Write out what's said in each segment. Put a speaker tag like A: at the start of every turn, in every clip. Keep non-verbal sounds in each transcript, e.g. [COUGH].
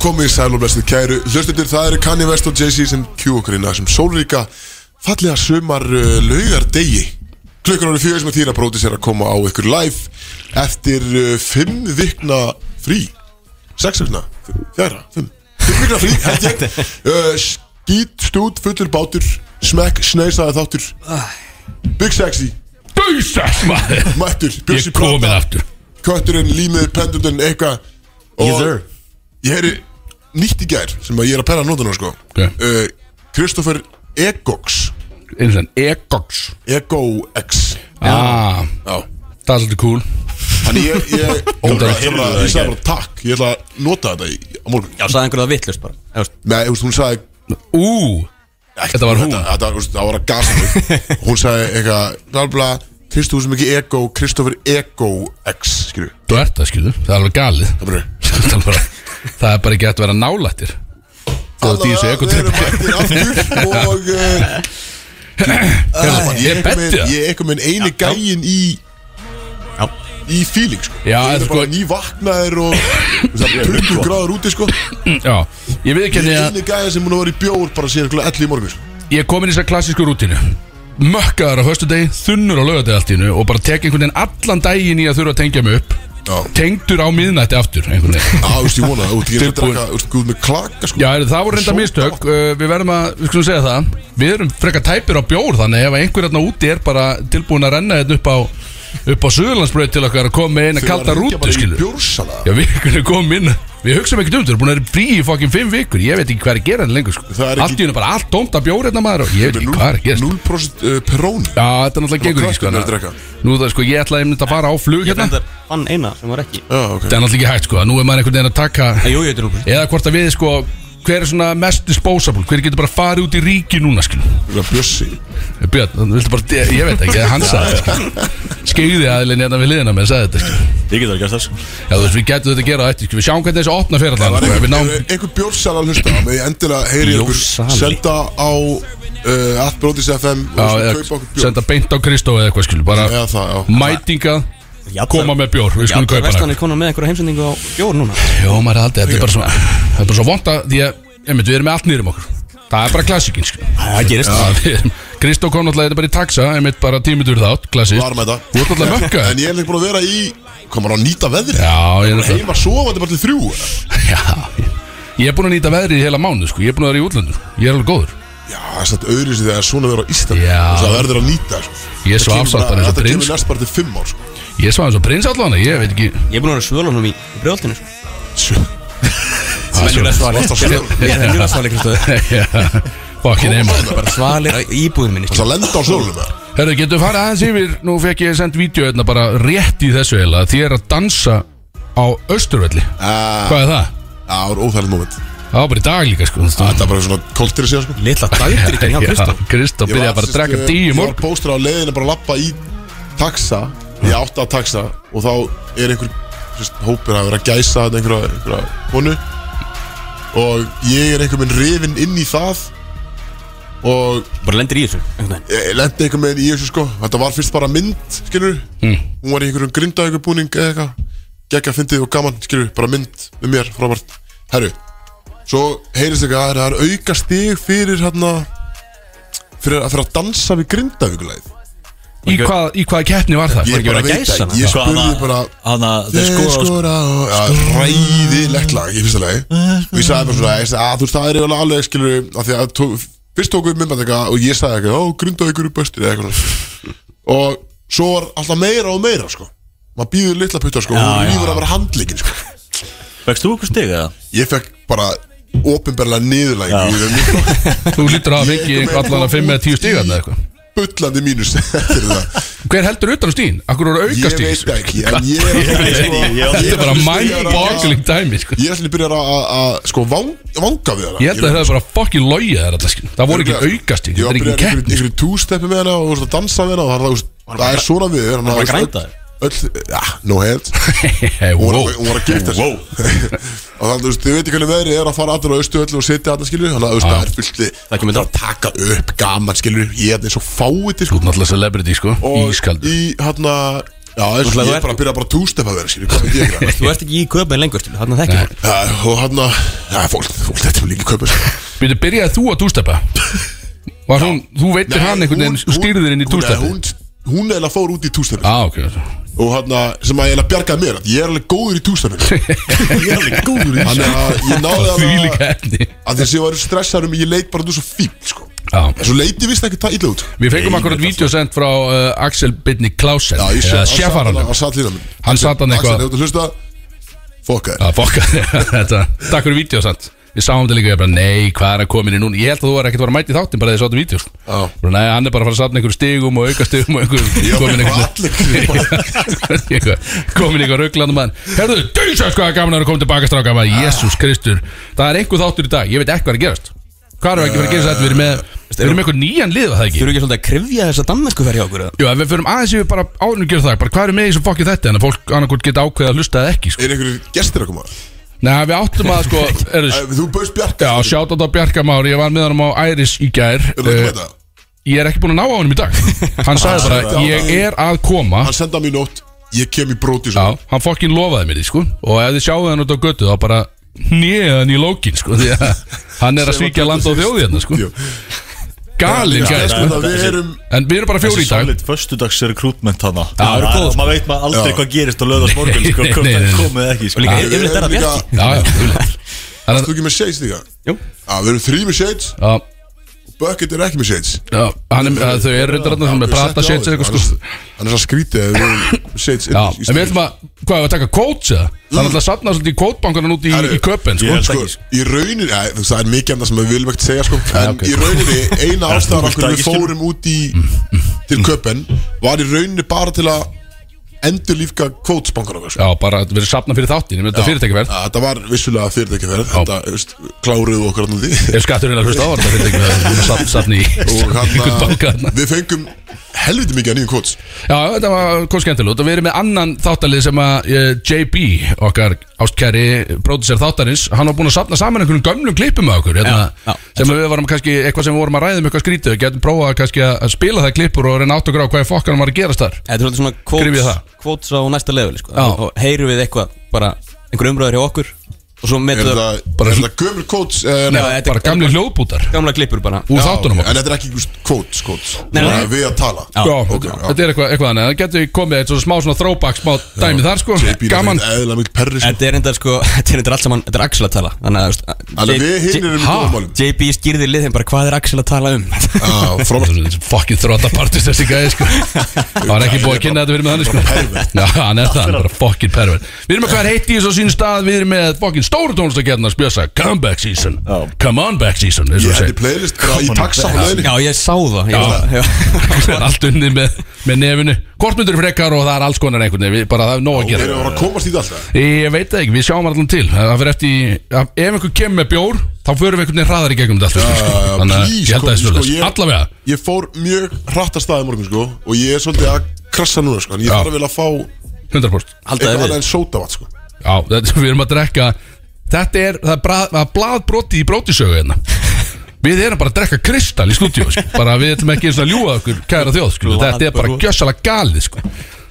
A: komið í sæl og blessið kæru Hlustendur, það eru Kanye West og Jay-Z sem kjú okkur inn að sem sólríka fallega sumar uh, laugardegi Klukkan árið fjögur sem að þýra bróti sér að koma á ykkur live eftir uh, fimm vikna frí Sex vikna, fjara, fimm Fimm vikna frí, held ég uh, Skít, stút, fullur bátur Smekk, sneisaði þáttur Big Sexy,
B: Bauðsess maður
A: mættur
B: Ég
A: Bjössi
B: er komin aftur
A: Kötturinn, límið, pendurinn, eitthvað Og- Ég heyri nýtt í gær sem að ég er að perra nótuna sko
B: Ok.
A: uh, Kristoffer Egox
B: Eins og Egox
A: Egox
B: ah,
A: Já
B: Það er svolítið cool
A: Þannig ég, ég,
B: [LAUGHS]
A: óra,
B: Ótrúlegt.
A: ég, bara, ég sagði bara takk Ég ætla að nota þetta í, á morgun
C: Já, sagði einhverju það vittlust bara Þú veist,
A: Nei, þú veist, hún sagði
B: Ú,
A: ekki,
B: Þetta var hún.
A: þetta, þetta, þú veist, Það var að gasa
B: [LAUGHS]
A: mig Hún sagði eitthvað Ralbla, Kristoffer sem ekki Ego Kristoffer Egox Skilju
B: þú ert það skilur Það er alveg galið
A: Það bara
B: [LAUGHS] Það er bara, það er bara ekki hægt að vera nálættir Þú ert í þessu ekotripp
A: Við erum mættir aftur og uh,
B: [CLEARS THROAT] Herðu,
A: Ég
B: Ég
A: er einhvern
B: betti
A: veginn-
B: það
A: ég er einhvern veginn eini gæin í
C: Já.
A: Í feeling sko
B: Já,
A: Ég
B: en
A: er
B: sko-
A: bara nývaknaðir og Það
B: [LAUGHS]
A: er 20 gráður úti sko Ég
B: Já, ég veit ekki
A: er
B: að
A: eini gæin sem hún var í bjór bara síðan klukkan 11 í morgun sko.
B: ég er komin í þessa klassísku rútinu Mökkaðar á föstu þunnur á laugardegi allt í einu Og bara tek einhvern veginn allan daginn í að þurfa að tengja mig upp
A: Já
B: Tengdur á miðnætti aftur einhvern veginn
A: Já, þú veist, ég vona það, þú veist, ég er að
B: Tilbúin.
A: drakka, þú veist, guð með klaka, sko
B: Já, heyrðu, það voru reynda mistök uh, Við verðum að, við skulum segja það Við erum frekar tæpir á bjór Þannig ef einhver hérna úti er bara tilbúin að renna hérna upp á upp á Suðurlandsbröð til okkar að koma með eina
A: Þegar
B: kalda
A: að ringja bara
B: rútu
A: í
B: skilur
A: Bjórsala
B: Já, við kunum koma inn Við hugsaum ekkert um þetta, við erum búin að vera frí í fokkin fimm vikur Ég veit ekki hvað er að gera henni lengur sko.
A: Það er ekki-
B: Allt í henni bara allt tómt af bjór hérna maður og Ég veit ekki hvað er að gera
A: 0% uh, perón
B: Já, þetta náttúrulega gengur ekki sko,
A: krökkum er að
B: þannig
A: drekka.
B: að- Nú það sko, ég ætlaði einmitt að fara á flug
C: ég
B: hérna
C: reyndar fann eina sem var ekki
A: Já, ok
B: Þetta er náttúrulega ekki hægt sko, að nú er maður einhvern veginn að taka
C: Nei, Jú, ég veit nú bara
B: Eða hvort að við sko, hver er svona mest disposable Hver getur bara farið út í ríki núna skilur Eh,
A: Það er bjössi
B: Björn, þannig viltu bara, ég, ég veit ekki, hann sagði þetta sko. Skeiði aðilinn hérna við liðina með sagði þetta sko.
D: Ég get það gert það sko
B: Já, þú veist, við getum þetta að gera á eftir, sko. við sjáum hvernig þessi opna fyrir
A: Það
B: allan
A: er
B: sko. Við náum,
A: einhver- einhver bjórsala að hlusta Með ég endilega heyri ykkur
C: Bjórsali.
A: Senda á uh, atbrotis.fm
B: já,
A: Og svo kaupa okkur
B: eða,
A: bjór
B: senda beint á Kristó eða eitthvað skilur Bara
A: Já, það, já
B: mætinga, koma með bjór, við skulum kaupa hann
C: Vestan er konar með einhverja heimsendingu á bjór núna
B: Jó, maður er aldrei, þetta er bara svona Það er bara svo vonda, því að, einmitt, við erum með allt nýrum okkur Það er bara klassíkin, sko
D: Það gerist
B: Já, við erum- Kristó kom náttúrulega þetta bara í taxa, einmitt bara tímitur þátt, klassík
A: var með þetta
B: Þú ert náttúrulega mökkaður.
A: En ég er líka búin að vera í Komar á að nýta veðrið
B: Já, ég er þetta
A: Heima sofandi bara til þrjú
B: Já, ég- ég er búin að nýta veðrið í heila mánu, sko Ég er búin að vera í útlöndum, ég er alveg góður
A: Já, það er satt öðru sér þegar svona verður á Íslandi
B: Já.
A: Það verður að nýta sko.
B: Ég er svo
A: Það kemur
B: afsáttan
A: bara-
B: eins og
A: Þetta
B: prins.
A: kemur næst bara til fimm ár sko.
B: Ég svaði eins og prins allan, ég veit ekki
C: Ég er búin að vera svölunum í í brjóðaltinu sko.
A: Sjö.
B: Svenjur
A: Það er alltaf svona
C: Ég er mjög
B: [LAUGHS]
C: svali Kristóð
B: Fokkin heima
C: Bara svali á íbúðinu minni sko.
A: Það lenda á sólunum eða?
B: Herðu, getur við farið aðeins yfir Nú fekk ég sendt vídeo hérna bara rétt í þessu heila Því er að dansa á Östurvelli
A: Ah,
B: Hvað er það?
A: Það er óþægilegt moment
B: Það var bara í dag líka sko
A: Þetta er bara svona koltir að segja sko
C: Lilla dagdrykkin hjá Kristóð
B: Kristó
A: Ég
B: byrjaði
A: var,
B: bara að
A: sérst,
B: draka
A: eh,
B: tíu
A: Ég var
B: morgun
A: póstur á leiðinu bara að lappa í taxa Ég átti að taxa Og þá er einhver sérst, hópur að vera að gæsa þarna einhverja, einhverja konu Og ég er einhver minn rifinn inn í það Og
C: Bara lendir í þessu einhvern veginn.
A: ég lendi einhver minn í þessu sko Þetta var fyrst bara mynd, skilur
C: Hmm.
A: Hún var í einhverjum grindaðjöku búning eða eitthvað Gekka fyndið og gaman, skilur Bara mynd með mér, frábært Herru, svo heyrist eitthvað að Það er auka stig fyrir hérna Fyrir, að- fyrir að dansa við grindaðjökulæð
B: Í hvað- í hvaða keppni var það?
A: Ég
C: ekki
A: bara
C: verið að
A: veit
C: gæsa
A: það,
C: hana?
A: ég spurði bara
D: Hanna, Sko, þeir
A: Þeir
D: sko
A: skora og ja, Ræðilegt lag í fyrsta lagi Og ég sagði bara svona ég sagði, að Þú veist það er eiginlega alveg skilur af því að tó- Fyrst tókum við myndband eitthvað Og ég sagði eitthvað Ó, grunda ykkur er bestir eða eitthvað svona. Og svo var alltaf meira og meira sko Maður býður litla putta sko Og hún lífur að vera handleikin sko
D: Vekst þú okkur stig eða?
A: Ég fekk bara Opinberlega niðurlæg
D: Já.
B: Þú lítur að
A: Ég-
B: fengi allan að 5 eða 10 stígan eða eitthvað
A: Bullandi mínus eftir það.
B: Hver heldur utan á stíðin? Akkur voru
A: Ég
B: auka stíð
A: veit ekki En ég er
D: Ég veit
A: alltaf
D: ekki, ég- ég-
B: Þetta er bara
A: Ég-
B: mind-boggling dæmi sko
A: Ég er allir byrjar að- að að, sko vang, vanga við hana
B: Ég held að það hefði bara fokkin logið þær alltaf skil Það voru ekki aukast í,
A: Ég
B: þetta
A: var
B: er
A: að
B: ekki
A: byrja
B: keppni sko.
A: ykkur tústeppi með hana og þú veist, að dansa við hana og það er það, þú veist, það er svona við Hún
D: bara grænda þér?
A: Öll, já, no
B: [LAUGHS]
A: hands
B: Hey,
A: Hún
B: wow.
A: var- hún var að gifta sig
D: Wow.
A: [LAUGHS] Og þannig, þú veist, þið veit ekki hvernig veðri er að fara allir á austu öll og sitja allir skilur Þannig að, þú veist,
B: Ah.
A: það er fullt þið
C: Það kemur þetta
A: Taka upp gaman skilur, ég er eins og fáið til
B: Þú ert náttúrulega celebrity sko,
A: Og
B: ískaldur
A: í, hérna, Já, þess
C: Náttúrulega
A: að ég
C: þú
A: er
C: ert-
A: bara að byrja bara tústef að vera sér Hvað veit ég ekki
B: [LAUGHS]
C: Þú ert ekki í köpun lengur, þannig að þekki fólk
A: Já, og hann að Já, fólk, fólk þetta er líka sko. kaupur
B: Býtu, byrjaði þú að
A: [LAUGHS]
B: tústeppa? Var hún, þú veitir hann einhvern veginn og stýrði þér inn í tústeppi?
A: Hún, hún eða fór út í tústef
B: Á, ok
A: Og hann að, sem að ég eða bjargaði mér Ég er alveg góður í
B: [LAUGHS]
A: tústefinu Ég er alveg góður í tústefinu Þannig að ég náði
B: Því
A: alveg
B: líka efni
A: að þessi var stressaður um ég leit bara þú svo fíl sko.
B: Já.
A: en svo leiti vist ekki það illa út
B: Við fengum akkurat vídeo sendt frá uh, Axel Bidni Klausen
A: Já, ég sé-
B: eða
A: hann sat-
B: Sjefaranum
A: hann satt hérna minn
B: Hann sat hann eitthvað-
A: Axel, hefur þú hlusta eh. Fokka þér
B: Já, [LAUGHS] fokka þetta Takk fyrir vídeo samt Við sáum þetta líka, ég bara, nei, hvað er að koma inn í núna Ég held að þú var ekkert að vera mætt í þáttin bara þegar þið sáttum vídeo sko.
A: Já.
B: Bara, Nei, hann er bara að fara að satna einhverjum stigum og auka stigum og
A: Já,
B: [LAUGHS] einhverjum komin einhverjum [LAUGHS]
A: allir
B: Eitthvað- komin ykkur rugglandum mann Herðu, dæsast hvað er gaman að vera komið tilbaka stráka maður Jésús Kristur Það er einhver þáttur í dag, ég veit ekki hvað er að gerast Hvað er ekki að fara að gerast þetta, við erum með Við erum með einhver nýjan lið, var það
C: Þú
B: ekki
C: eru ekki svolítið að krifja þessa dammesku ferja okkur eða?
B: Jú, ef við förum aðeins yfir bara árunum gera það bara Hvað eru með í þessum fokkið þetta En að fólk annarkvort geta ákveðið að hlusta eða ekki sko.
A: er einhverjir gestir að koma
B: Nei, við áttum að [LAUGHS] sko er,
A: Æ, þú bauðst bjarga
B: Já,
A: þér.
B: sjátt á Bjarka Már Ég var með honum á Æris í gær
A: Er það ekki með
B: Eh,
A: það?
B: Ég er ekki búin að ná á honum í
A: [LAUGHS]
B: dag Hann sagði bara,
A: sagði
B: ég
A: það.
B: er að koma
A: hann senda mér nótt ég kem í bróti
B: Já,
A: svo
B: hann fokkin lofaði mér því sko Og ef þið sjáðu hann út á götu þá bara Nýðan í lókin sko Því að hann er að svíkja land og þjóði hérna sko
A: Jú.
B: Galin
A: Já,
B: gæði
A: það-
B: sko
A: það- við erum
B: En við erum bara fjóri í dag
D: Sannleitt, föstudags rekrútment hana
B: það eru góð, sko.
D: Maður veit maður aldrei
A: Já.
D: hvað gerist á löðast morgun sko,
B: Nei,
D: Hvort
B: nei, nei,
D: það
B: nei.
D: komið ekki sko.
C: Og líka,
A: Við
C: yfirleitt er
A: erum
C: það
A: líka-
C: bjarki
B: Já, já, huglega.
A: Varst þú ekki með shades líka
C: Jú.
A: já við erum þrý með shades
B: já
A: Bucket er ekki með shades
B: Já, hann er, að þau eru reyndar hann með prata shit eða eitthvað sko
A: hann er svo skrítið að við erum shades
B: Já, en við ætlum að, hvað, við að taka kóts eða? Það er alltaf að safna svolítið í kótbankanum út í,
A: Herru,
B: í köpen sko
D: ég-
A: sko, í rauninni, ja, þú veist, það er mikið annað sem við viljum ekkert segja sko, en
B: ok.
A: í rauninni eina ástæðan
D: þú
A: okkur
D: vilt
A: við
D: ekki
A: fórum út í til köpen var í rauninni bara til að endur lífka kvótsbankan okkar sko.
B: Já, bara að vera safna fyrir þáttin, ég með þetta fyrirtækjaverð
A: Ja, þetta var vissulega fyrirtækjaferð þetta, þú veist, kláruðu okkar hann því
B: [LAUGHS] Ef skatturinn að hlusta á var þetta
C: [LAUGHS]
B: fyrirtækjaverð Safni [LAUGHS] í
A: og
B: einhvern
C: hérna-
B: banka
A: hann
B: þarna.
A: að við fengum helviti mikið að nýjum kvóts
B: Já, þetta var kom skemmtilega út og við erum með annan þáttalið sem að eh, JB, okkar ástkæri pródusser þáttarins, hann var búin að safna saman einhverjum gömlum klippum með okkur hérna,
C: Já, já.
B: sem við varum kannski, eitthvað sem við vorum að ræða um eitthvað skrítið, við getum prófað kannski að að spila það klippur og reyna átt okkur á hvað fokkanum var að gerast þar
C: Þetta er svolítið svona
B: Kryfja
C: quotes,
B: það.
C: quotes á næsta level sko.
B: Já.
C: Og heyrum við eitthvað, bara einhver umröður hjá okkur Og svo
A: er
C: metur það
A: þetta
B: bara
A: er
B: svo-
A: þetta gömur kvóts en
C: Nei, þetta er-
B: bara gamli hljóðbútar
C: gamla klippur bara
B: úr þáttunum okkar
A: en þetta er ekki kvóts kvóts
C: Nei, nei.
A: við að tala
C: Já.
B: Já,
A: ok,
B: þetta-
A: já.
B: þetta er eitthvað, eitthvað annað Það getur komið eitt svona smá svona throwback Smá dæmi þar sko
A: JB er
B: Gaman
A: ekkert eðlilega mikið perri sko.
C: Þetta er reyndar sko, [LAUGHS] þetta er reyndar allt saman, þetta er Axel að tala Þannig að þú
A: Þannig að við
C: veist,
A: hinn erum í
B: ha?
A: góðum málum
C: J- JB skýrði liðin bara hvað er Axel að tala um
A: Já, frábært.
B: Fokkin þróta partist þessi gæði sko Það var ekki búið að kynna þetta fyrir með hann sko Já, hann er það, hann er bara fokkin pervert Við erum með hvað er heitt í þessu á sín stað Við erum með fokkin stóru tónstakernar spjösa Comeback season, come on back season eins
A: Ég
B: og við
A: hendi
B: segjum.
A: playlist bara í taxa á
C: Já,
A: leðinni
C: ég sá það
B: Já.
C: ég var- Já,
B: Það er [LAUGHS] Allt unni með, með nefinu Hvort myndur frekar og það er alls konar einhvern veginn Við- Bara það er nóg að
A: Við
B: gera
A: erum bara að komast í þetta alltaf
B: Ég veit það ekki, við sjáum allan til Það fyrir eftir, ef einhver kemur með bjór Þá förum við einhvern veginn hraðar í gegnum þetta allt, sko.
A: já,
B: [LAUGHS] Þannig að
A: Uh, please,
B: ég held að það er
A: sko,
B: svolítið
A: ég-
B: Allavega,
A: Ég fór mjög hratt að staði morgun sko Og ég er svolítið að krassa núna sko En ég
B: Já.
A: þarf vel að fá
B: 100%
C: [LAUGHS]
A: eitthvað
C: haldaði við
A: annað en sótavatt sko
B: Já, þetta, [LAUGHS] við erum að drekka Þetta er, það er bra- það er blaðbroti í brótisögu hérna Við erum bara að drekka kristal í stúdíu sko. Bara við ætlum ekki eins og að ljúga okkur Kæra þjóð, sko. þetta er bara gjössalega galið sko.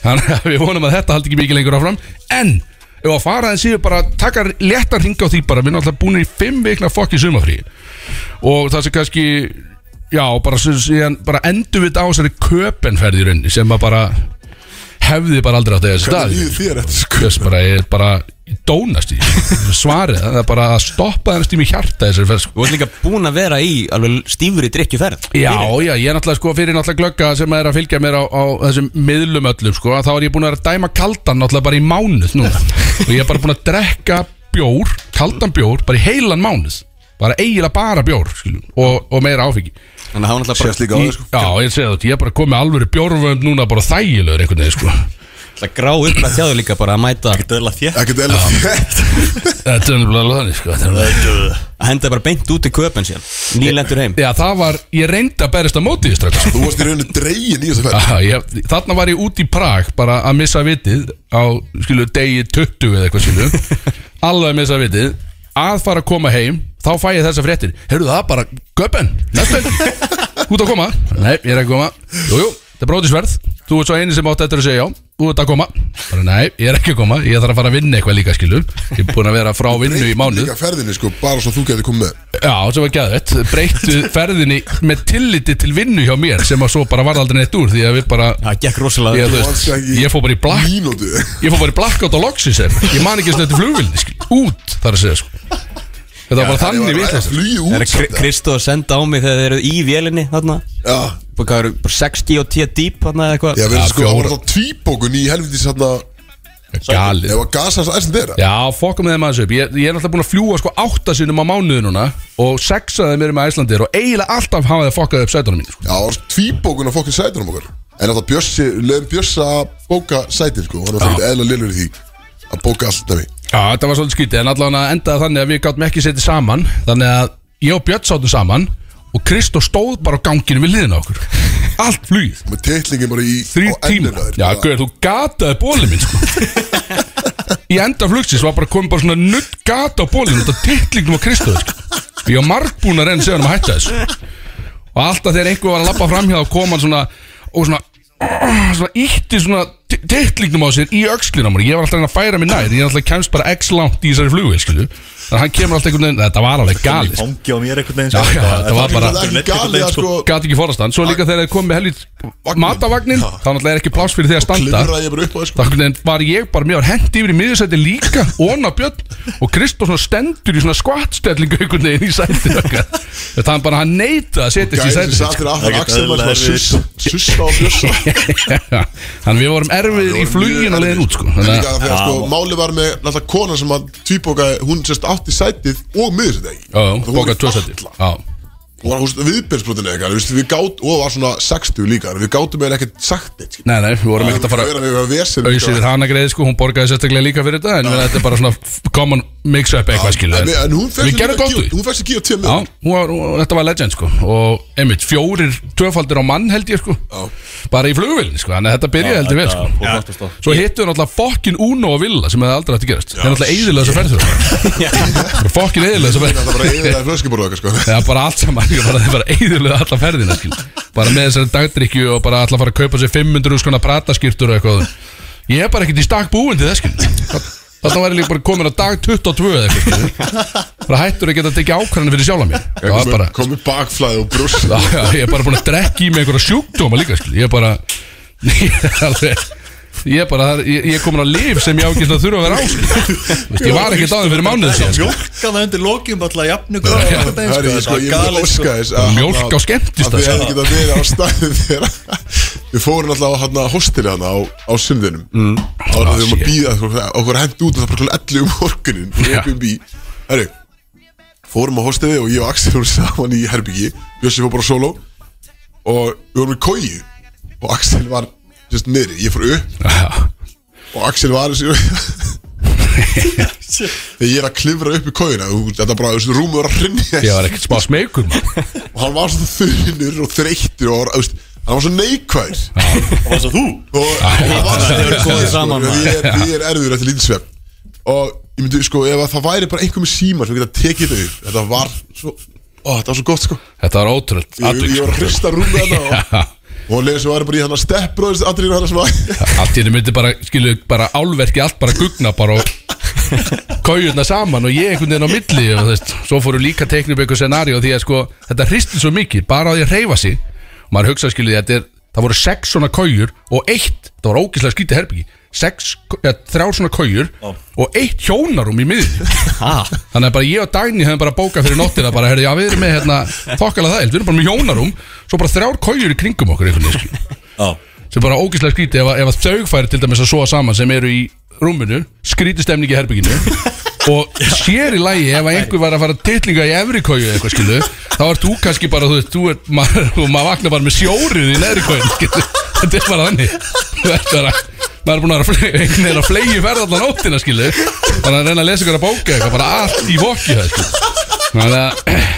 B: Þannig að við vonum að þetta haldi ekki mikið lengur áfram En, ef að fara þessi bara taka léttan ringa á því bara Við erum alltaf búin í fimm vikna fokki sumafrí Og það sem kannski Já, bara, sem- síðan, bara endur við þetta á þessari köpenferð í rauninni Sem að bara hefði bara aldrei átt að eiga þessi dag
A: Hvernig líður þér eftir sko
B: Jöss, bara, ég er bara ég dónast í þessu. svarið, það er bara að stoppa þennan stími hjarta í þessari ferð
C: Þú
B: sko.
C: varst líka búin að vera í alveg stífur í drikkjuferð
B: Já, já, ég er náttúrulega sko fyrir náttúrulega glögga sem er að fylgja mér á, á þessum miðlum öllum sko, að þá er ég búin að vera að dæma kaldan náttúrulega bara í mánuð núna og ég er bara búin að drekka bjór, kaldan bjór bara í heilan mánuð, bara eiginlega bara bjór skilur, og, og meira áfengi
C: Þannig að það var náttúrulega bara
A: Sérst líka á
B: Í-
A: þér sko
B: Já, ég segi þetta, ég er bara komið með alvöru bjórvönd núna bara þægilegur einhvern veginn sko
C: alltaf grá upp að þjáðu líka bara að mæta
D: Ekkert eðla þjætt
A: Ekkert eða þett
B: Þetta er náttúrulega alveg þannig sko Þetta er náttúrulega-
C: að henda bara beint út í köpen síðan Nýlendur heim
B: Já, það var, ég reyndi að berist að móti því strax sko.
A: Þú varst í rauninu dregin í þessu
B: [LAUGHS]
A: fætt
B: Ah, ég, þarna var ég út í Prag bara að missa vitið á skilu, degi 20 eða eitthvað skilu alveg að missa vitið að fara að koma heim, þá fæ ég þessa fréttir heyrðu það bara, göppen, nefnvel út að koma, nei, ég er ekki að koma jújú, jú, það er brótisverð þú ert svo eini sem átt eftir að segja já þú ert að koma bara, Nei, ég er ekki að koma, ég þarf að fara að vinna eitthvað líka skilur Ég er búin að vera frá vinnu í mánuð
A: Líka ferðinni sko, bara svo þú getur komið með
B: Já, sem var gæðvett Breyttu ferðinni með tilliti til vinnu hjá mér Sem að svo bara varð aldrei neitt úr Því að við bara
C: Það gekk rosalega
B: Ég, þú
C: vel.
B: veist, ég fór bara í blakk
A: Mínútu
B: Ég fór bara í blackout á loksins em. Ég man ekki eins og þetta flugvilni skil. Út þar að segja sko. Þetta var bara þannig við
A: Það
B: þessum
A: flýi
C: Það er
A: út
C: Kri- Kristó að senda á mig þegar þeir eru í vélinni þarna
A: Já,
C: Bara Hvað eru, bara 60 og 10 dýp þarna eða eitthvað
A: já, við
C: [LAUGHS]
A: erum
B: Já,
A: sko Það var
B: fjóra.
A: það tvíbókun í helvitis þarna
B: Galið
A: Ef að gasa þess aðeins þeirra
B: Já, fokkum þeim aðeins upp Ég, ég er alltaf búin að fljúa sko átta sinum á mánuði núna Og sex að þeim eru með Æslandir Og eiginlega alltaf hafa þeir fokkað upp sætunum mín sko.
A: Já, það var tvíbókun að fokkin sætunum okkar En að það bjössi, lögum bjössa að bóka sætin sko Hann var það eðla lillur í því Að bóka allt af því
B: Já, þetta var svolítið skítið En allavega endaði þannig að við gáttum ekki setið saman Þannig að ég og Björn sátum saman Og Kristó stóð bara á ganginu við liðina á okkur Allt flugið
A: Með teitlingin bara í
B: þrjú
A: á enninu
B: tíma
A: á þér.
B: Já, gauð, þú gataði bólið minn sko. Í enda flugsins var bara komið bara svona nutt gata á bólið út af titlingnum á Kristofi sko. Ég var margbúin að reyna segja hann að hætta þessu og alltaf þegar einhver var að labba framhjá þá kom hann svona og svona [CLEARS THROAT] svona ítti svona ti- titlingnum á sér í öxlina á mér, ég var alltaf að reyna að færa mig nær ég er alltaf kemst bara x langt í þessari flugu skilju. þannig að hann kemur alltaf einhvern veginn þetta var alveg
D: Gali
B: galið sko.
D: Fangi á mér einhvern veginn
B: Já,
D: sko.
B: já, þetta var bara-
A: Það er ekki galið að sko
B: gat ekki forast hann, svo líka þegar þeir komið með helvít matavagnin, þá náttúrulega er ekki pláss fyrir því að standa
A: Klifraði ég bara upp á þér sko
B: Þannig að var ég bara, mér var hent yfir í miðursæti líka, óna björn og Kristó svona stendur í svona skvattstellingu einhvern veginn í sæti okkar Þetta hann bara, hann neita að setjast í
A: Gæði sem
B: sæti
A: satt
B: [LAUGHS]
A: þér aftur
D: Það er
A: Axel var
D: ekki
A: svona
D: eðlilega erfitt.
A: sus- Sussa og bjössa
B: Þannig við vorum erfiðir í flugin að leiðin út sko
A: En
B: Þannig
A: líka
B: að,
A: þegar sko, máli var með náttúrulega kona sem að tvíbóka, hún sérst átti sætið og miður þetta ekki.
B: já, bóka tvö sæti Já,
A: Hún var húst viðbjörnsbrotinu eitthvað, við, við gátt, og var svona 60 líka, við gáttum eða ekkert sagt neitt.
B: nei, nei, við vorum ekkert að fara
A: Við erum við vesen.
B: auðsýðir hana greið sko, hún borgaði sérstaklega líka fyrir þetta en þetta er bara svona f- common mix-up eitthvað skilu
A: En, en hún
B: Við gerum gott úr því.
A: Hún fæst ekki á tíu
B: Já,
A: miður.
B: hún var, hún, þetta var legend sko Og einmitt, fjórir tvöfaldir á mann held ég sko
A: Já.
B: Bara í flugvillinni sko Þannig að þetta byrjaði heldur vel sko
C: Já.
B: Svo hittu við náttúrulega fokkin Uno og Villa Sem hefði aldrei hægt að gerast Það er náttúrulega eðilega þess að ferður Bara fokkin eðilega þess að
A: Það
B: ferður
A: er bara eðilega flöskiborða eitthvað sko.
B: Það er bara allt saman líka, bara, Það er bara eðilega alla ferðina skil. Bara með þessari dagdrykju Og bara alltaf fara að kaupa sér 500 skona prataskýrtur og eitthvað Ég er bara ekkert í stakk búin til þess skil. Þannig að væri líka bara komin á dag 22 eða eitthvað skil. Bara hættur að geta tekið ákvarðanir fyrir sjálfa mér Það var bara
A: Komið bakflæði og brús.
B: Já, já, ég er bara búin að drekka í mig einhverja sjúkdóma líka, skil Ég er bara Ég er alveg Ég er bara, það er- ég, ég er komin á lif sem ég á ekki að þurfa að vera á skil. Veist, Ég var ekki dáðum fyrir mánuðið síðan skil.
D: Mjölkaða undir lokium alltaf jafnu
B: Já.
D: góð
A: Það er ég sko, ég vil óska þess
B: Bara
A: að-
B: Mjólk á sko. skemmtist
A: að þið hefði getað verið á [LAUGHS] staðið þegar við fórum alltaf á hana hostili hana á, á sundinum mm. á því við
B: Ah, shit.
A: að býða okkur hent út og það bara klokkan 11 um morgunin og
B: Já.
A: við um bí Herru, fórum á hostili og ég og Axel vorum saman í herbyggi Bjössi fór bara solo og við vorum í kói og Axel var sérst niðri, ég fór upp og Axel var
B: [LAUGHS]
A: þessi Þegar ég er að klifra upp í kóina Þetta bara, þessu rúmur að hrinja
B: Ég var ekkert smá smeykum
A: og hann var svona þurrinur og þreyttur og var, þú veist, hann var svona neikvær
D: Það var svo þú
A: og
B: [LAUGHS]
A: hann var
C: Þið eru góðir
A: sko,
C: saman,
A: því
C: maður.
A: ég er- því ég er erður eftir lítinsvefn og ég myndi sko ef að það væri bara einhver með símar sem geta tekið þau upp þetta var svo ó, þetta var svo gott sko
B: Þetta var sko. ótrúld
A: ég, ég var að hrista rúmið
B: [LAUGHS]
A: þetta og og hann leiði svo væri bara í hann að steppbróðis aðrýra hann sem var
B: Allt í henni myndi bara, skilu, bara álverki Allt bara gugna bara og Kaujurna saman og ég einhvern veginn á milli og, þú veist, Svo fóru líka teiknum upp eitthvað scenaríu Því að sko, þetta hristi svo mikið Bara á því að hreyfa sig Og maður hugsa skilu, þetta er, það voru sex svona kaujur Og eitt, það var ógislega skrítið herbyggi Sex, ja, þrjár svona kaujur Og eitt hjónarum í miðin
C: Ha?
B: Þannig að bara ég og Dagný hefum bara bókað fyrir nóttina bara, herri, já, við erum með hérna, þokkalega það, við erum bara með hjónarum, svo bara þrjár kójur í kringum okkur einhvern veginn, skilju
D: Já
B: sem bara ógeðslega skríti ef, að- ef að þau færi til dæmis að soa saman sem eru í rúminu skríti stemning í herbygginu og sér í lagi ef að einhver var að fara titlinga í efri kóju eða eitthvað skilu þá ert þú kannski bara, þú veist, þú er [LAUGHS] maður, og maður vaknar bara með sjórið í neðri kóju þetta er bara þannig Þú ert bara, maður er búin að vera að fle- einhvern veginn [LAUGHS] að flegi ferð allan óttina skilu þannig að reyna að lesa ykkur að bóka eitthvað bara allt í vokki það skilu þannig að [CLEARS THROAT]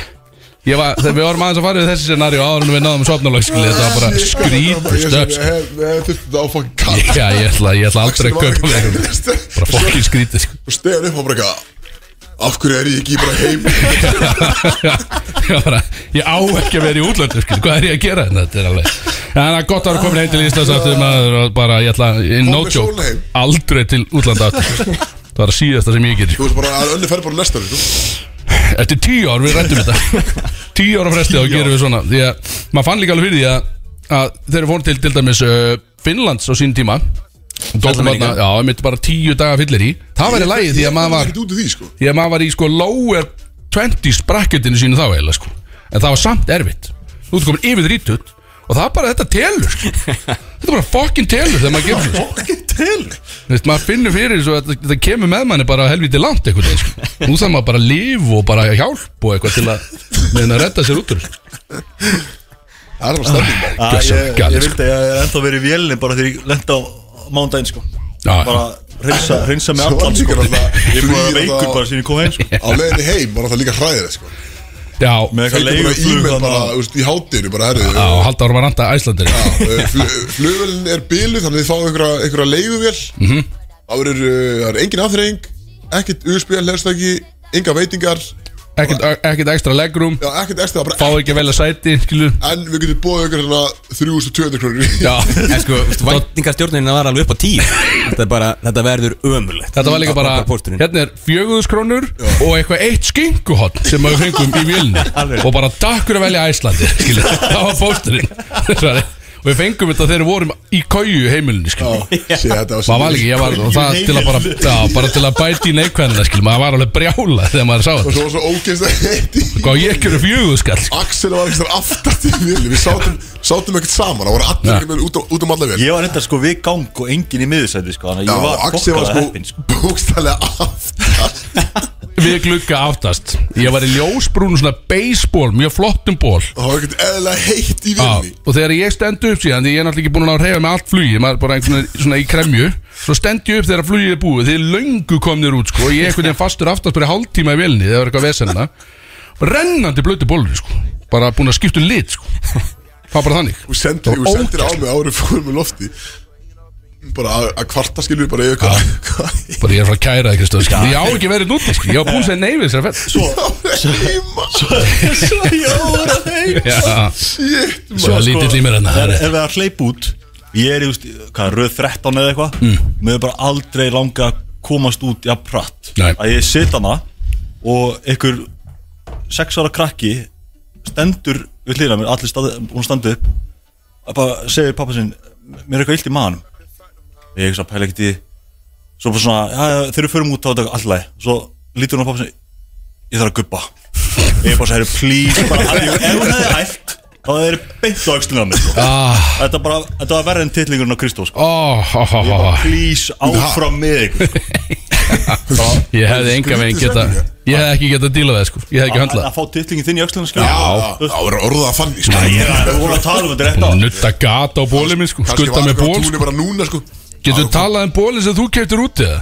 B: Ég var, þegar við vorum aðeins að fara við þessi scenari og áður en við náðum sopnulag skilja, þetta var bara skrítið sko. stöps
A: við þurftum þetta á fokkin kall
B: Já, ég ætla, ég ætla aldrei
A: Axel
B: að
A: var
B: kaupa mér
A: ekki-
B: Bara fokkin skrítið sko. [LAUGHS]
A: og stegar upp og bara eitthvað af hverju er ég ekki bara heim
B: Ég Ég bara- ég á ekki að vera í útlöndu skil. Hvað er ég að gera hérna? Þetta er alveg Þannig að gott að vera komin heim til Íslands aftur maður og bara, ég ætla, no
A: með sól
B: joke
A: heim.
B: Aldrei til útlanda aftur Það var að síðasta sem ég get
A: Þú veist bara að önni fer bara næsta ári, sko.
B: Eftir tíu ár við rættum þetta [LAUGHS] Tíu ára fresti þá gerum við svona Því að maður fann líka alveg fyrir því að, að Þeir fór til til dæmis uh, Finnlands á sín tíma Dóttum,
C: Ferðamenningar.
B: já, ég myndi bara tíu daga fyllir í Það væri lægið því að maður var
A: Ég er ekki út úr því sko
B: Því að maður var í sko lower 20s bracketinu sínu þá eiginlega sko En það var samt erfitt Þú ert komin yfir þrítut Og það er bara þetta telur
C: [LAUGHS]
B: sko. Þetta er bara fucking telur þegar maður gefur svo
D: Fokkin til
B: Þú veist, maður finnur fyrir svo að þetta- þetta kemur með manni bara helviti langt einhvern veginn sko. Nú þarf maður bara að lifa og bara hjálp og eitthvað til að meðan að redda sér út úr þessu.
A: Það er bara stefning maður
D: Ah,
B: Gjörsamlega
D: ég,
B: galið,
D: ég
B: sko.
D: vildi að ég er ennþá verið í vélni bara þegar ég lendi á mándaginn sko
B: Já, já.
D: Bara reynsa, reynsa með
A: Svo var
D: allan sko
A: líka náttúrulega-
D: Ég er búin að vera
A: flugið
D: veikur
A: náttúrulega-
D: bara síðan ég kom [LAUGHS] heim sko
A: Á leiðinni heim var það líka hræðir sko
B: Já,
D: Með eitthvað
A: Fengið bara
D: leiguflug
A: e-mail bara,
D: þarna.
A: þú veist, í hátinu bara herrið
B: á Haldar var randa Æslandir
A: Flugvelin er bílu þannig að þið fáum einhverja, einhverja leiguvél
D: Mhm.
A: Það verður, uh, það er engin aðþreying Ekkert USB hlustæki Enga veitingar Já,
B: Ekkert ekkert ekstra legroom
A: ekkert ekstra bara, e-
B: Fá ekki vel að velja sæti, skilu
A: En við getum bóðið ykkur hérna 3200 krónir [LAUGHS]
B: Já,
C: En sko, væntingastjórnirna var alveg upp á tíu Þetta, er bara, þetta verður ömurlegt
B: Þetta var líka
C: Á-
B: bara,
C: á pósturinn.
B: hérna er fjögúðuskrónur og eitthvað eitt skinguhotn sem við fengum í
C: [LAUGHS]
B: vilni og bara takk fyrir að velja Æslandi, skilja, [LAUGHS] það var pósturinn Svarið. og við fengum þetta þegar við vorum í kóju heimilinu, skilja
A: Sér, þetta var
B: Það var líka, ég var, og það til að bara, já, bara til að bæti í neikvæðina, skilja, maður var alveg brjála þegar maður sá
A: Og
B: þetta
A: [LAUGHS] svo var svo ógeðst að heiti
B: Hvað ég gerði fjögúðuskall,
A: Axel var ekki þar aftast í vilni Við sátum, sátum ekkert saman Það voru allir
B: Já.
A: einhvern veginn út, á- út um alla vel
D: Ég var enda sko við gang og engin í miðursæti sko Þannig
A: Já,
D: að ég var
A: Axel var
D: fokkaða heppin sko
A: sko bókstælega aftast
B: við glugga aftast Ég var í ljósbrún svona baseball, mjög flottum ból
A: Það var ekkert eðlilega heitt í
B: Já,
A: vilni
B: og þegar ég stend upp síðan því ég er náttúrulega ekki búin að ná að reyfa með allt flugi maður er bara einhvern veginn svona í kremju svo stend ég upp þegar flugið er búið þið er löngu komnir út sko og ég er einhvern veginn fastur aftast bara í hálftíma í velni þegar það var eitthvað vesenna rennandi blötu bólur sko bara búin að skipta um lit sko það var bara þannig
A: Þú sendir,
B: Það
A: þú
B: var
A: sendir á mig árið fórum með lofti Bara að, að kvarta skilur við bara í aukana
B: bara ég er frá að kæra þig Kristof sko. ég á ekki verið núti sko ég á búin að segja neyfið sér fett
A: Svo heima
D: [LAUGHS] Svo ég var að heim
B: já
A: Shit
B: svo lítill í mér hérna
D: Það
B: það
D: er-
B: er rétt.
D: Ef við að hleypa út Ég er, just, hvað, röð 13 eða eitthvað Mér er bara aldrei langa að komast út jafn pratt
B: Nei.
D: Að ég sit hana Og einhver 6 ára krakki Stendur við hlýðina mér Allir stað, hún standið upp Að bara segir pappa sinn Mér er eitthvað illt í maðanum Ég er ekki svo að pæla ekkert í því. Svo bara svona, já, já, þegar við förum út þá er þetta allæg Svo lítur hún á pappa sinn Ég þarf að guppa Ég er bara svo herri, please bara, að ég- Ef hún hefði æft þá hefði þeir beint á öxlina á mér sko.
B: Ah,
D: Þetta, bara, þetta var verðin titlingurinn á Kristó sko.
B: ó, ó, ó, ó.
D: Ég bara please áfram með ykkur sko.
B: Ég hefði enga veginn geta Ég hefði ekki geta dílað það sko Ég hefði ekki
D: að,
B: höndlað
D: að fá titlingin þinn í öxlina skil
A: Já, það voru orðað að fanni sko.
D: Ég er voru að tala um þetta rétt á
B: það Nutta gata á bólið minn sko Skutta með ból
A: Túni bara núna sko
B: Getur þú talað um bólinn sem þú keftir úti eða?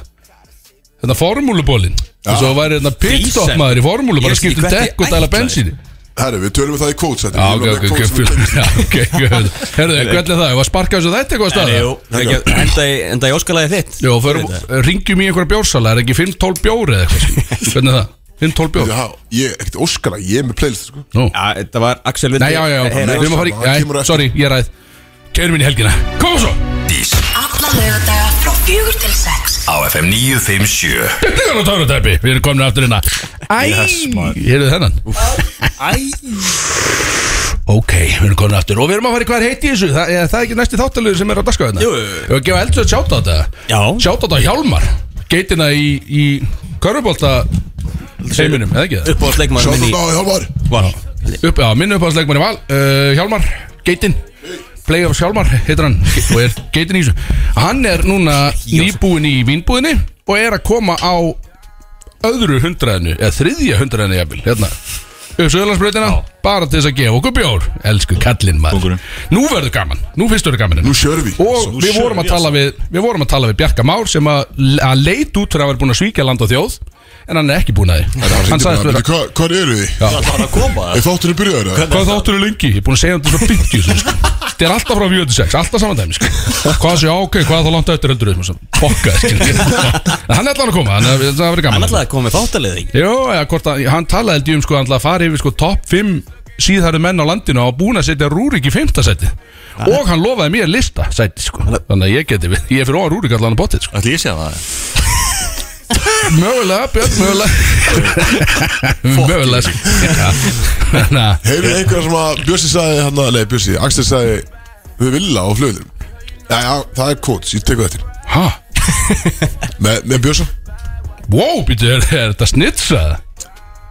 B: Þetta formúlubólinn Og svo væri þetta pitstop
C: Diesel.
B: maður í formúlu Bara
C: Ég skil
B: skipti
C: hvert ég
B: dekk og dæla
C: ætlaði.
B: bensíni
A: Herru, við tölum við það í quotes þetta.
B: Já,
A: Ég vil
B: ok,
A: vera með
B: ok, ok
A: quotes sem við-
B: fíl- [LAUGHS] já, ok, good. Herðu, hvernig er það? Ég var sparkað þessu þetta eitthvað staðið?
C: Jú, ekki- Enda í, enda í óskalagi þitt
B: Jó, förum, ringjum í einhverja bjórsala Er ekki 5-12 bjóri eða eitthvað? sko? Hvernig er það? 5-12 bjór?
A: Já, ég, ekkert óskala, ég er með playlist sko.
B: Nú
C: Já, þetta var Axel
B: Nei, já, já, já, við erum að fara í
A: hann kemur
B: Jæ,
A: eftir.
B: sorry, ég ræð Kærum minn í helgina Kom svo
E: Alla lögadaga frá fjögur til sex
F: á FM 957
B: Þetta er á törutæpi Við erum komin aftur hérna Æ Heyrðu þennan Æ Ok, við erum komin aftur Og við erum að fara í hvað er heiti í þessu Það, er, það er ekki næsti þáttalögur sem er á dagskáðu hérna
C: Jú, jú, jú.
B: Við erum að gefa eldsöð sjátt á þetta
C: Já.
B: Sjátt á þetta Hjálmar Geitina í, í Körfubólta Heiminum, eða ekki það?
C: Upp á sleikmann
A: Sjáttu
C: minni
A: þetta á Hjálmar
C: var
B: upp, já, minn uppáðsleikmann í val uh, Hjálmar, geitin Playoffs Hjálmar heitir hann og er geitin í þessu hann er núna nýbúin í vínbúðinni og er að koma á öðru hundraðinu eða þriðja hundraðinu jafnvel hérna upp Söðurlandsbröðina, bara til þess að gefa okkur bjór elsku kallinn maður
D: Kóngurinn.
B: nú verður gaman, nú fyrst verður gaman hérna.
A: Nú sjörum við.
B: og
D: Nú
B: við
D: sjörum
B: vorum, að
D: við,
B: tala við, við vorum að tala við Bjarka Már sem að, að leit út fyrir að vera búin að svíkja land og þjóð en hann er ekki búin að því hann sagðist vera
A: Hvað eru þið?
D: Það var að koma
A: Er þátturinn byrjaður það?
B: Hvað þáttur er lengi? Ég er búin að segja um þetta svo 50 sinni, sko. Þetta er alltaf frá 46, alltaf saman dæmi sko. Hvað sé, já, ok, hvað er það langt eftir heldur Fokka, skilur Hann er allan að koma, hann er, það verið gaman
C: Hann ætlaði að koma með þáttaleði
B: Jó, eða hvort að, hann talaði held ég um sko, hann ætlaði að fara yfir sko topp 5 síðhæru menn á landinu og búin að setja Rúrik í 5. seti og hann lofaði mér lista seti sko þannig að ég geti, við- ég er fyrir óa Rúrik allan að bóttið sko
F: Ætli ég sé það
B: mögulega, Björn, mögulega [LAUGHS] mögulega sko Já. þannig [LAUGHS] að
A: Hefur einhver sem að Bjössi sagði hann að, nei Bjössi, Axel sagði við vilja á flöðum Jæja, það er kóts, ég tekur þetta
B: hæ,
A: Með, með Bjössa?
B: wow, býtu, er, er þetta snitsað?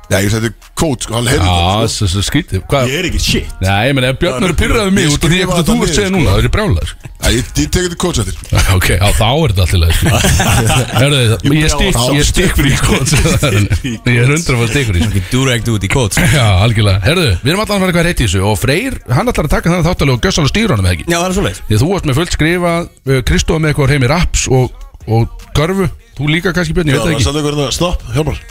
A: Nei, ég sagði kóts, sko, hann heyrði
B: Já,
A: það sko.
B: þessu þessu skrítið Hvað-
F: Ég er ekki shit
B: Nei, ég meina, ef Björn eru pyrraðið mig
A: Ég
B: út af sko. því
A: skrifa
B: eitthvað þú
A: þetta
B: ert segja
A: niður,
B: núna, það er brjálæður
A: Nei, ég, ég tekur þetta kóts eftir
B: [LAUGHS] Ok, á þá er þetta [LAUGHS] allirlega Hörðu þið, ég stikk
A: brjálar.
B: Ég stikk fyrir sko. í [LAUGHS] kóts Ég er hundra fyrir stikk fyrir í sko.
C: Durekt út í kóts
B: Já, algjörlega, herðu, við erum allan að vera eitthvað rétt í þessu Og Freyr, hann ætlar að taka þannig þáttalega og gössalega stýra honum eða ekki
C: Já, það er svoleiðis
B: Því að þú varst með fullt skrifa uh, Kristóð með eitthvað heimi raps og, og görfu Þú líka kannski Björn, ég
A: Það
B: veit
A: var
B: það ekki
A: samt einhver hérna, snopp, hjálpar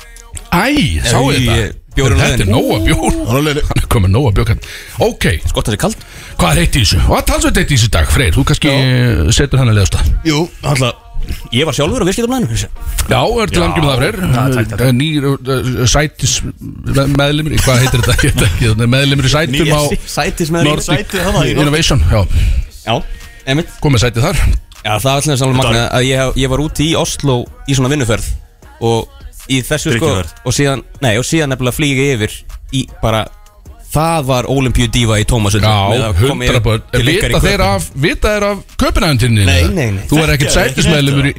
B: Æ, sá
C: Ég-
B: þetta
C: ég- bjórinn á
B: Þetta er
C: leiðinni.
B: nóa bjór
A: Hann er leiðinni.
B: Hann er komið nóa bjór kall. Ok,
C: Gott að það sé kald
B: hvað er heitt í þessu? Hvað talsveit heitt í þessu í dag, Freyr? Þú kannski Já. setur hann að leiðast það
F: Jú, alltaf
C: Ég var sjálfur á viðskiptablaðinu
B: Já, er til langi með það,
F: Já, takk, takk.
B: Freyr Nýr uh, sætis me- meðlimur í- Hvað heitir þetta? [LAUGHS] Ég veit ekki, þannig Meðlimur í sætum á
C: Sætis með
B: Nordic
D: sæti þarna í Nordic.
B: Innovation Já,
C: Já, einmitt
B: komið sætið þar
C: Já, það var alltaf saman magna að ég, hef- ég var úti í Oslo í svona vinnuferð og í þessu sko
D: Drykkjuferð.
C: og síðan, nei, og síðan nefnilega flýga yfir í bara, það var Olympíu Diva í Tómasundu
B: Já, hundra börn Vita þeir af, vita þeir af köpunæfintinu
C: Nei, nei, nei.
B: Þú er ekkert
D: Þekkja þeir ekki
B: sætismeðlimur í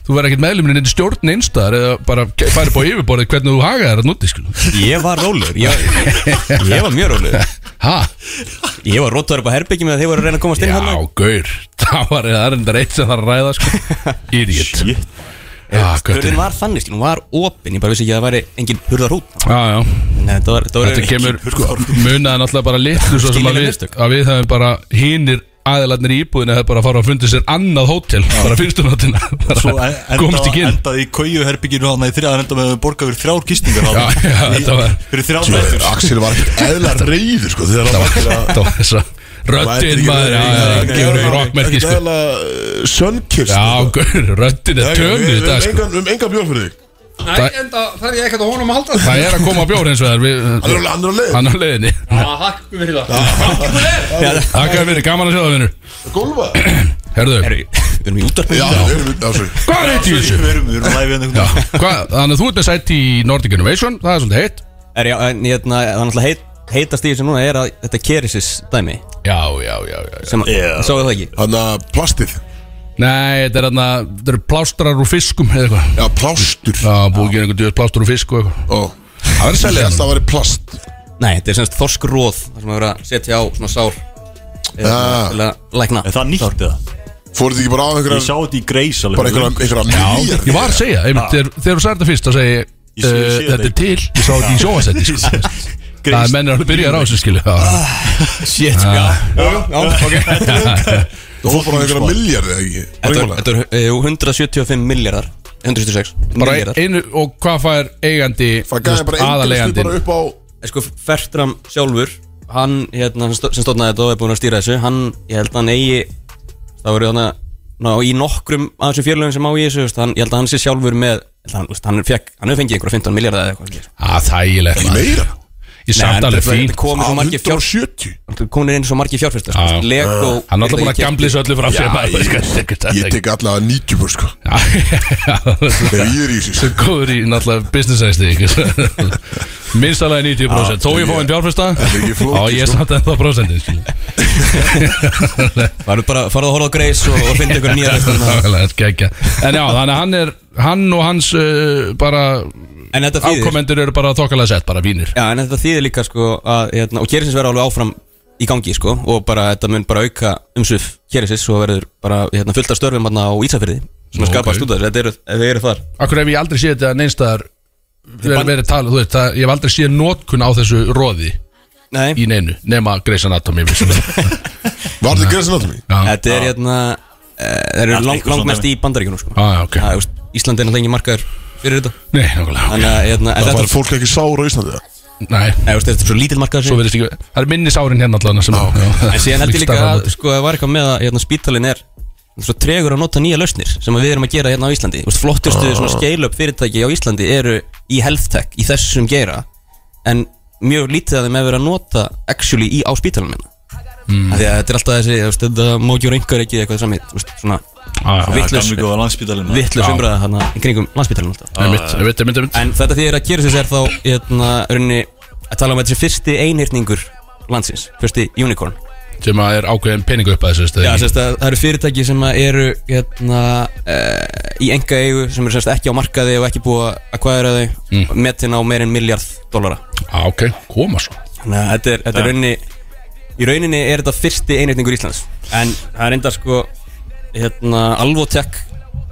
B: Þú verður ekkert meðluminn inn í stjórn einstæðar eða bara færi búið yfirborðið hvernig þú haga þér að núti skil
C: Ég var rólur,
B: [LAUGHS]
C: ég, ég var mjög rólur
B: Ha?
C: Ég var rótaður upp á herbyggjum eða þeir voru að reyna að komast inn
B: Já,
C: hann
B: gaur [LAUGHS] Það var það er enda reitt sem það er að ræða sko Idiot
D: Shit.
B: Já, göttin
C: Hurðin var þannig, skil, hún var opin, ég bara vissi ekki að það væri engin hurðarhút
B: Já, já
C: Nei, þetta var, þetta var
B: Þetta kemur, sko, munaði náttúrulega bara litlu svo sem að
C: Skiljanleg
B: við,
C: mistök.
B: að við hefum bara hinir aðilarnir í íbúðinu hefur bara að fara að fundi sér annað hótel bara fyrstu nótina
D: Svo
B: bara
D: en-
B: komst
D: enda,
B: ekki inn
D: endaði í kaujuherbygginu hann í þrjá, hann endaði með að borga fyrir þrjár gistingar
B: Já, já, þetta var-
D: Fyrir þrjá nættur
A: Axel var ekkert eðla reyður sko Þegar hann var ekkert að
B: Þetta var þess að röddinn maður já, já, já, gefur við rockmerki sko
A: eðla sönnkirst
B: Já, gaur, röddinn er tönu í dag sko
A: Um enga bjór fyrir þig
B: Það-
G: Nei, en það þarf ég ekkert að honum að halda það
B: Það er að koma bjór eins og það
A: Hann er
B: er við-
A: alveg andur að leið
B: Hann á leiðinni
G: Ah, Takk fyrir það
B: Það gæði verið gaman að sjá það, vinnur
A: Gólfa
B: Herðu,
C: [LAUGHS] Við erum í útvarpinu
A: Já, við erum Já, sorry
B: hvað er eitt í þessu?
D: Við erum, við erum læfið
B: Já,
D: einhvern
B: hvað, þannig að þú ert með sætt í Nordic Innovation, það er svolítið heitt
C: Er, já, en hérna, það er náttúrulega heit, heitast í þessu núna er að þetta kerisis dæmi
B: Já, já, já, já, já.
C: sem að, yeah. sáu það ekki
A: Þannig að uh, plastið
B: Nei, þetta er þarna, þetta eru plástrar úr fiskum eða eitthvað
A: Já, plástur
B: Já, búið að gera einhvern djöð plástur úr fisk og eitthvað
A: Ó
B: Það verður
A: Selja
B: selja
A: alltaf að vera plast
C: Nei, þetta er semst þorskróð þar sem að vera að setja á svona sár eða
A: Ah.
C: til að lækna
D: En það nýtti það
A: Fóruð þið ekki bara á
D: Ég sá
A: einhverja
D: þetta í greis alveg
A: Bara einhverja Einhverja mýjar
B: Ég var að segja, einmitt, þegar þegar þú sagði þetta fyrst þá segi ég,
D: Ég sé- ég
B: eh,
D: sé
B: þetta er
D: þetta
B: til, ég sá þetta í sjóasætti sko. Það er mennir að byrja á þessu skilu Já,
C: Shit, já, já,
B: [LAUGHS]
C: ok
A: Þú fór bara á
B: sko.
A: einhverja miljardi eða ekki
C: Þetta
A: Bara einhverja.
C: þetta er eh, jú, 175 miljardar 176
B: bara
C: miljardar
B: einu, og hvað fær eigandi
A: Það gæði bara eingriðslu
B: aðalegandin
A: bara upp á
C: Sko, Fertram sjálfur hann, hérna, sem stó- sem stóðnaði þetta og er búin að stýra þessu hann, ég held að hann eigi það voru þannig að Ná, í nokkrum af þessum fjörlögum sem á í þessu veist, hann, ég held að hann sé sjálfur með ég held að hann, veist, hann, fekk, hann hefur fengið einhverja 15 miljardar eða eitthvað svoleiðis.
B: Á, Ah, þægilegt
A: Ekki meira
B: Ég samt alveg fín
C: þetta komið svo margir fjár
A: 170
C: komin inn svo margir fjárfyrstar sko.
B: Já.
C: Lego
B: Ah. Hann er alltaf búin að gamli þessu öllu fram sér
A: Já,
B: maður, sko,
A: ég,
B: þetta er
A: ég
B: ekki-
A: tek allavega 90 búr sko
B: Já, [LAUGHS] já,
A: Ef
B: það-
A: ég er í þessu
B: Svo
A: sko.
B: góður í náttúrulega business æsti [LAUGHS] Minnst alveg 90% Þó ég fá einn fjárfesta
A: Þetta er ekki flókið,
B: Já, ég er
A: sko.
B: samt ennþá prósentin skilu.
C: Það eru bara að fara að horfa á Greys og, og finna ykkur nýja
B: Nákvæmlega,
C: reikna
B: þetta er geggja. En já, þannig að hann er Hann og hans uh, bara
C: En þetta þýðir
B: Ákomendur eru bara þokkalega sett, bara vínir
C: Já, en þetta þýðir líka sko að, hérna, Og Kerisins verður alveg áfram í gangi sko Og bara þetta mun bara auka umsuf Kerisins og verður bara hérna, fullt af störfum hérna, á Ísafyrði Sem að
B: Ok.
C: skapast út af þessu Þetta eru, þau eru þar
B: Akkur hef ég aldrei séð þetta neinstæðar verið, verið talað, þú veist, það, ég hef aldrei séð nótkun á þessu róði
C: Nei,
B: í neinu nema Grey's Anatomy við sem-
A: Var þetta græsinn áttum í?
B: Já,
C: þetta er hérna eh, Þeir eru
D: Allt
C: lang,
D: eitthvað
C: langmest
D: svona
C: í bandaríkunum sko
B: Já, Ah, já, ok.
C: Það, þú veist, Ísland er náttúrulega lengi markaður fyrir þetta
B: Nei, nákvæmlega
C: Þannig að hérna, en
A: Það
C: þetta
A: var fólk ekki sár á Íslandi það
B: Nei,
C: Nei, þú veist, þetta er svo lítill markaður
B: svo
C: sem-
B: verðist ekki Það er minni sárin hérna allan sem, já,
C: En síðan held ég líka
B: stærra
C: að
B: móti.
C: sko, það var eitthvað með að hérna, spítalinn er svo tregur að nota nýja lausnir sem að við erum að gera hérna á Íslandi Vist, flottustu svona scale-up fyrirtæki á Íslandi eru í health tech, í þessum geira en mjög lítið að þeim hefur verið að nota actually í á spítalinn minna mm. því að þetta er alltaf þessi, þú veist, þetta má ekki reyngar ekki eitthvað samið, þú veist, svona
B: Já, já.
C: vitlaus-
D: Gamli góða landspítalinn
C: vitlaus
B: Já.
C: umræða hann í kringum landspítalinn alltaf
B: Einmitt, einmitt, einmitt, einmitt.
C: En þetta því er að gera þess er þá hérna, rauninni, að tala um að þetta sé fyrsti einhyrningur landsins, fyrsti unicorn
B: Sem að er ákveðin peningu upp að þessu
C: Já, sérst að það eru fyrirtæki sem að eru hérna, uh, í enga eigu sem eru sérst ekki á markaði og ekki búið að hvaðra þau mm. metin á meirinn miljard dólara
B: Já, ok, koma sko. svo
C: Þannig að þetta er, þetta er rauninni í rauninni er þetta fyrsti einreitningur Íslands en það er enda sko hérna, alvotek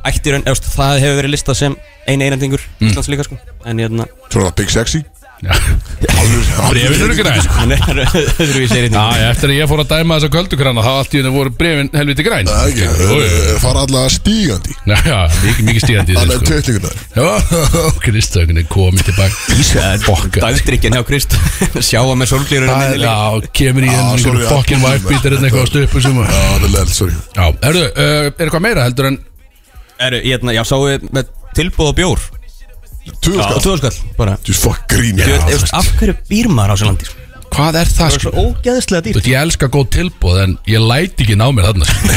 C: ætti í raun, eða, það hefur verið listað sem ein einreitningur Íslands líka sko en hérna,
A: Svona Big Sexy
B: Já,
A: Alveg- alveg-
B: brefin eru græn
C: hann er [LAUGHS] öðruvísi
B: Já,
C: einreitningur
B: já, eftir að ég fór að dæma þessa köldukrana þá allt í henni voru brefin helviti græn
A: Það er ekki,
B: Jú, jú, jú.
A: þau fara allavega stígandi
B: Já, já, mikið, mikið stíðandi í
A: Það
B: þessu
A: er
B: sko.
A: tveitlingunar
B: Já, [LAUGHS] Kristögnin komið tilbaka Fokka
C: Dagdrykkin hjá Krist sjáa með sorglýrur
B: Það er, já, kemur í
A: Ah,
B: henni
A: sorry,
B: einhverjum
A: já.
B: fokkin væpbítar en hérna eitthvað á stöpu sem að
A: Já, það Ah, er leðilt, sorry
B: Já, herru, uh, er eitthvað meira heldur en
C: Eru, hérna, já, sáu með tilbúð á bjór
A: Tvöðskall
C: Tvöðskall bara
A: Þú veist, fuck grín
C: Þú veist, veist, af hverju býr maður á þessu landi? sko?
B: Hvað er það,
C: Það er
B: sko?
C: svo ógeðslega
B: Þú
C: dýrt
B: veist, ég elska góð tilbúð en ég læti ekki ná mér þarna
C: [LAUGHS]
B: sko.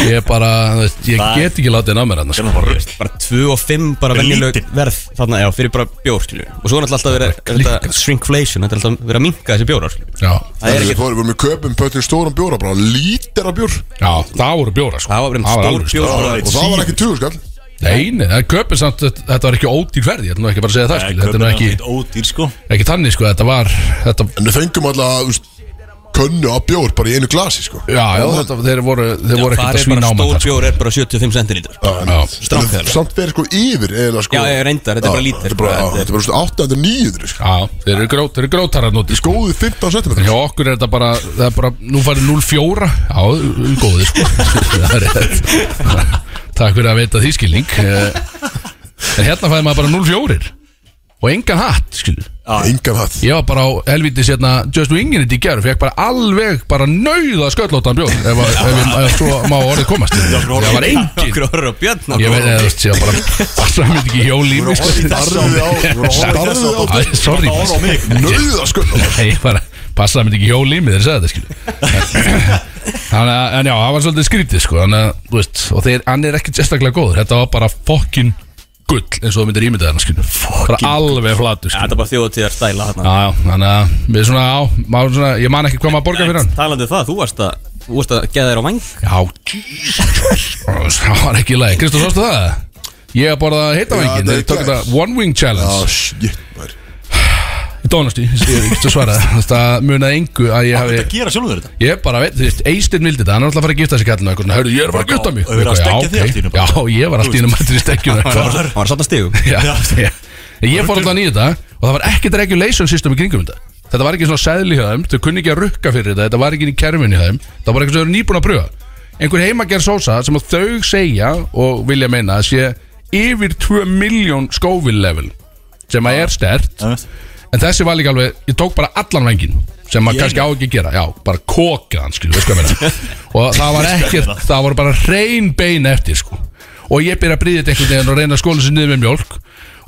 B: Ég er bara, þú veist, ég get ekki látið ná mér þarna sko.
C: Bara 2 og 5 bara
D: Fyrir
C: venjuleg
D: lítinn.
C: verð Þarna, já, fyrir bara bjór, skilju Og svo er náttúrulega alltaf verið
B: líka.
C: þetta Shrinkflation, þetta er alltaf verið að minka þessi bjórar, skilju
B: Já,
A: Það er ekki Það vorum við köpum pötnir stóran bjóra bara Lítera bjór
B: já, það voru bjóra, sko
C: Það var verið stór
B: alvöru, sko.
C: bjór bara-
A: Og það var ekki tvöðskall
B: Nei, nei, það er köpun samt, þetta, þetta var ekki ódýr ferð Ég ætlum ekki bara að segja það, skilju Þetta er nú ekki,
D: Ódýr sko
B: ekki tannig, sko, þetta var þetta,
A: En við fengum allavega, þú veist, könnu af bjór bara í einu glasi, sko
B: Já, já, þetta, þeir voru, þeir voru
C: Það
B: ekkert að
C: er bara
B: svína á mér
C: stór
B: þar, sko.
C: bjór er bara 75 centilítur
B: Já.
A: Strákæðar Samt verið sko yfir eða sko
C: Já, ég reyndar, þetta er bara
A: Já,
C: lítið,
A: Þetta er bara,
C: sko,
A: á, þetta er bara svona 800 900 sko.
B: Já, þeir eru grjót, þeir eru grjótarar núti sko.
A: Góði 15 cm
B: En hjá okkur er þetta bara, það er bara, nú farið 0-4 Já, góði sko [LAUGHS] Það er rétt. Takk fyrir að veita því skilning Eh, En hérna fæði maður bara 0-4 Og engan hatt, skilur
A: Engan hatt
B: Ég var bara á helvítis hérna Just Wingin í gær og Fekk bara alveg, bara nauða sköllóttan bjór Ef, að- ef, ef, ef svo má orðið komast Það var engin
C: Okkur horfður á björn
B: Ég veit eða, þú veist, ég var bara Það er mikið hjóli
A: Starfið á Starfið á
B: Sorry
D: Ára á
B: maður. [LAUGHS]
D: mig
A: Nauða sko
B: Nei, ég bara passaði mér ekki hjól í mig þegar ég sagði þetta skilu Þannig að, en já, það var svolítið skrítið sko Þannig að, þú veist, og þeir, hann er ekkert sérstaklega góður Þetta var bara fokkin gull eins og þú myndir ímyndað hann skilu Bara alveg flatur
C: Þetta
B: skilu
C: er bara þjóðtíðar stæla
B: Já,
C: þarna
B: já, þannig að, við svona, já, maður svona, ég man ekki hvað maður borga fyrir hann
C: Talandi um það, þú varst að, þú varst að geða þér á væng
B: Já, Jesus, [LAUGHS] það var ekki í lagi Kristóf, sástu það? Ég borðaði
A: Já,
B: heitavengin,
A: þetta er
B: þeir tók
A: í gær.
B: þetta One Wing Challenge
A: Já, shit maður
B: Í dónastí, ég er ekki að svara Það munaði engu að ég hafi
D: Þetta gera sjálfur þetta
B: Ég bara veit, þú veist, Eistinn vildi þetta, hann er alltaf að fara að gifta sig kallinu eitthvað, hörru, ég er að fara að gifta mig
D: Og verið
B: Eitthvað,
D: að stekkja þig allt í
B: já,
D: einu
B: ok.
D: bara.
B: já, ég var allt í einu mættur í stekkjun
C: Hann var- hann var satt að stigum
B: Já, já. Ég fór alltaf nýja þetta og það var ekkert regulation system í kringum þetta Þetta var ekki svona sæðli hjá þeim, þau kunni ekki að rukka fyrir þetta, þetta var ekki í kerfinu hjá þeim Það var eitthvað sem þau eru nýbúin að pröfa Einhver heimagerð sósa sem að þau segja og vilja meina að sé yfir 2 miljón Scoville level sem að er stert
D: Það veist
B: En þessi var líka alveg, ég tók bara allan vengin sem maður kannski á ekki að gera, já, bara kokið hann, skilu, veist hvað ég meina og það var ekkert, það var bara reyn bein eftir, sko, og ég byrja að bríða þetta einhvern veginn og reyna að skóla sér niður með mjólk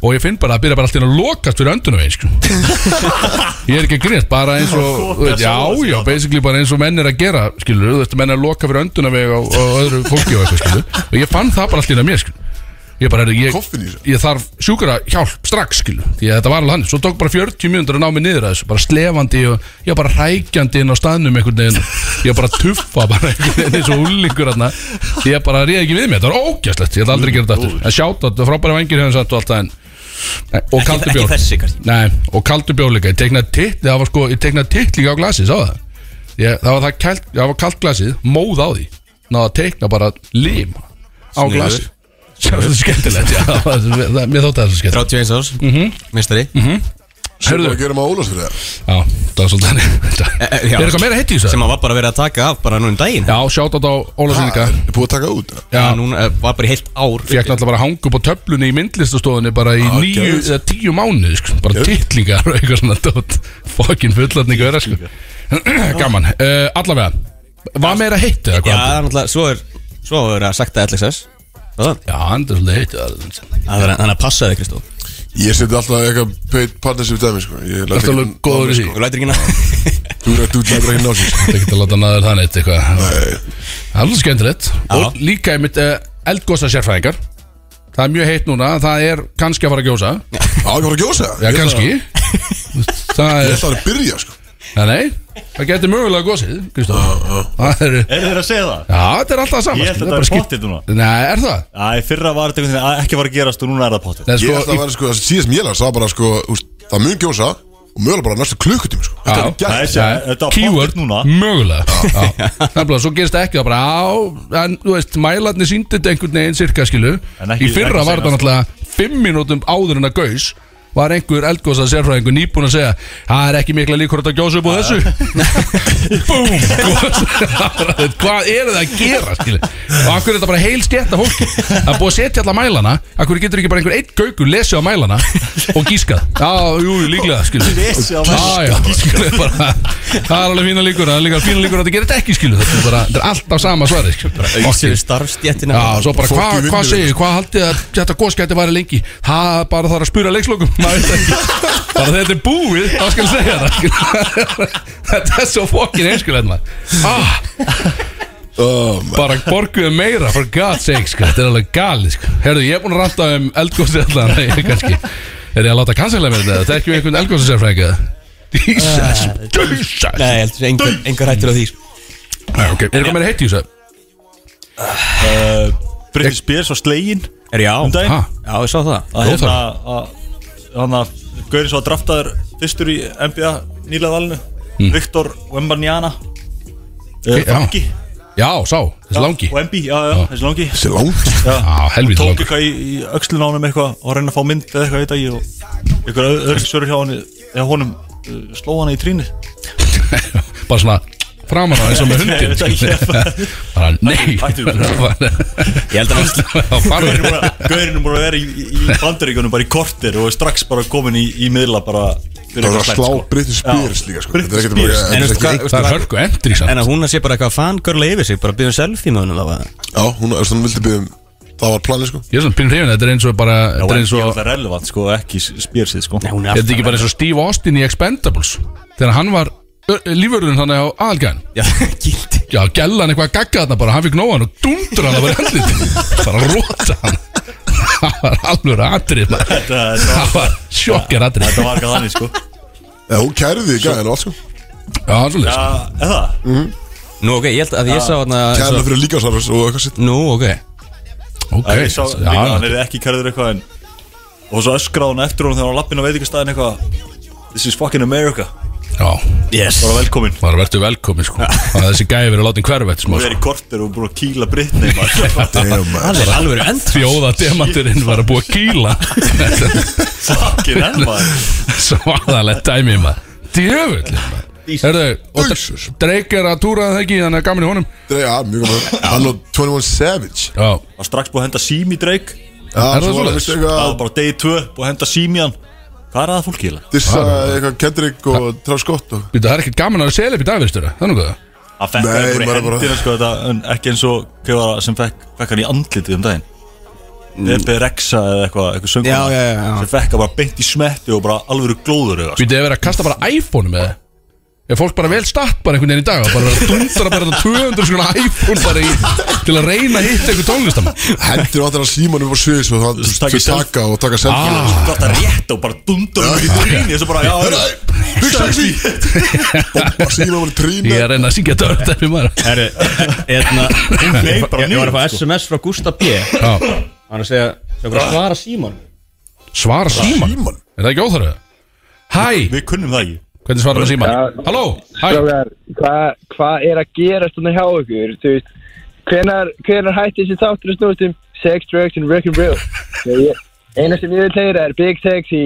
B: og ég finn bara að byrja bara allt í einu að lokast fyrir öndunum veginn, sko ég er ekki að grínast, bara eins og, þú veit, já,
A: sko.
B: já, basically bara eins og menn er að gera, skilu, þú veist, menn er að loka fyrir öndunum veg og, og öðru fólki og eitthvað, skilu og ég fann það bara allt í einu að mér, skilu Ég bara, heyrðu,
A: Koffín í
B: ég,
A: þessu?
B: ég þarf sjúkara hjálp strax, skilu Því að þetta var alveg hann Svo tók bara 40 mínútur að ná mig niður að þessu Bara slefandi og ég var bara rækjandi inn á staðnum einhvern veginn Ég var bara að tuffa bara einhvern veginn eins og úlingur hann Ég bara réði ekki við mig, þetta var ógæslegt Ég ætla aldrei að gera þetta aftur En sjátt að frábæri vengir hefum sagt og allt það en Nei, Og
C: Ekki-
B: kaldur
C: Ekki
B: bjór
C: þessi kannski
B: Nei, og kaldur bjór líka Ég teknaði titt, það var sko, ég teknaði titt líka á glasi, sá það ég, Það var það kalt, það var kalt glasið, móð á því Náða að tekna bara lim á
C: Sniðugt.
B: glasi
C: [LAUGHS] Mhm.
B: Sem var svo skemmtilegt, já það- það- Mér þótti það svo skemmtilegt
C: 31 árs, mistari
A: Sem
B: Heyrðu.
A: bara gerum að ólast fyrir það
B: Já, það var svolítið henni
C: e,
B: Er
C: já.
B: eitthvað meira heitt í þessu?
C: sem að var bara verið að taka af bara núna um daginn
B: Já, sjátt á Óla Sýnika
A: Það er búið að taka út
B: Já,
C: Það núna, eh, var bara í heilt ár
B: fekk náttúrulega bara að hanga upp á töflunni í myndlistastofunni bara í
A: Já,
B: nýju
A: geðveikt.
B: eða tíu mánuð sko, bara
A: Geðveikt.
B: titlingar og eitthvað svona dót fokkin fullarning vera sko [CLEARS THROAT] gaman, uh, allavega var meira heitt eða
C: Já,
B: hvað?
C: það er náttúrulega, svo er Svo er verið að sakta LXS Það-
B: Já, hann er svolítið heitt það er-
C: það er- Þannig að passa þig Kristó Þú
A: Ég seti alltaf eitthvað paid partnership dæmi sko. Ég læt
B: Ertu
A: ekki-
B: alveg góður í því?
C: lætir ekki ná
A: Þú er að þú lætur ekki ná sér sko.
B: það er ekki að láta naður þannig eitt eitthvað það er alveg skemmtilegt og líka einmitt uh, eldgósa sérfræðingar það er mjög heitt núna, það er kannski að fara að gjósa
A: Á, ég var að gjósa
B: já,
A: Ég ætla-
B: kannski það
A: Ég
B: er,
A: ætla að byrja sko.
B: Nei, nei, það getur mögulega gósið Kristof, það eru
D: Er þeir að segja það?
B: Já, þetta er alltaf saman
D: Ég held að þetta er pottið núna
B: Nei, er það?
D: Æ, fyrra var þetta einhvern veginn að ekki var að gerast og núna er það pottið
B: Nei,
A: Ég ætla
B: sko,
A: að vera sko það Síðast sem ég lært Það bara sko úst, Það mun gjósa Og mögulega bara næstu klukkutími sko. Þetta er
B: Já.
D: Það
A: gæt
D: er þessi, þetta var
B: keyword, Mm.
D: pottið núna
B: mögulega Já, Nefnilega, svo gerist það ekki það bara á, en þú veist, mælarni síndi þetta einhvern veginn cirka skilu
D: En ekki-
B: Í fyrra
D: ekki
B: var þetta
D: seinast.
B: náttúrulega fimm mínútum áður en að gaus var einhver eldgósa sérfræðingur nýbúin að segja það er ekki mikla líkur að þetta gjósa upp á þessu
D: [LAUGHS]
B: Búm gos. Hvað eru það að gera skilu Og akkur er þetta bara heil sketta fólki Það er búið að setja alla mælana Akkur getur ekki bara einhver einn gaukur lesið á mælana Og gískað Já, jú, líklega skilu
D: Lesið á mælana.
B: Já, já, skilu, bara, Það er alveg fína líkur Það er líka fína líkur að þetta gerir þetta ekki skilu Þetta er, bara, þetta er alltaf sama svari skilu, bara,
C: Ísir
B: ok.
C: starfstjættina
B: Já, svo bara,
A: Fólk í
B: hvað
A: vinnu,
B: hva
A: veist.
B: segir, hvað haldið að þetta góðskætti væri lengi? Það er bara þarf að spura leikslokum Maður veit ekki. Bara þegar þetta er búið, þá skal ég segja það skilur. Þetta er svo fokkin einskjöld maður ah,
A: Oh,
B: Bara borguðu meira, for God's sake sko. Þetta er alveg galið sko. Herðu, ég er búin að ranta um eldgóðsi allan Nei, kannski Er ég að láta kansella mér þetta? Þetta er ekki einhvern eldgóðsisérfræðinga Jesus, Jesus
C: Nei, ég heldur engar, engar hættur á því sko.
B: Nei, ok, er eitthvað meira heitt í þessu?
D: Britney Spears og Slegin
C: Er já
D: um daginn
B: Ha,
C: Já, ég sá það
D: að
B: Óþarfi.
D: hérna að- hann að Gaurin svo að draftaður fyrstur í NBA nýlega valinu Viktor Wembanyana
B: Ok, Mm. já.
D: Langi
B: já, sá, þessi langi
D: og Wemby, já já, þessi Langi
A: Þessi er langt
D: Já.
B: Á, helvítið
D: tók
B: langi
D: eitthvað í, í öxlun á honum eitthvað og reyna að fá mynd eða eitthvað í dag og eitthvað öð- öðru svörur hjá honum eða honum uh, sló hana í trínu
B: [LAUGHS] bara svona framan á eins og með hundin
D: Nei, þetta
B: skilur.
D: ekki.
B: [LAUGHS]
D: hérna.
B: bara nei
D: Hættu,
B: [LAUGHS]
C: Ég held að
B: farðu.
D: Gaurin er búin að vera í, í- í bandaríkunum bara í kortir og er strax bara komin í, í miðla bara fyrir
A: Það var
D: eitthvað
A: að
D: slæmt,
A: slá
D: sko.
A: Britney Spears
D: Já.
A: líka sko.
D: Britney
A: Þetta er ekkert
D: Spears.
A: bara- þetta
C: En
A: er
C: veistu
A: ekki-
C: hvað-
B: það er hörku endri
C: En
B: samt
C: að hún að sé bara eitthvað fangörla yfir sig Bara byggðum selfie með honum þá að-
A: Já, hún þú veist, hún vildi byggja um Það var planið sko
B: ég er svona pinn hrifin þetta er eins og bara
D: Já,
B: þetta er
D: Wemby
B: eins
D: er
B: og
D: alltaf relevant sko, ekki Spearsið sko
C: Nei, hún
B: er þetta ekki bara eins og Steve Austin í Expendables þegar hann var lífurðurinn þannig á aðalgæðin
C: Já, [LAUGHS] gildi
B: já, gæla hann eitthvað að gagga þarna bara hann fikk nóan og dundra hann að vera hendit [LAUGHS] bara róta hann það var alveg atrið maður.
D: Þetta þetta
B: það
D: var-
B: [LAUGHS] var sjokkar atrið
D: þetta var ekki þannig sko
A: Já, hún kærði í gæðinu allt sko
B: já, svolítið
D: Já, eða
C: Nú, ok, ég held að ég sá þarna
A: Kærði
C: svo-
A: fyrir líkasarfis og eitthvað sitt
C: Nú, ok
B: ok
D: Það er sá líka, hann
B: já,
D: er ekki kærður eitthvað en Og svo öskra hún eftir hún þegar hún lappin á veitingastæðin eitthvað This is fucking America
B: já
C: Yes
D: Bara velkomin
B: Það verður velkomin sko Það þessi gæði verið látin hverfa eftir smá
D: Hún er
B: sko
D: í kortir og búin að kýla Britney maður.
A: Damn man
C: Það er alveg endur
B: Fjóða demanturinn var að búa að kýla
D: Fucking hell maður
B: [LAUGHS] Svaðalegt dæmi maður Djöfull maður. Herðu, og
A: Jesus.
B: Drake er að túra það ekki Þannig að gaman í honum
A: Drey, já, mjög gaman Hann og 21 Savage
B: Já,
D: Var strax búin að henda sími dreik
A: Já,
B: Er
A: svo
B: það
A: var hann
B: svoleiðis?
A: vist
D: Það
A: eitthvað
D: var bara day 2 Búin að henda sími hann Hvað er það fólk kýla?
A: Dissa eitthvað Kendrick og Travis Scott og
B: býttu, það er ekkert gaman að selja upp í dagvistur Þannig að
D: Hann fekk
A: Nei,
D: það bara í
A: maður er bara-
D: hendina sko þetta En ekki eins og Hvað var það sem fekk, fekk hann í andlitið um daginn Ebi Rexa eða eitthvað Eitthvað söngur
C: Já, já, já, já.
D: Sem fekk hann bara beint í smetti og bara alvöru glóður eða, sko.
B: Býttu, ef verið að kasta bara iPhone með það Er fólk bara vel statt bara einhvern veginn í dag og bara verið að dundra bara þetta 200 skona iPhone bara í, til að reyna að hitta einhver tónlistamann
A: Hendur vantar að símanum upp á svið Svo það
D: Takk í
A: þau
D: selfie.
A: taka og taka selfie
B: Ah.
D: Þú gott að rétt og bara dundur um í tríni og svo bara, já, já,
A: Hugsa því Bomba símanum í trínu
B: Ég er að reyna að syngja dörd ef ég maður
C: Herri, hérna
D: Nei,
C: Ég
D: bara
C: ég var að fá
D: niður, sko.
C: SMS frá Gustaf B Hann
B: Já,
C: er að segja Sjá bara svara síman
B: svara síman
A: Síman
B: Er það ekki óþarfið? Hæ,
D: við kunnum það ekki
B: Hvernig svarar það síma?
F: Já.
B: Halló, hæ
F: Strákar, hvað hva er að gerast þannig hjá ykkur? Þú veist, hvenar, hvenar hætti þessi þáttur að snúst um sex, drugs and rock and roll? Ég- Eina sem ég vil heyra er Big Sexy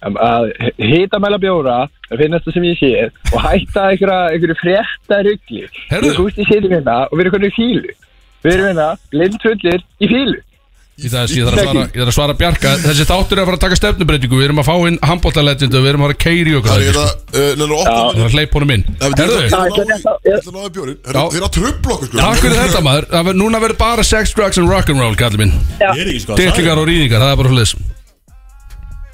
H: að hita mæla bjóra að finnast það sem ég sé og hætta einhverja, einhverju frétta ruggli
B: Heyrðu.
H: Við gústi sittum hérna og við erum hvernig fílu Við erum hérna blindfullir í fílu
B: Í þess, ég, þarf að svara, ég þarf að svara Bjarka Þessi þáttur er að fara að taka stefnubreitingu Við erum að fá inn handbóltalegendu Við erum að fara að keiri okkur
A: Það
B: Það
A: er
B: er
A: það, uh, neina opna
B: að hleypa honum inn Herðu,
A: Ég ætla að náða bjórin
B: Já.
A: Þeir eru að trubla okkur sko.
B: takk fyrir þetta maður Það ver- Núna verður bara sex, drugs and rock'n'roll kallið minn
D: Ég er ekki sko að
B: Dittlingar og rýðingar, það er bara hlutis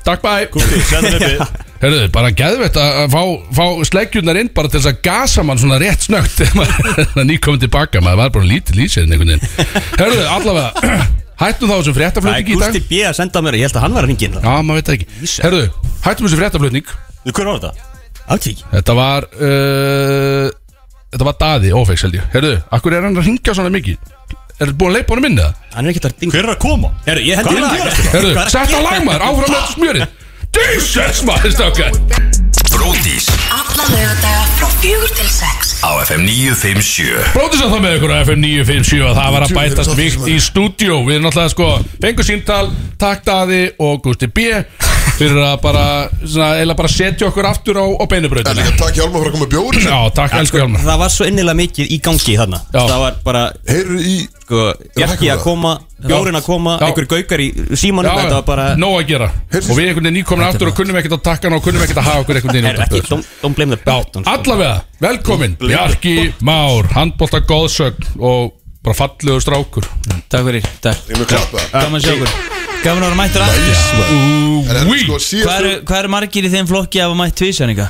B: Takk bæ
D: Kúti, senda mér við
B: Herðu, bara geðvett að að fá, fá sleggjurnar inn bara til þess að gasa mann svona rétt snögt [LAUGHS] þegar ný komið tilbaka, maður var bara lítið lýsirinn einhvern veginn Herðu, allavega, [CLEARS THROAT] hættum þá þessum
I: Það er
B: fréttaflutningi í dag
I: Gusti B. að senda mér, ég held að hann var að ringin
B: Já, maður veit það ekki Herðu, hættum þessum fréttaflutning
D: Þú, hver var þetta?
I: Átík
B: Þetta var uh, Þetta var Daði, ófeks held ég Herðu, akkur er hann að ringja svona mikið? Er þetta búin að leipa
I: [LAUGHS]
B: honum inn það?
I: Hann er ekkert að ringa
D: Hver er að koma?
I: Herru, ég hendi
D: Hvað er að gerast
I: lag.
D: hérna?
B: Herðu,
I: Hvað er að
B: sett á
I: gera?
B: lagmaður, áfram með
I: [LAUGHS]
B: smjörið Jesus maður, stakar
J: Bródís
K: Alla laugardaga frá fjögur til sex
J: á FM 957
B: Bróðis að það með ykkur á FM 957 að það var að
A: Djú,
B: bætast
A: þetta er
B: vikt
A: það sem
B: í
A: er.
B: stúdíó Við erum náttúrulega sko fengur síntal, takk Daði og Gusti B fyrir að bara, svona, eiginlega bara setja okkur aftur á, á
A: En
B: beinubrautina
A: líka takk Hjálmar fyrir að koma með bjórin
B: Já, takk elsku Hjálmar
I: Það var svo innilega mikið í gangi þarna
B: Já.
I: Það var bara,
A: Heyrðu í
I: sko, Bjarki að
A: það?
I: koma Bjórin að koma,
B: Já.
I: einhver gaukar í símanum Þetta var bara,
B: nóg að gera Og við einhvern veginn nýkomna aftur og kunnum ekkert að takka hana og kunnum ekkert að hafa okkur einhvern veginn
I: herru,
B: út af
I: ekki
B: þessu.
I: don't- Don't blame the
B: Já,
I: button sko.
B: allavega, velkomin Bjarki Már, handbólta góðsögn og bara fallegur strákur
C: Takk fyrir, takk
A: Ég vil klappa
C: Gaman sjókur Gaman að vera mættur aftur
A: En þetta er
B: Úí,
A: sko
C: Hvað eru
A: síðastu
C: hvað eru margir í þeim flokki að hafa mætt tvísæninga?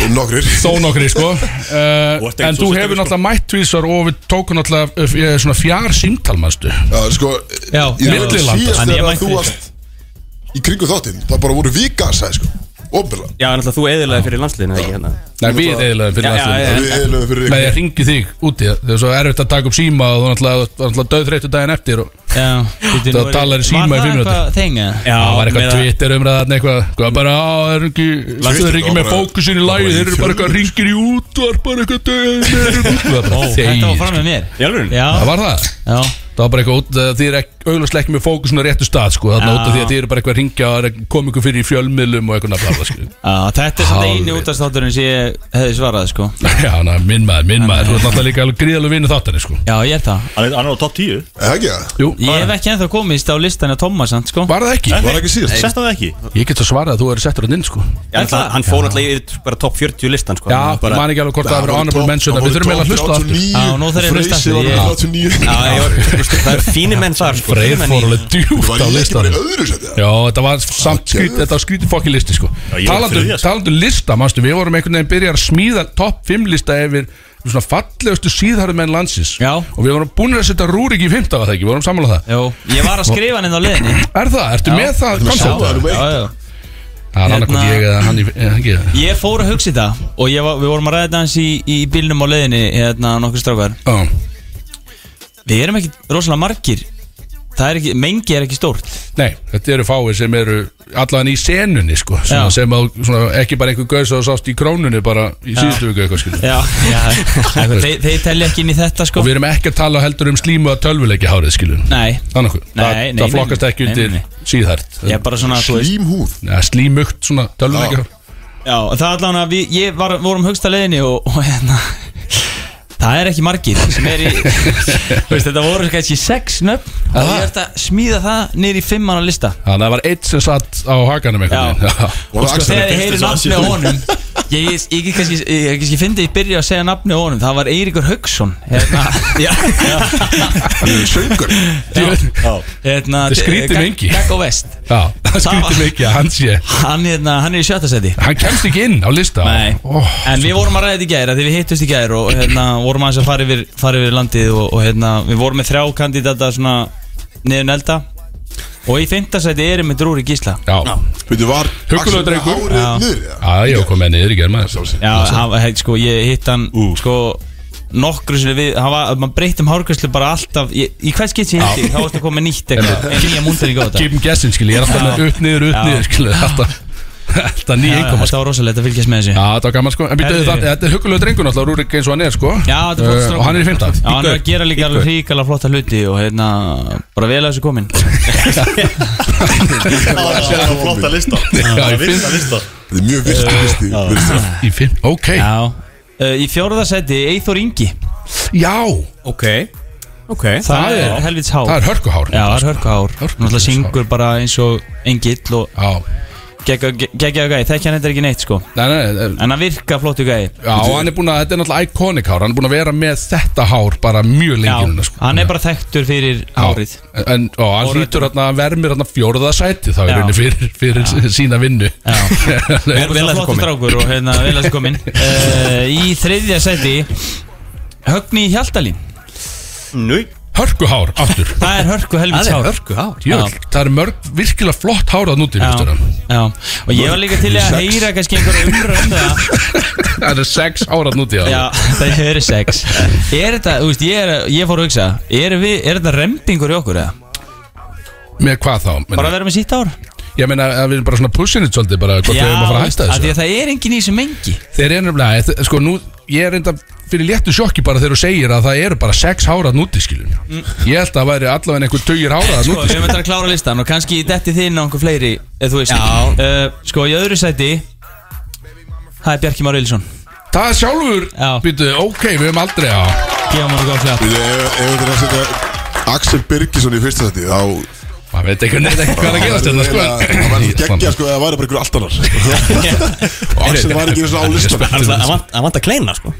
A: Eh, nokkrir
B: þó nokkri [LAUGHS] sko uh,
D: Þú
B: En
D: ert ekkert
B: þú
D: svo sérstakur,
B: hefur
D: sko.
B: náttúrulega mætt tvísar og við tókum náttúrulega uh, f- eh, svona fjár símtal mannstu
A: Já, sko
C: Já,
A: ég-
C: já.
B: millilanda.
A: Síðast
C: Þannig
A: þegar
C: ég
A: að
C: mætti
A: þú
C: því,
A: varst Í kringu þáttinn Það bara voru vikasæði sko Óbjörlega
I: Já, náttúrulega þú eðilega fyrir landsliðinu ekki hérna
B: Nei, við eðilega fyrir
I: Já, já,
B: næstu
I: já.
A: Við eðlum fyrir
B: Nei,
A: ykkur
B: ég ringi þig úti Það er svo erfitt að taka upp síma og þú náttúrulega, þú náttúrulega döðþreytu daginn eftir og
C: Já, bíddu,
B: Það
C: nú er-
B: talar í síma í fimm
C: Var
B: mínútur.
C: það eitthvað þeng eða?
I: Já,
B: það var eitthvað
I: meða-
B: Twitter umræðan eitthvað Hvað bara, á, það er ekki Það er ekki með fókusin í lagi Þeir eru bara eitthvað ringir í útvar Bara eitthvað [LAUGHS] döðið
C: Þetta var fram með mér
I: Í alvöru?
C: Já,
B: Það var það
C: já
B: Það var bara eitthvað út, þið er auðvitað ekki með fókusun á réttu stað sko, þarna
C: Já.
B: út af því að þið eru bara eitthvað að ringja og koma ykkur fyrir í fjölmiðlum og eitthvað nafnabla sko.
C: Já, þetta er samt
B: Hálfveit.
C: eini útastátturinn sem ég hefði svarað sko
B: Já, na, minn maður, minn maður, þú ert náttúrulega líka alveg gríðalega vinnu þáttanir sko.
C: Já, ég er það
D: Hann er- hann er á topp 10
A: Það ekki það
B: Jú,
C: Ég hef ekki ennþá komist á listan að Thomas sant, sko
B: var það ekki?
D: Var
A: ekki síðast?
D: Sett hann það ekki
B: Ég get að svara að þú eru settur hann inn sko.
I: Já, náttúrulega, Hann fór náttúrulega yfir bara top 40 listan sko.
B: Já,
I: Hann
B: ég
I: bara,
B: man ekki alveg hvort það
A: Það
B: verið
A: voru
B: honorable
A: topp-
B: mention
A: það
B: en við
A: voru
B: þurfum eiginlega að
A: topp
B: hlusta á aftur.
A: 39,
C: Já, nú þarf ég að hlusta
A: Freysi var
C: aftur, ég-
A: 39
I: Já, ég var- þú veist, Það er fínir menn þar sko,
B: Freyr
I: fínir menn í-
B: fór alveg
A: Var
B: djúpt á
A: ég ekki bara
B: listanum.
A: í öðru setja?
B: Já, þetta var samt skrít, þetta var skrítið fokkin listi sko
D: ég var
B: Talandu,
D: þriðja, sko.
B: talandu lista, manstu, við vorum einhvern veginn byrjar að smíða topp 5 lista yfir svona fallegustu síðharðumenn landsins
C: Já.
B: Og við vorum búin að setja Rúrik í 15 að það ekki, við vorum samanlega það
C: Jú, ég var að skrifa hann inn á liðinni
B: Er það, ertu með það koncept?
A: númer
C: Já, já, já
B: Það er annarkot
C: Hérna-
B: ég eða hann í, eða ekki það
C: Ég fór að hugsa þetta og ég var, við vorum að ræða þetta hans í, í bílnum á leiðinni hérna nokkur strákar
B: Já,
C: Við erum ekki rosalega margir Það er ekki, mengi er ekki stórt
B: nei, þetta eru fáið sem eru allan í senunni sko sem,
C: Já.
B: sem að, svona, ekki bara einhver gauð sem þú sást í krónunni bara í síðustu viku eitthvað skilur
C: Já, já Þeir, þeir telli ekki inn í þetta sko
B: Og við erum ekki að tala heldur um slímu að tölvuleiki hárið skilur
C: Nei,
B: Þannig að
C: Nei,
B: það,
C: nei,
B: það
C: nei,
B: flokkast ekki
C: nei, nei,
B: undir
C: nei.
B: síðhært
C: ég er bara svona, þú veist
A: Slím húð
B: ja, Slímugt svona tölvuleikja
C: Já, það er allan að við, ég var, vorum högst að leiðinni og, og hérna Það er ekki margir sem er í [LAUGHS] þú veist, Þetta voru kannski sex nöfn og
B: Aha.
C: ég ætti að smíða það niður í fimmana lista
B: Þannig að það var eitt sem satt á hakanum einhvern
C: Já.
B: veginn [LAUGHS] Já.
A: Og
C: og
A: Axel,
C: Sko, þegar ég heyri nafni
D: fyrsti sem
C: á
D: að sé
C: honum ég, ég, ég, ég kannski, ég, ég kannski fyndi ég byrja að segja nafni á honum það var Eiríkur Haugsson hérna, já,
A: Söngur
B: Djú-
D: Já
C: hérna,
B: Þetta er skrítið
C: Gag-
B: mengi.
C: Gag og Vest
B: Já, það
C: var-
B: skrýtti mikið að hann sé
C: hann, hérna, hann er í sjötta seti
B: Hann kemst ekki inn á lista
C: Nei,
B: Ó,
C: en við vorum að ræða þetta í gæri því við hittust í gæri og hérna, vorum aðeins að fara yfir, fara yfir landið og, og hérna, við vorum með þrjá kandidata svona niður nelda og í fymta seti erum við Drúri Gísla
B: Já,
A: Veitu, var
B: Huggulegur drengur.
A: Hárið
C: Já.
A: niður eða?
B: Já, ég kom með niður í germa
C: Já, hann, he, sko, ég hitt hann sko, nokkru sinni við hann var, maður breytti um hárgræslu bara alltaf ég, í hvert skitt sem ég hitti, þá varst að koma með nýtt eitthvað en nýja múndar í góða
B: Gipum gessin, skil, ég er alltaf með upp niður, upp
C: Já.
B: niður, skil alltaf. Þetta er ný
C: Já,
B: einkomas
C: Þetta var rosalegt að fylgjast með þessu
B: Já, þetta var gaman sko En býttu
C: Herðu.
B: þetta Þetta er hugulega drengur náttúrulega Rúrik eins og hann er sko
C: Já, þetta er flott
B: Eh,
C: strákur
B: Og hann er í fymta
C: Já, hann er að gera líka alveg ríkala flotta hluti og hérna, bara vel að þessu komin
D: Það var að segja það flotta [LAUGHS] lista Það
B: ég
D: var virta
B: finn-
D: lista
A: Þetta er mjög virtu listi virtu.
B: Í fymta Ok Já,
C: Já Uh, Í fjórðasæti, Eithor Ingi
L: Ok Ok
C: Það
B: er-
C: er helvits hár
B: það er hörkuhár
C: Já, það er hörkuhár
B: Hörkuhár.
C: Hún alltaf syngur bara eins og engill og
B: Já
C: geggjaðu gæi Þekki hann þetta ekki neitt sko
B: Nei, nei, nei,
C: En hann virka flottu gæi
B: Já, hann er búin að, þetta er náttúrulega iconic hár Hann er búin að vera með þetta hár bara mjög lengi núna, sko.
C: hann er bara þekktur fyrir
B: Já.
C: hárið
B: En og hann
C: Hárið.
B: hlýtur hann vermir hann fjórða sæti þá er
C: Já.
B: henni fyrir, fyrir sína
C: [LAUGHS]
B: vinnu
C: Vel að þessu komin strákur og hérna vel að þessu komin uh, Í þriðja sæti Högni Hjaltalín
L: Nú
B: Hörkuhár, aftur
C: [LAUGHS] Það er hörku helvits hár
L: hörku hár
B: Jöl, það er mörg, virkilega flott hár að núti
C: Já, já, og ég var líka til í að heyra kannski einhverja umrönd það
B: [LAUGHS] Það er sex hár að núti
C: Já, [LAUGHS] það eru sex Er þetta, þú veist, ég, er, ég fór að hugsa Er, við, er þetta rembingur í okkur eða?
B: Með hvað þá?
C: Bara
B: Meina,
C: að vera með sítt ár?
B: ég meina að við erum bara svona pushing it svolítið bara hvort við erum að fara að hætta
C: af því
B: þessu
C: að það er engin í sem engi
B: Þeir eru nefnilega, þe- sko nú Ég er reynda fyrir léttu sjokki bara þegar þú segir að það eru bara sex hára núti skiljum Ég held að það væri allavega einhver taugir hára að
C: Mm. Sko, við
B: núti
C: höfum þetta að klára listan og kannski detti þinn á einhver fleiri eða þú veist uh, Sko, í öðru sæti Það er Bjarki Már Ilsson
B: Það er sjálfur,
C: Já.
B: býtu, ok, við höfum aldrei á
C: Gefa mér
B: [LAUGHS]
C: góð hljá
A: Við- Ef ef þetta er að setja Axel Birgisson í fyrsta þætti þá
B: Maður veit ekki neitt ekki hvað er að gerast hérna sko
A: Það verður geggja sko eða það væri bara ykkur allt annar Og Axel var ekki eins og á listan
L: Það vant það vant að kleina sko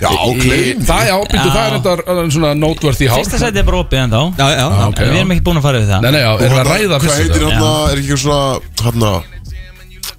A: Já, klein
B: Það, já, býtu,
C: Já.
B: það er þetta uh, svona noteworthy hár
C: Fyrsta sæti er bara opið ennþá
L: Já, já
B: Já, ok,
C: En Við erum
B: já.
C: ekki búin að fara við það
B: Nei, nei, já,
A: Og
B: erum við að
A: hérna,
B: ræða
A: Hvað
B: fyrst
A: heitir
B: þetta?
A: hann er ekki einhver svona hann að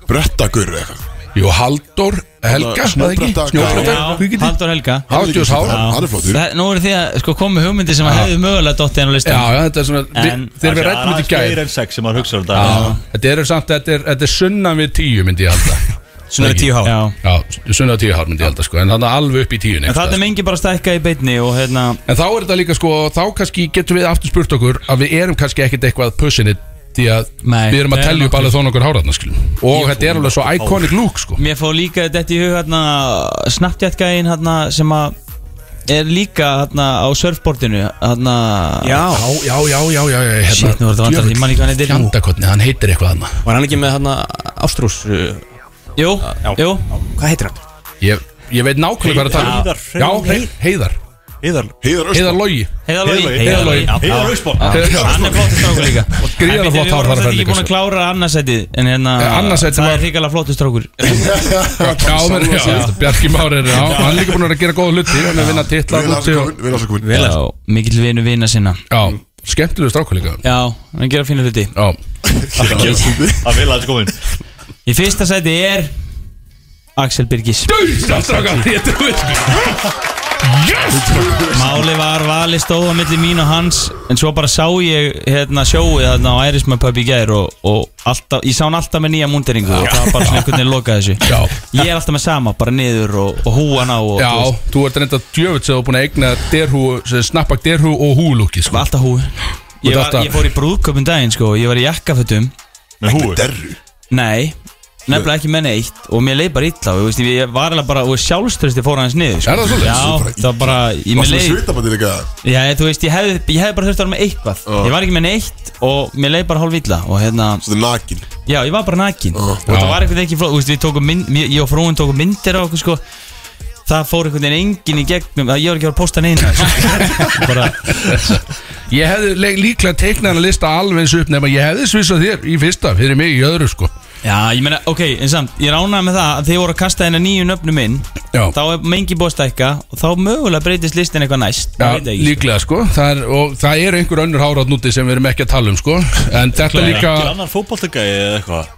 A: brettagur eða eitthvað
B: Jú, Halldór Helga,
A: Snjóbretta-
B: það ekki?
A: Já.
B: Snjóbretta, hvað
C: Já,
B: getur?
C: Haldur Helga
B: Hárgjós hár
A: Já, Hann er flottur
C: Það, Nú eru því að sko komu hugmyndir sem að hefðu mögulega dottið enn á
B: Já,
C: listan
B: já, þetta er svona,
C: En-
B: við- þegar við rættum þetta í
D: Það er
B: gær
D: meira en sex sem maður hugsa um þetta
B: Þetta er samt, þetta er, þetta er sunnan við tíu myndi ég halda
L: Svona er tíu hár
C: Já.
B: Já, sunnan við tíu hár myndi ég halda sko En þannig alveg upp í tíu
C: En það er mengi bara að stækka í beinni og hérna
B: En þá er þetta líka sko, þá kannski getum við aftur spurt okkur Að við erum kannski ekkert eitthvað pussinni Því að
C: Nei,
B: við erum
C: við
B: að
C: erum
B: telja upp
C: nokkuð.
B: alveg þó nokkur háratna skilum Og þetta er alveg svo iconic look sko
C: Mér fór líka þetta í hug hérna Snapchat-gæin hérna sem að Er líka hérna á surfboardinu Hérna
L: Já
B: Já, já, já, já, já, já hérna,
C: Shit, nú var þetta vandræðalegt,
B: djöfull,
C: ég man ekki hvað hann heitir.
B: fjandakotni, hann heitir eitthvað annað
L: Var hann ekki með hann Ástrós uh,
C: Jú, jú
L: Hvað heitir hann?
B: ég, ég veit nákvæmlega hvað það
D: Heiðar,
B: er um. Já, Hei- Heiðar,
D: Íðar
A: Heiðar
B: Heiðar
A: Ösman
B: Logi
C: Heiðalogi
D: Heiðar
B: Logi.
D: Íðar Úsborg
C: Hann er flottur strákur líka Og
B: Gríðarlega flott hár þar að
C: Við
B: ferð
C: vorum alltaf ekki
B: líka,
C: búin að
B: sko.
C: klára annarsætið En hérna
B: Ja, annað sætið
C: Það
B: var-
C: er hrikalega flottur strákur
A: [LAUGHS]
B: Já, menn, já, já. Bjarki Már er já, hann er líka búin að vera að gera góða hluti hann er að vinna titla
A: Vel
B: úti og,
A: aðsakomin Vel aðsakomin
C: Já, mikill vinu vina sinna
B: já, skemmtilegur strákur líka
C: Já, hann gera fína hluti
B: já,
D: Það vil að þetta komin
C: Í fyrsta sæti er Axel Birgis
B: döðsam strákar, ég trúi því yes
C: Máli var vali stóð á milli mín og hans En svo bara sá ég hérna sjóið þarna á Irisman Pub í gær Og, og alltaf, ég sá hann alltaf með nýja múnderingu Og það var bara svona einhvern veginn lokað þessu
B: Já.
C: Ég er alltaf með sama, bara niður og, og húan á og,
B: já,
C: þú veist,
B: þú ert reynda djöfitt sem þú er búin að eigna derhú, sem snappak derhú og húlúki
C: var
B: sko.
C: alltaf húi
B: ert
C: ég, var,
B: alltaf-
C: ég fór í brúðköpum daginn sko Ég var í jakkafötum
D: Með húi
A: Derru
C: Nei, nefnilega ekki með neitt Og mér leið bara illa og, ég veist, Ég var alveg bara, og sjálfströsti fór hans niður sko.
B: Er það svoleiðis?
C: Já, það var bara, ég mér
A: Varst með
C: leið
A: svitabandi líka
C: Já, ég- þú veist, ég hefði, ég hefði bara þurft að vera með eitthvað Ég var ekki með neitt og mér leið bara hálf illa Og hérna,
A: Svona nakin
C: já, ég var bara nakin Og
B: Já.
C: það var eitthvað ekki flóð, þú veist, við tókum mynd Ég ég og frúin tókum myndir á okkur, sko Það fór einhvern veginn engin í gegnum að Ég var ekki að fara að posta neina [LAUGHS] sko. bara,
B: ég hefði le- líklega teiknað hann að lista alveg eins upp nema ég hefði svisað þér í fyrsta fyrir mig í öðru sko
C: Já, ég meina, ok, en samt Ég ránaði með það að þið voru að kasta hennar nýju nöfnum inn
B: Já.
C: Þá er mengi búið að stækka Og þá mögulega breytist listin eitthvað næst
B: Já,
C: Ég veit ekki,
B: líklega sko það er, og það er einhver önnur hárat núti sem við erum ekki að tala um sko en þetta líka
D: Ekki annar fótballtegæi eða eitthvað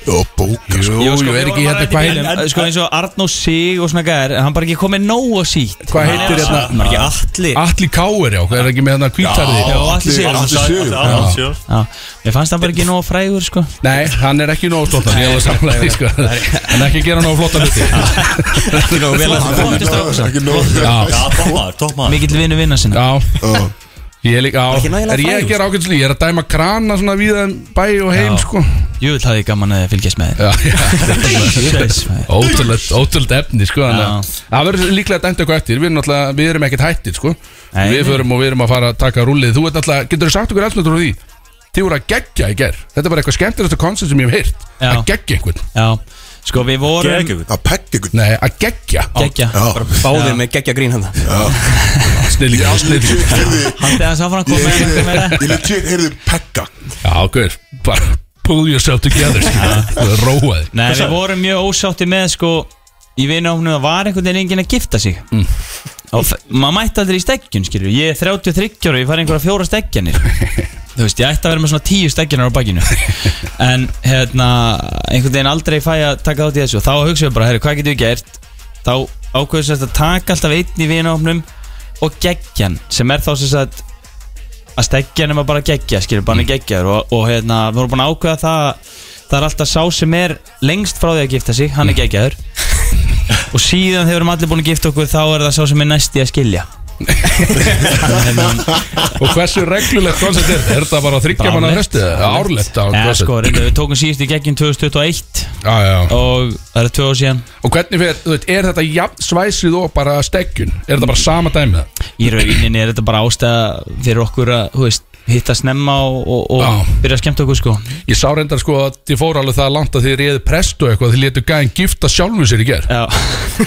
A: Og bóka
B: Jú,
A: sko
C: Jú,
B: jú,
C: sko,
B: er
C: við
B: ekki
C: vorum að
B: hérna hvað
C: ræða í
B: heitir
C: bílnum, Sko eins og Arnó Sig og svona gæðir Hann bara ekki komið nógu sítt
B: Hvað heitir hérna?
C: Hann var ekki allir
B: Atli Káur, já, hvað er ekki með hann að
C: Já,
B: kvítarði?
C: allir
A: Atli-
C: sigur
A: Atli Sigur.
D: Sigur
C: Já, ég fannst hann bara ekki nógu frægur sko
B: Nei, hann er ekki nóg stoltan, ég hef að samla því, sko. En ekki gera nóg flotta
C: [LAUGHS]
B: hluti.
C: Ekki nógu vel að
A: Ekki nóg
D: [LAUGHS] Já, toppmaður, toppmaður
C: Mikill vinnu vinna sinna
B: Já,
A: Já.
B: Ég er líka á,
M: ekki nægilega
B: er ég
M: frægur,
B: ekki að rákjöldsli, ég er að dæma krana svona víða um bæ og heim,
C: Já.
B: sko
C: Jú, það er gaman að fylgjast með þér
B: Já, já, þetta er [LAUGHS]
C: Jesus, maður.
B: Ótrúlegt, ótrúlegt efni sko þannig
C: Já.
B: að- Það verður líklega dæmt eitthvað eftir Við erum, náttúrulega- við erum ekkert hættir sko
C: Nei.
B: Við förum og við erum að fara að taka rúlið Þú ert alltaf, getur þú sagt okkur alls náttúrulega því Þið voru að geggja í ger Þetta var eitthvað skemmtilegasta koncert sem ég hef heyrt
C: Já.
B: Að geggja einhvern
C: Já, sko við vorum
D: Geðveikt.
A: Að pegg ykkur
B: Nei, að geggja
C: Gekkja
M: Báðir með geggja grín hérna. hann
B: Snillingur, snillingur
C: Haldið hans áfram að
A: Ég
C: koma með
A: heyrði,
C: það
A: ég legit heyrði pegga
B: Já, guður, bara pull yourself
C: [LAUGHS]
B: together skilur. Róaði
C: Nei, við vorum mjög ósátti með sko Í vinahóknum það var einhvern veginn enginn að gifta sig Og f- maður mætti aldrei í steggjun, skilju Ég er 33 ára og ég fari einhverja fjóra steggjanir Þú veist, ég ætti að vera með svona tíu steggjanar á bakinu En, hérna, einhvern veginn aldrei fæ að taka þátt í þessu Og þá hugsaðum við bara, herri, hvað getum við gert? Þá ákveðum við sem sagt að taka alltaf einn í vinahóknum Og geggjan, sem er þá sem sagt að steggja nema bara geggja, skilur, bara mm. geggjaður og, og hérna, við vorum búin að ákveða það að það er alltaf sá sem er lengst frá því að gifta sig, hann er
B: [LAUGHS]
C: geggjaður og síðan þegar við erum allir búin að gifta okkur þá er það sá sem er næst í að
B: [LAUGHS]
C: skilja
B: Og hversu reglulegt koncert er þetta? Er þetta bara þryggja manna
C: Árlegt.
B: frestið? Árlegt á
C: Eða
B: koncert
C: sko, reynda, við tókum síðust í geggjum 2021
B: Já, já
C: og það eru tvö ár síðan
B: Og hvernig fyrir, þú veit, er þetta jafn svæsið og bara steggjun? Er þetta bara sama dæmið?
C: í rauninni er þetta bara ástæða fyrir okkur að, þú veist, hitta snemma og, og, og
B: Já.
C: byrja að skemmta okkur sko
B: Ég sá reyndar sko að þið fóru alveg það langt að þið réðu prest og eitthvað, þið letu gæðin gifta sjálfum sér í ger
C: Já,
B: í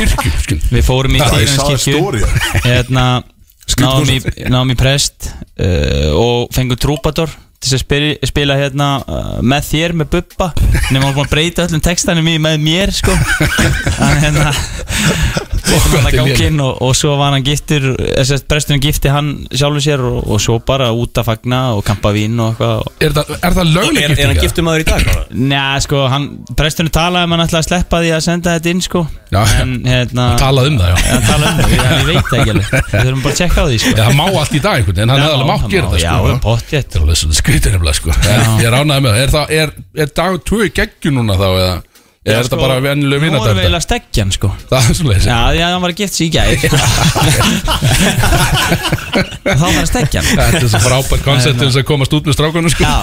B: kirkju, skil
C: við fórum í
A: Ég sá það
C: Stíflandskirkju.
A: stóri [LAUGHS]
C: hérna náðum í,
A: koncept.
C: náðum í prest uh, og fengum trúpator til þess að spila, spila hérna uh, með þér, með Bubba nema hann var búin að breyta öllum textanum í með mér sko hann
A: [LAUGHS]
C: hérna og hann
B: þetta
C: að
B: er lélegt.
C: ganginn og, og svo var hann giftur þess að presturinn gifti hann sjálfur sér og, og svo bara út að fagna og kampa vín og eitthvað og-
B: Er það, er það lögleg
M: Er, er hann
B: gifting?
M: giftum maður í dag?
C: Njá, sko, hann, presturinn talaði um hann ætlaði að sleppa því að senda þetta inn [LAUGHS] sko
B: Já,
C: en hérna
B: Talað um það, já
C: hann talaði um það, ég, ég veit það ekki alveg við þurfum bara að checka á því sko
B: Ég, það má allt í dag einhvern veginn, en hann
C: Já,
B: hefði alveg mátt
C: það
B: gera það sko
C: má- Já, pottjett
B: Það er alveg svona skrítið nefnilega sko En Ég er ánægð með það, er, það, er, er dag 2 geggju núna þá eða? Er þetta bara vennileg
C: sko, Nú erum við
B: vinnadæmda?
C: eiginlega steggjan sko
B: Það er svona
C: Já, því að hann var að gift sig í gæð Þá var að steggjan
B: Þetta er svo frábært koncept til þess að komast út með strákunum sko
C: Já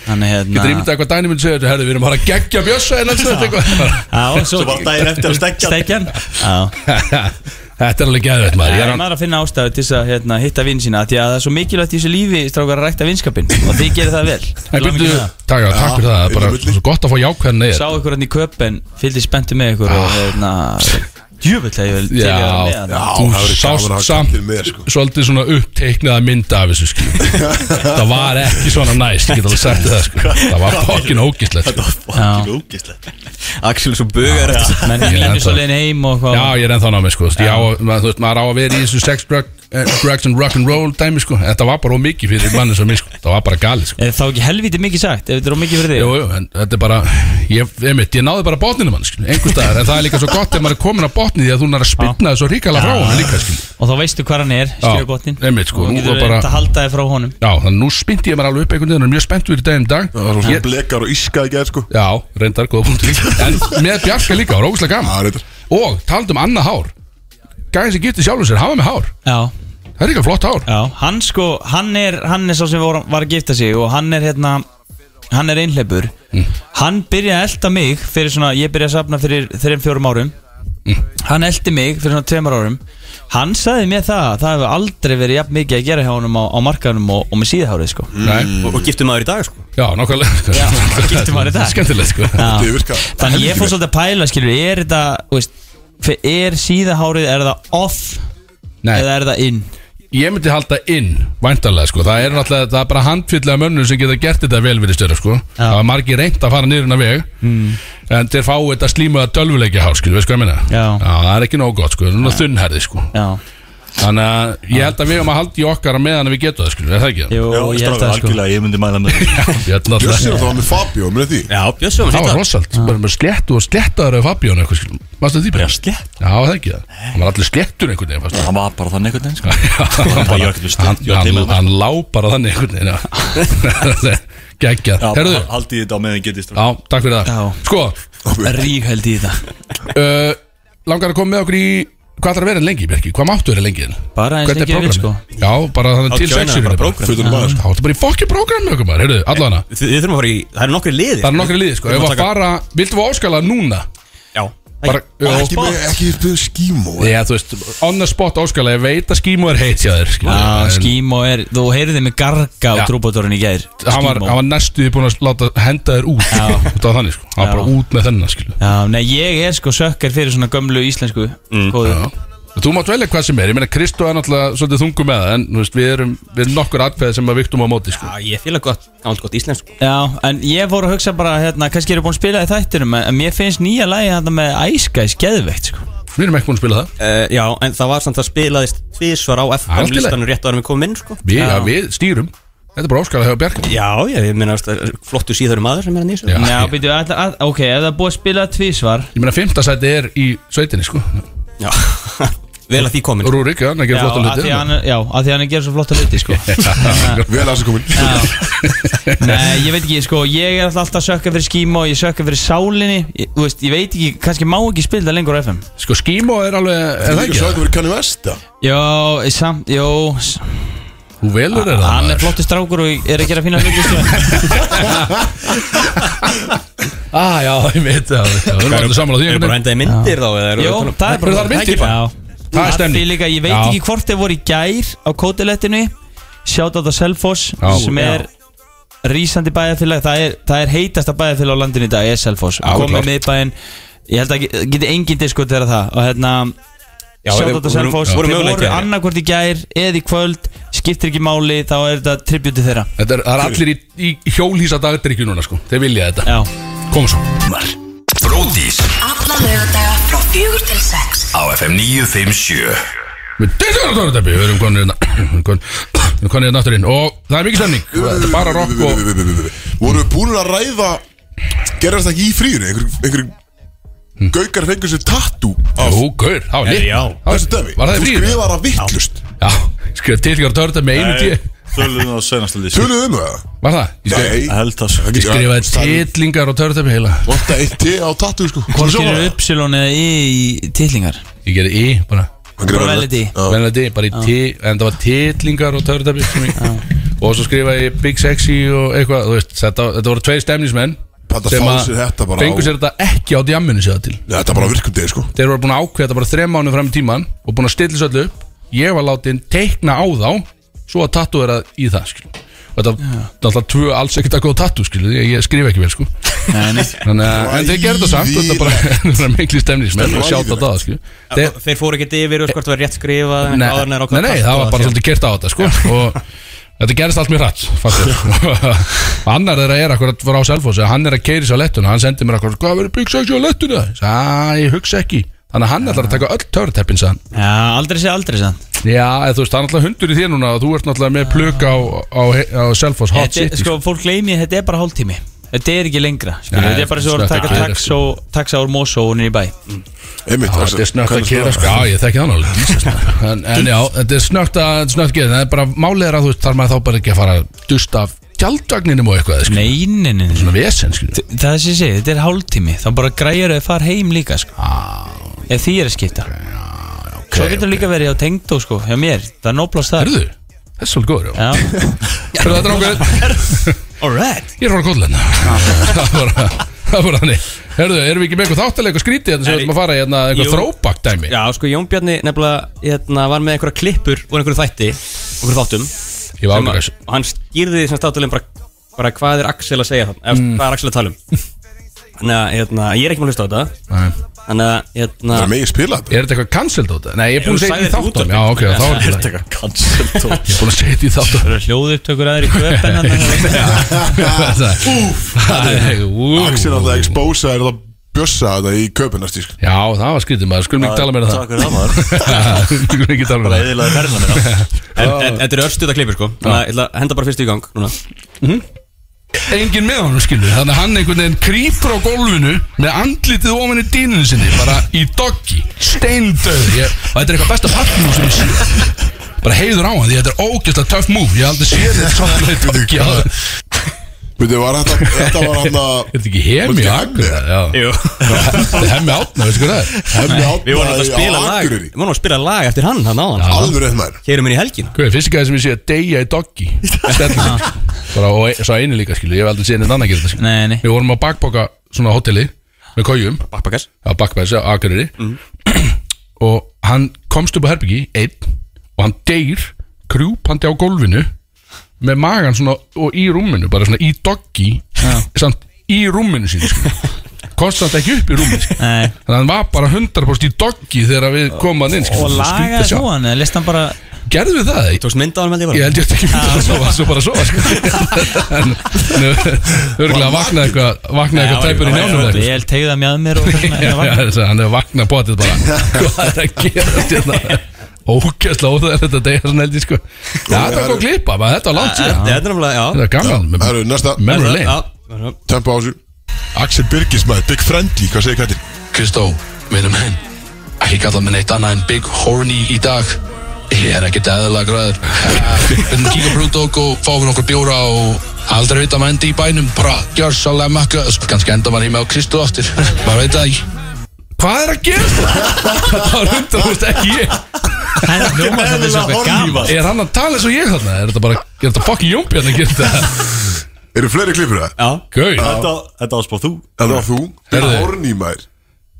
C: Þannig
B: Getur
C: hérna
B: ímyndað eitthvað dæni myndi segja þetta Herðu, við erum bara að geggja bjössa en alls þetta eitthvað
C: Já,
D: Svo bara daginn eftir að steggjan.
C: Steggjan Já
B: [LAUGHS] Þetta er alveg geðveitt maður
C: Það
B: Ég
C: er
B: er hann
C: maður að finna ástæðu til þess að hérna, hitta vinn sína Því að það er svo mikilvægt í þessu lífi Strákar að rækta vinskapinn Og þið gerir það vel
B: Nei,
C: Til hamingju
B: byrju,
C: með það.
B: takk, takk fyrir það, það er bara svo gott að fá jákvæðan
C: Sá
B: neyð
C: ykkur hann í köpen Fylgdi spenntu með ykkur Og hérna Jöfull að ég vel til í að vera með
B: Ah. Já,
A: það verður gaman
B: þú
C: hann.
A: að hafa
B: sást samt
A: til með, sko.
B: Svolítið svona uppteiknaða mynda af þessu skil Það var ekki svona næst, ég get alveg sagt þér það sko Það var fokkin ógislegt sko
D: Fucking ógeðslegt
M: Axel er svo bugar eftir
C: Menn
B: Ég
C: mínu
B: held
C: svo
B: það.
C: leiðin heim og
B: Já,
C: hvað
B: ég er ennþá námið sko Þú veist, ég á að- maður- þú veist, Maður á að vera í þessu sex, drug, eh, drugs and rock'n'roll dæmi sko Þetta var bara ómikið fyrir manni sem mig sko Það var bara galið sko
C: Er þá ekki helvítið mikið sagt Ef þetta er ómikið fyrir þig
B: Jú, jú, en þetta er bara ég, einmitt, ég náði bara botninu mann, skil, einhver staðar en það er líka svo gott ef maður er komin á botni því að þú er að spilna þessu ríkala frá hann líka, skil
C: og þá veistu hvað hann er, skilja gottinn
B: einmitt, sko,
C: og
B: nú
C: getur
B: var
C: verið
B: bara-
C: bara... að halda þið frá honum
B: Já, þannig nú spinti ég mér alveg upp einhvern veginn og er mjög spennt fyrir daginn í dag
A: Það var svona
B: Ég-
A: blekar og íska í gæð sko
B: Já, reyndar, góða punktur En með Bjarka líka, það var ógustlega
A: Já,
B: gaman
A: reyndar
B: Og talandi um annað hár Gæðin sem gifti sjálfum sér, hafa með hár
C: já,
B: Það er líka flott hár
C: já, hann sko hann er, hann er sá sem var, var að gifta sig og hann er hérna hann er einhleipur
B: Mm.
C: hann byrjaði að elda mig fyrir svona, ég byrjaði að safna fyrir þreim fjórum árum
B: Mm.
C: hann eldi mig fyrir svona tveimur árum hann sagði mér það, að það hefur aldrei verið jafn mikið að gera hjá honum á, á markaðunum og, og með síðhárið sko
A: Mm.
B: Nei,
M: Og giftum maður í dag sko
B: já, nákvæmlega
C: Já, gifti maður í dag.
B: [LAUGHS] Skemmtilegt, sko
C: Já.
A: Þetta virkar
C: Þannig ég
A: helvítið
C: fór
A: vel.
C: svolítið að pæla, skilur, er þetta, þú veist, fe- er síðahárið, er það off
B: Nei,
C: eða er það in?
B: ég myndi halda inn væntanlega sko, það er náttúrulega, það er bara handfyllega mönnum sem geta gert þetta vel við störu sko það var margir reynd að fara niður hennar veg
C: Mm.
B: en þeir fá þetta slímaða tölvuleiki hár sko, veist hvað ég meina?
C: Já.
B: það er ekki nóg gott sko, það er þunnherði sko
C: Já,
B: þannig að ég held að við höfum að halda í okkar á meðan við getum það sko, er það ekki?
C: jú,
D: Já,
C: ég held
D: strákar,
C: það sko
D: algjörlega, ég myndi mæla með því.
B: Ég held náttúrulega-
A: Bjössi og það var með Fabio, með því
M: Já, Bjössi var
B: Það var
M: sýta
B: rosalt, bara með sléttu og sléttaður af Fabíón eitthvað, skilur, maður því bara?
D: slétt.
B: Já, það ekki það, hann var allir sléttur einhvern veginn, fannst
D: Hann var bara þannig einhvern veginn sko.
B: Já, [LAUGHS] hann,
D: Ég var ekkert við slétt,
B: hann,
D: ég var til með
B: hann,
D: það.
B: hann lá bara þannig einhvern veginn [LAUGHS] geggjað,
D: Já,
B: herruðu
D: Haldið þetta á meðan getist
B: Já, takk fyrir það
C: Já.
B: Sko,
C: Rík held í það
B: uh, langar að koma með okkur í hvað þarf að vera lengi, Bjarki? Hvað máttu vera lengi?
H: Bara eins
B: Hvernig
H: lengi
B: er
H: ég sko. vil,
B: prógramið? Já, bara þannig
C: Þá
B: til
C: joinar
B: sexinu
C: bara
B: bara.
C: prógramm.
B: Fullur maður.
D: sko.
B: Já, Það er bara í fokki prógramið okkur maður, heyrðu, allana
C: Þi- Þið þurfum að fara í, það eru nokkri liði
B: Það er nokkri liði, sko,
C: Við
B: ef
C: þurfum
B: að
C: taka-
B: fara Viltu við óskala núna?
C: Já
B: Bara, já,
A: Ekki með, ekki eh. með skímó
B: Já, þú veist, on the spot óskala Ég veit að skímu er heit hjá þér skilur við,
H: Já,
B: en
H: skímó er, þú heyrðið mig garga á
B: Já.
H: trúbátorinn í gær
B: Hann var,
H: Skímó.
B: hann var næstuði búin að láta henda þér út
H: Já.
B: Það var þannig, sko, hann var
H: Já.
B: bara út með þennan, skilu
H: Já, nei, ég er sko sökkar fyrir svona gömlu íslensku mm.
B: Já. Þú mátt velja hvað sem er, ég meina Kristó er náttúrulega svolítið þungu með það En þú veist, við erum, við erum nokkur atfæði sem að viktum á móti sko.
C: Já, ég fíla gott, gammalt gott íslensk sko.
H: Já, en ég voru að hugsa bara, hérna, kannski eru búin að spila í þættinum En, en mér finnst nýja lagi hérna með æskæs geðveikt, sko
B: Við erum ekki búin að spila það
C: uh, Já, en það var samt að spilaðist tvísvar á
B: Allt í
C: FM
B: lagi.
C: listanum rétt ára við komum inn sko.
B: Við, ja, við stýrum, þetta er bara óskala hjá Bjarki
C: Já, ég, ég meina það er flottu síður maður sem er að nýsa
B: Já.
H: Já, býtu, ætla, að, ok, ef það er búið að spila tvísvar
B: Ég meina, fymtasæti er í sveitinni, sko
C: Já. [LAUGHS] Vel að því komin
B: Rúrik, já, hann
H: Já,
B: gerir
H: að
B: flott að
H: því að
B: [LAUGHS]
H: hann, er- já, að því að hann er að gera svo flotta hluti, sko
A: Vel að þessu komin
H: Nei, ég veit ekki, sko, ég er alltaf að sökka fyrir skímó Ég sökka fyrir sálinni, ég, þú veist, ég veit ekki, kannski má ekki spila það lengur á FM
B: Sko, skímó er alveg,
A: Það
B: er það
A: er
B: ekki
A: ekki að
B: það?
A: sagða fyrir Kanye West það?
H: Jó, samt, jó, s-
B: Þú velur er það
H: hann er
B: maður.
H: flottur strákur og er að gera fína hluti, sko
B: Ah, já, ég veit það Það er allir sammála því
C: Erum
B: einhvern
C: bara
B: veginn.
C: endaði myndir þá eða eru-
H: Jó, það er
B: Eru
H: bara
B: þar myndir?
H: Já.
B: Það er stemning.
H: Því líka, ég veit
B: Já.
H: ekki hvort þeir voru í gær á kótilettinu Shoutout á Selfoss
B: Já.
H: sem er rísandi bæðafélag það er, það er heitasta bæðafélag á landinu í dag er Selfoss
B: Já,
H: komið
B: klárt.
H: miðbæðin ég held að ge- geti engin diskutera það og hérna
C: Já,
H: Shoutout á
C: þeir-
H: Selfoss
C: voru- voru
H: þeir
C: möguleikar,
H: voru
C: já.
H: annarkvort í gær eða í kvöld skiptir ekki máli þá er þetta tributi þeirra
B: Þetta er, það er allir í, í hjólhísa dagdrykju núna, sko Þeir vilja þetta
H: Já.
B: Kom svo
K: Bródís
E: Alla lögadaga frá fjögur til sex
K: á FM 957
B: Við deytum um þetta þetta Við erum konir hérna Konir hérna aftur inn Og það er mikið stemning Þetta er bara rock og
A: Vorum við búin að ræða Gerðast það ekki í fríinu Einhver, einhver Gaukar fengur sér tattoo Af
B: Hm. Jú, gaur, það var
C: Já.
B: lit
A: þessu dömi
B: Var það í
A: Þú
B: fríinu?
A: skrifar það vittlust
B: Já, skrif tilgjör törta með einu tíu
D: Tölum það á senasta lýs
A: Töluðu um það?
B: Var það? Ég skrif-
A: Nei
D: Held það svo
B: Ég skrifaði titlingar og törtöpi heila
A: Vanta eitt T á tattoo sko
H: hvort eru uppsilon eða í, í titlingar
B: Ég gerði í bara
H: Morality.
A: Hvað
B: Venlega bara í T En það var titlingar og törtöpi sem ég Og svo skrifaði ég Big Sexy og eitthvað Þú veist, þetta, þetta voru tvei stemnismenn
A: Pata fá sér þetta bara á-
B: Fengu sér þetta ekki á djamminu sér það til
A: Þetta er bara virkum degi sko
B: Þeir voru búin að ákveða þetta bara þrem mánu fram í tíman Og búin að stilla sér öllu upp Ég var látin teikna á þá Svo að tattu vera í það skil Og Þetta var náttúrulega tvö alls ekkert að góða tattu skil Ég, ég skrif ekki vel sko Þannig að en þeir gerðu það samt og Þetta bara, [LAUGHS] þetta er mikli stemnismenn Og sjátt á það skil Þeir,
C: Þeir fóru ekkert yfir og hvort það var rétt skrifað en
B: Nei,
C: áður en þeir ákváðu
B: nei, nei,
C: að
B: það var
C: kasta
B: bara svolítið kert á þetta sko og þetta gerist allt mjög rætt fannst þér. Og annar þeirra er akkurat var á Selfoss að hann er að keiri sér á lettuna hann sendi mér akkurat, hvað verður Big Sexy á lettuna að ég hugsa ekki þannig að hann ætlar að taka öll törteppin sann
H: Já, aldrei sé aldrei sann
B: já, eða þú veist, hann er alltaf hundur í þér núna og þú ert náttúrulega með plök á, á, á Selfoss Hot
H: Þetta er-
B: City
H: sko, fólk gleymi að þetta er bara hálftími Þetta er ekki lengra skilur,
B: Nei,
H: sko, Þetta er bara svo að
B: snöggt
H: taka
B: að gera,
H: taxa, taxa úr Mosó og niður í bæ
A: Einmitt
B: Já, þetta er snögt að gera sko, já ég þekki þann alveg Jesus, maður. en, en já, þetta er snögt að snögt gera, það er bara málið er að þú veist þarf maður þá bara ekki að fara að dusta af tjaldvagninum og eitthvað, sko,
H: Nei, nei, nei, nei
B: svona vesen sko.
H: Það sé sé, þetta er hálftími Þá bara græjar að fara heim líka sko.
B: Ah.
H: Ef því er að skipta Svo getur líka verið á tengdó sko, hjá mér, það er nóplast það
B: Herðu, það er svolítið góður já.
H: Já, [LAUGHS]
B: Herðu það drákur,
C: Alright
B: ég er frá Kólland Það er bara það er bara þannig Herðu, erum við ekki með eitthvað þáttalega eitthvað skrítið Þetta sem við
C: Nei.
B: ætlum að fara í hérna, eitthvað
C: Jú.
B: throwback dæmi
C: Já, sko, Jón Bjarni nefnilega hérna, var með einhverja klippur úr einhverju þætti einhverju þáttum
B: Ég var
C: sem að-
B: ákveðis
C: og hann skýrði því sem státulegum bara, bara hvað er Axel að segja þann eða hvað er Axel að tala um þannig að hérna, ég er ekki með að hlusta á þetta
B: Er
C: þannig að hérna,
A: Það er megin spila þetta
B: þetta eitthvað cancelled á þetta? Nei, ég er búin að
C: Jú,
B: segja þetta í
C: sagði þetta
B: þáttum
C: í
B: Já, ok, þá er
D: Er
B: þetta
D: [LAUGHS] þetta eitthvað
B: [LAUGHS]
D: cancel
B: Ég er búin að segja þetta í þáttum
C: [LAUGHS]
H: það eru hljóðu upptökur aðri köpen
A: Axel að það
B: Úf
A: expósa er það bjössa þetta í köpunast sko
B: Já, það var skrítið maður, skulum ekki tala meira um
D: Takk fyrir það maður
B: það [LAUGHS] Skulum ekki tala meira um
D: Bara
B: það
D: eðilaði ferðina
B: [LAUGHS]
C: en-
D: mér
C: en- þetta eru örstuða klippur sko þannig að ég ætla að henda bara fyrst í gang núna
B: enginn með honum skilur þannig að hann einhvern veginn krýpur á gólfinu með andlitið ofan í dýninu sinni bara í doggi, steindöð ég, og þetta er eitthvað besta partnum sem ég sé bara heiður á hann því þetta er ógeðslega tough move ég hef aldrei sé þetta svona í doggi áður.
A: Veitu, var þetta, þetta var hann að
B: Er þetta ekki hemi
A: Þetta er Hemmi,
B: á Akureyri? Já.
C: Jú
B: Þetta er hemi átna, veistu hvað það er?
A: Hemmi
C: Við vorum alltaf
A: átnaði
C: að spila
A: á
C: lag Við
A: Akureyri
C: vorum að spila lag eftir hann hann á hann
A: Alveg rétt maður
C: Hérum inn í helgina
B: Hvað er fyrst gæði sem ég sé að deyja í doggi? Stellan Bara og e- svo einu líka skilu, ég hef aldrei séð neitt annað gera þetta skilu
H: Nei, nei.
B: Við vorum á bakboka svona hóteli með kójum
C: Bakpakas
B: á bakbæðis á Akureyri [CLEARS THROAT] og hann komst upp á herbyggi einn og hann deyr krjúpandi á gólfinu með magan svona og í rúminu bara svona í doggi samt í rúminu sín
H: [LAUGHS]
B: sko. komst samt ekki upp í rúminu sko.
H: Nei.
B: þannig að hann var bara 100% í doggi þegar við komum að inn sko.
H: Og
B: Svo skrýtið
H: lagaði
B: að sjá.
H: svo hann eða list hann bara
B: gerðu við það eh?
C: Tókst mynda á hann með því
B: Ég
C: bara
B: held ég átti ekki myndið að sofa, svo bara að sofa
H: [LAUGHS]
B: sko. En þau eru að vakna eitthvað vakna eitthvað tæpur í njánum eða eitthvað, sko.
H: Ég held tegða
C: [LAUGHS]
H: mjög að mér og svona,
B: Já,
H: ég
B: já,
H: vakna.
B: þess að hann hefur vaknað bótið bara Hvað er að gera þetta
N: hérna?
B: Ógæsla óþæðilegt að deyja svona held ég sko Já, þetta var góð klippa, maður, þetta var langt síðan
C: Þetta er náttúrulega, já
B: Þetta er gammal,
A: Það eru næsta
B: memory lane
C: Já,
A: Tempo á þessu Axel Birgis maður Big Friendly Hvað segir kættir?
N: Kristó, minnum henn Ekki kalla mig neitt annað en Big Horny í dag Ég er ekkert eðalega græður Við erum kíka brúdók og fáum okkur bjóra og aldrei vita maður endi í bænum bara gjörsalega makka kannski enda maður heima á Kristó aftur maður veit það ekki
B: Hvað er að gera þetta?
N: [LAUGHS]
B: Þetta var hundra, þú veist ekki ég
H: Hann hljóma þetta er svo eitthvað gaman
B: Er hann að tala eins og ég þarna? Er þetta bara, er þetta fucking jónbjörn að gera þetta?
N: [LAUGHS]
A: Eru fleiri klippur það?
B: Gauð
D: Þetta, þetta áspáð þú
A: Það var þú
B: Herðu.
A: Horni maður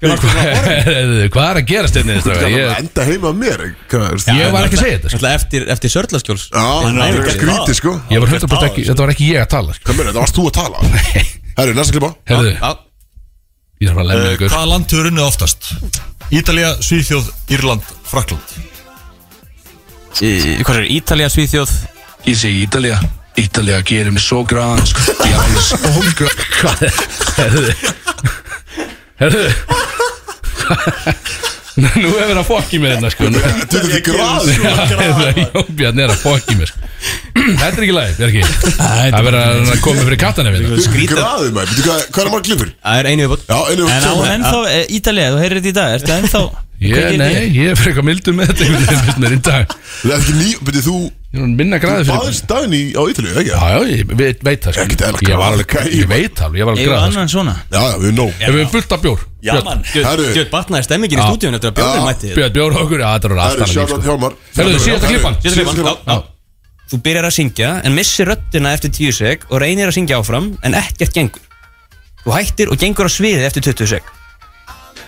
B: [LAUGHS] Hvað er að gera steinni
A: Þú
B: þetta?
A: veist, hann
B: Ég,
A: Enda heima með mér hvað, veist,
B: ég var ekki að segja þetta sko.
C: Náttúrulega eftir, eftir Sörlaskjóls
A: Já, það er ekki skrítið sko
B: Ég var hundra ekki, þetta var ekki ég að tala sko.
A: Hvað meina, þetta varst þú að tala Herru, næsta klippa
B: Herðu,
C: Já,
B: ég þarf að lemja
D: Eh,
B: ykkur
D: Hvaða land hefur unnið oftast? Ítalía, Svíþjóð, Írland, Frakland
C: Í- Hvað er Ítalía, Svíþjóð
N: ég segi Ítalja Ítalja gerir mig svo græðan sko. ég er alveg stólgra
B: Hvað er Herðu Herðu
N: [LAUGHS]
B: Nú hefur hann fokkið með hérna sko Nú-
A: Þetta er því gráð
B: Já, [LAUGHS] heyrðu, Jón Bjarni er að fokkið með sko Þetta er ekki læg, þetta er ekki Það verður að hann komi fyrir kattan ef hérna
A: Þetta er gráðið maður Veitu hvað, hvað er marg klippur?
C: Það er einu viðbót
A: Já, einu
H: En á
A: kemur.
H: ennþá, eh, Ítalía, þú heyrir þetta í dag Ertu ennþá
B: Ég, nei, ég er fyrir eitthvað mildur með þetta einhvern veginn finnst mér í dag
A: Þetta er ekki ný Veitu þú
B: Ég er orðinn minna græði fyrir
A: Baðist daginn í á Ítalíu, ekki?
B: Já, já, ég veit, veit það
A: Ekkert
B: sko
A: eðlilega
B: Ég var alveg,
A: græði.
B: ég veit alveg, ég var alveg
H: Eða
B: græði sko.
H: annan svona
A: Já, já, við erum nóg
B: Ef við erum fullt af bjór Björn,
A: Herru.
C: Djöð batnaði stemmingin í
B: Já.
C: stúdíun eftir að Björn
A: Já.
C: mætti
B: Björn bjór á okkur, já, þetta er orðið
A: Herru,
B: allt
A: sjátt átt
B: annað líf, sko.
A: hjálmar
B: Herru, síðasta klippan
C: Síðasta klippan,
A: Síðasta
C: já, já. Þú byrjar að syngja en missir röddina eftir 10 seg og reynir að syngja áfram en ekkert gengur Þú hættir og gengur á sviðið eftir 20 seg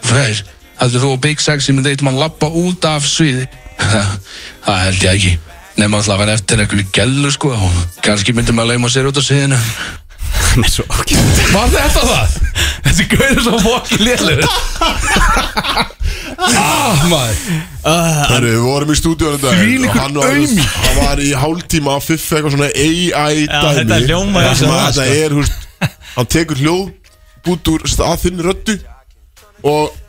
N: Fresh, heldur þú að Big Sexy myndi eitt mann lappa út af sviði? [LAUGHS] það held ég ekki Nefnum alltaf að vera eftir einhverju gellu sko og kannski myndi maður leima sér út á
B: [LAUGHS]
N: sviðinu
C: Með svo okkið
B: Var þetta það? Þessi gauður svo fokkin lélugur
N: [LAUGHS]
B: Ah, maður
A: Herru, við vorum í stúdíu þetta
B: Þvílíkur aumingi.
A: Hann var í hálftíma að fiffa eitthvað svona AI dæmi
H: þetta hljómar
A: Það sem
H: eins og
A: að
H: það,
A: þetta er, þú veist Hann tekur hljóð út úr að þinn röddu Og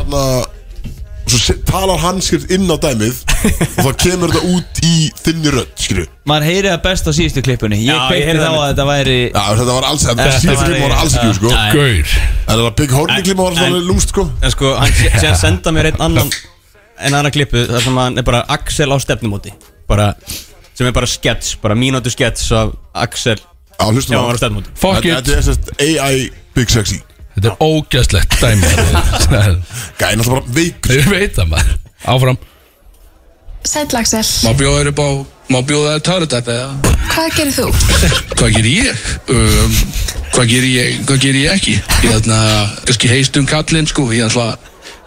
A: hann að Og svo se- talar hann skrift inn á dæmið Og þá kemur þetta út í þinni rödd, skilju Já,
H: Maður heyrir það best á síðustu klippunni Ég
C: Já, ég
H: kveikti
C: heyrði
H: þá
C: það
H: að þetta væri
A: þetta var alls Þetta
H: Þetta
A: síðan
H: var
A: klima
H: í-
A: var alls ekki, sko En
B: Gaur
A: það var Big Horny klima var svona lúmst, sko
C: En sko, hann sé- sé að senda mér einn annan en annan klippu þar sem hann er bara Axel á stefnumóti bara, sem er bara skets, bara mínútu skets af Axel
A: Já, hlustum
C: Já, hann var á stefnumóti
B: Fuck
A: Þetta
B: it
A: þetta er sérst AI Big Sexy
B: Þetta er ógæslegt dæmi
N: [LAUGHS]
A: Gæði náttúrulega bara veikur
B: Ég veit það maður Áfram
E: Sæll Axel,
N: Má bjóða þér upp á, má bjóða þér törutæpi eða?
E: hvað gerir þú?
N: Hvað ger ég? Um, hvað ger ég, hvað ger ég ekki? Ég ætla kannski heist um kallinn sko, ég ætla,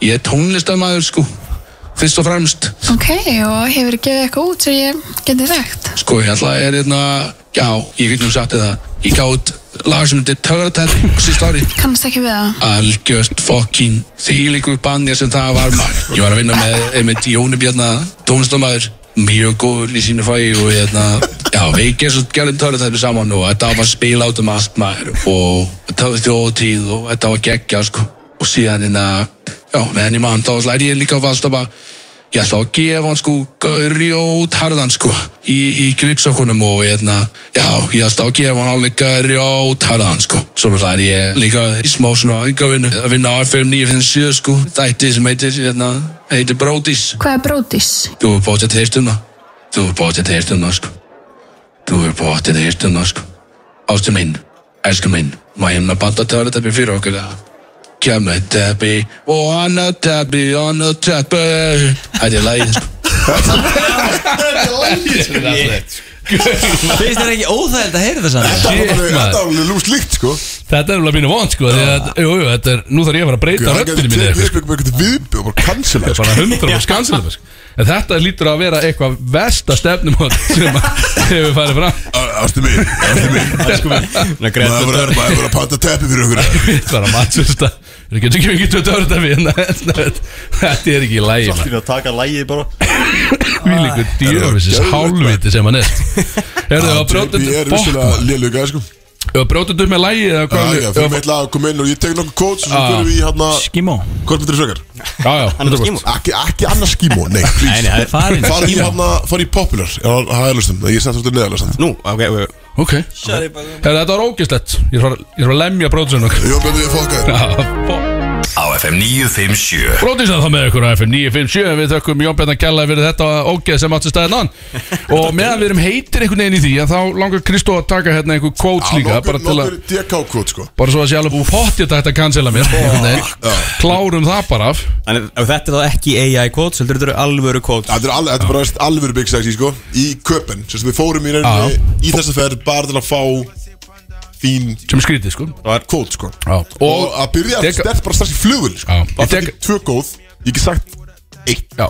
N: ég er tónlistamæður sko Fyrst og fremst
E: Ok, og hefur gefið eitthvað út sem ég geti þekkt?
N: Sko ég ætla að er hérna, já, ég getum sagt þetta Ég gaf út lag sem þetta er törutæpi síst ári
E: Kannast ekki við það?
N: algjört fokkin þýlíkur bannja sem það var maður. Ég var að vinna með einmitt Jóni Bjarna, tónlistamæður, mjög góður í sínu fæi og hérna, já, við gerðum svo gerðum törðu þetta saman og þetta var spila út um allt maður og þetta var þjóðtíð og þetta var geggja, sko. Og síðan hérna, já, með henni mann, þá slæði ég líka á Valstaba, ég ætla að gefa hann sko grjót harðan sko í, í gripsokkunum og hérna já, ég ætla að gefa hann alveg grjót harðan sko, svo það er ég líka í smá svona yngavinnu að vinna á FM 957 sko, þætti sem heitir hérna, heitir Brótis
E: Hvað er brótis?
N: þú er bóttið til heistum það þú er bóttið til heistum það sko þú er bóttið til heistum það sko Ástin minn, elsku minn, má ég með banta tölutepi fyrir okkur það? Kemur teppi og annar teppi, annar teppi Þetta er lægið sko
H: Finnst þér ekki óþægild að heyra það saman?
A: Þetta var alveg- þetta var
H: maður.
A: alveg lúst líkt sko
B: Þetta er alveg mínu vond sko því að, jú, jú, þetta er, Nú þarf ég að fara að breyta
A: Hann gæti
B: röddinu minni sko.
A: tekið
B: eitthvað,
A: upp eitthvað eitthvað viðbjörn og bara cancela
B: sko. bara hundra og skanslega sko. En þetta lítur að vera eitthvað Vesta stefnumót sem að hefur farið fram
A: Ástin minn, ástin minn Maður var að- maður var að panta teppi fyrir
B: [LAUGHS]
A: okkur
B: Það var að matsvista Við getum ekki mikið tveit ára þetta Þetta er ekki í lægi
D: Allt í einu að taka lægið bara
B: Við líka djöfisins
A: geðveikt,
B: hálfviti sem hann er Herðu, það var brótið
A: Ég er
B: Bokk,
A: vissulega léluga sko
B: það var brótið upp með lægi eða
A: Já,
B: hvað
A: já, fyrir mig eitthvað að koma inn og ég tek nokkuð kóts og svo
B: Ah.
A: fyrir við í hérna
H: Skimó
A: Korpindri sögar
B: Já, já,
C: Hann er
B: 100%.
C: skímur
A: Ekki, ekki annars skímó, nei,
H: Nei,
A: please
H: það er farin
A: Far í
H: Skimó
A: hérna, far í popular Já, það er lustum, ég sett þetta neðalega samt
C: Nú, ok, ok
B: Ok Herðu, þetta var ógislegt Ég er að fara- ég er að lemja brótið [LAUGHS] nokkuð
A: Jó, betur ég fokkaður
K: á FM 957
B: Brótið sem það með ykkur á FM 957 Við þökkum Jón Bjarnar Kjalla fyrir þetta ógeð sem átti staðið
A: [LAUGHS]
B: nann Og meðan við erum heitir einhvern veginn í því að Þá langar Kristó að taka hérna einhver quotes líka
A: Nokkur,
B: Bara til að
A: nokkur DK kót sko
B: Bara svo að sé alveg búið pottið að þetta cancela mér einhvern veginn. Klárum það bara af
C: Þannig að þetta er þá ekki AI quotes, heldur þetta eru alvöru quotes
A: Þetta er alveg, þetta er bara alvöru Big Sexy sko Í köpen, sem sagt, við fórum í rauninni Í þessa ferð bara til að fá Þín
B: Sem er skrítið sko
A: kót sko
B: Já.
A: Og að byrja
B: Tek-
A: stert bara strax í flugul sko
B: Já.
A: Bara
B: Ég tek-
A: fyrir tvö góð, ég get sagt Eitt [LAUGHS]
B: Já,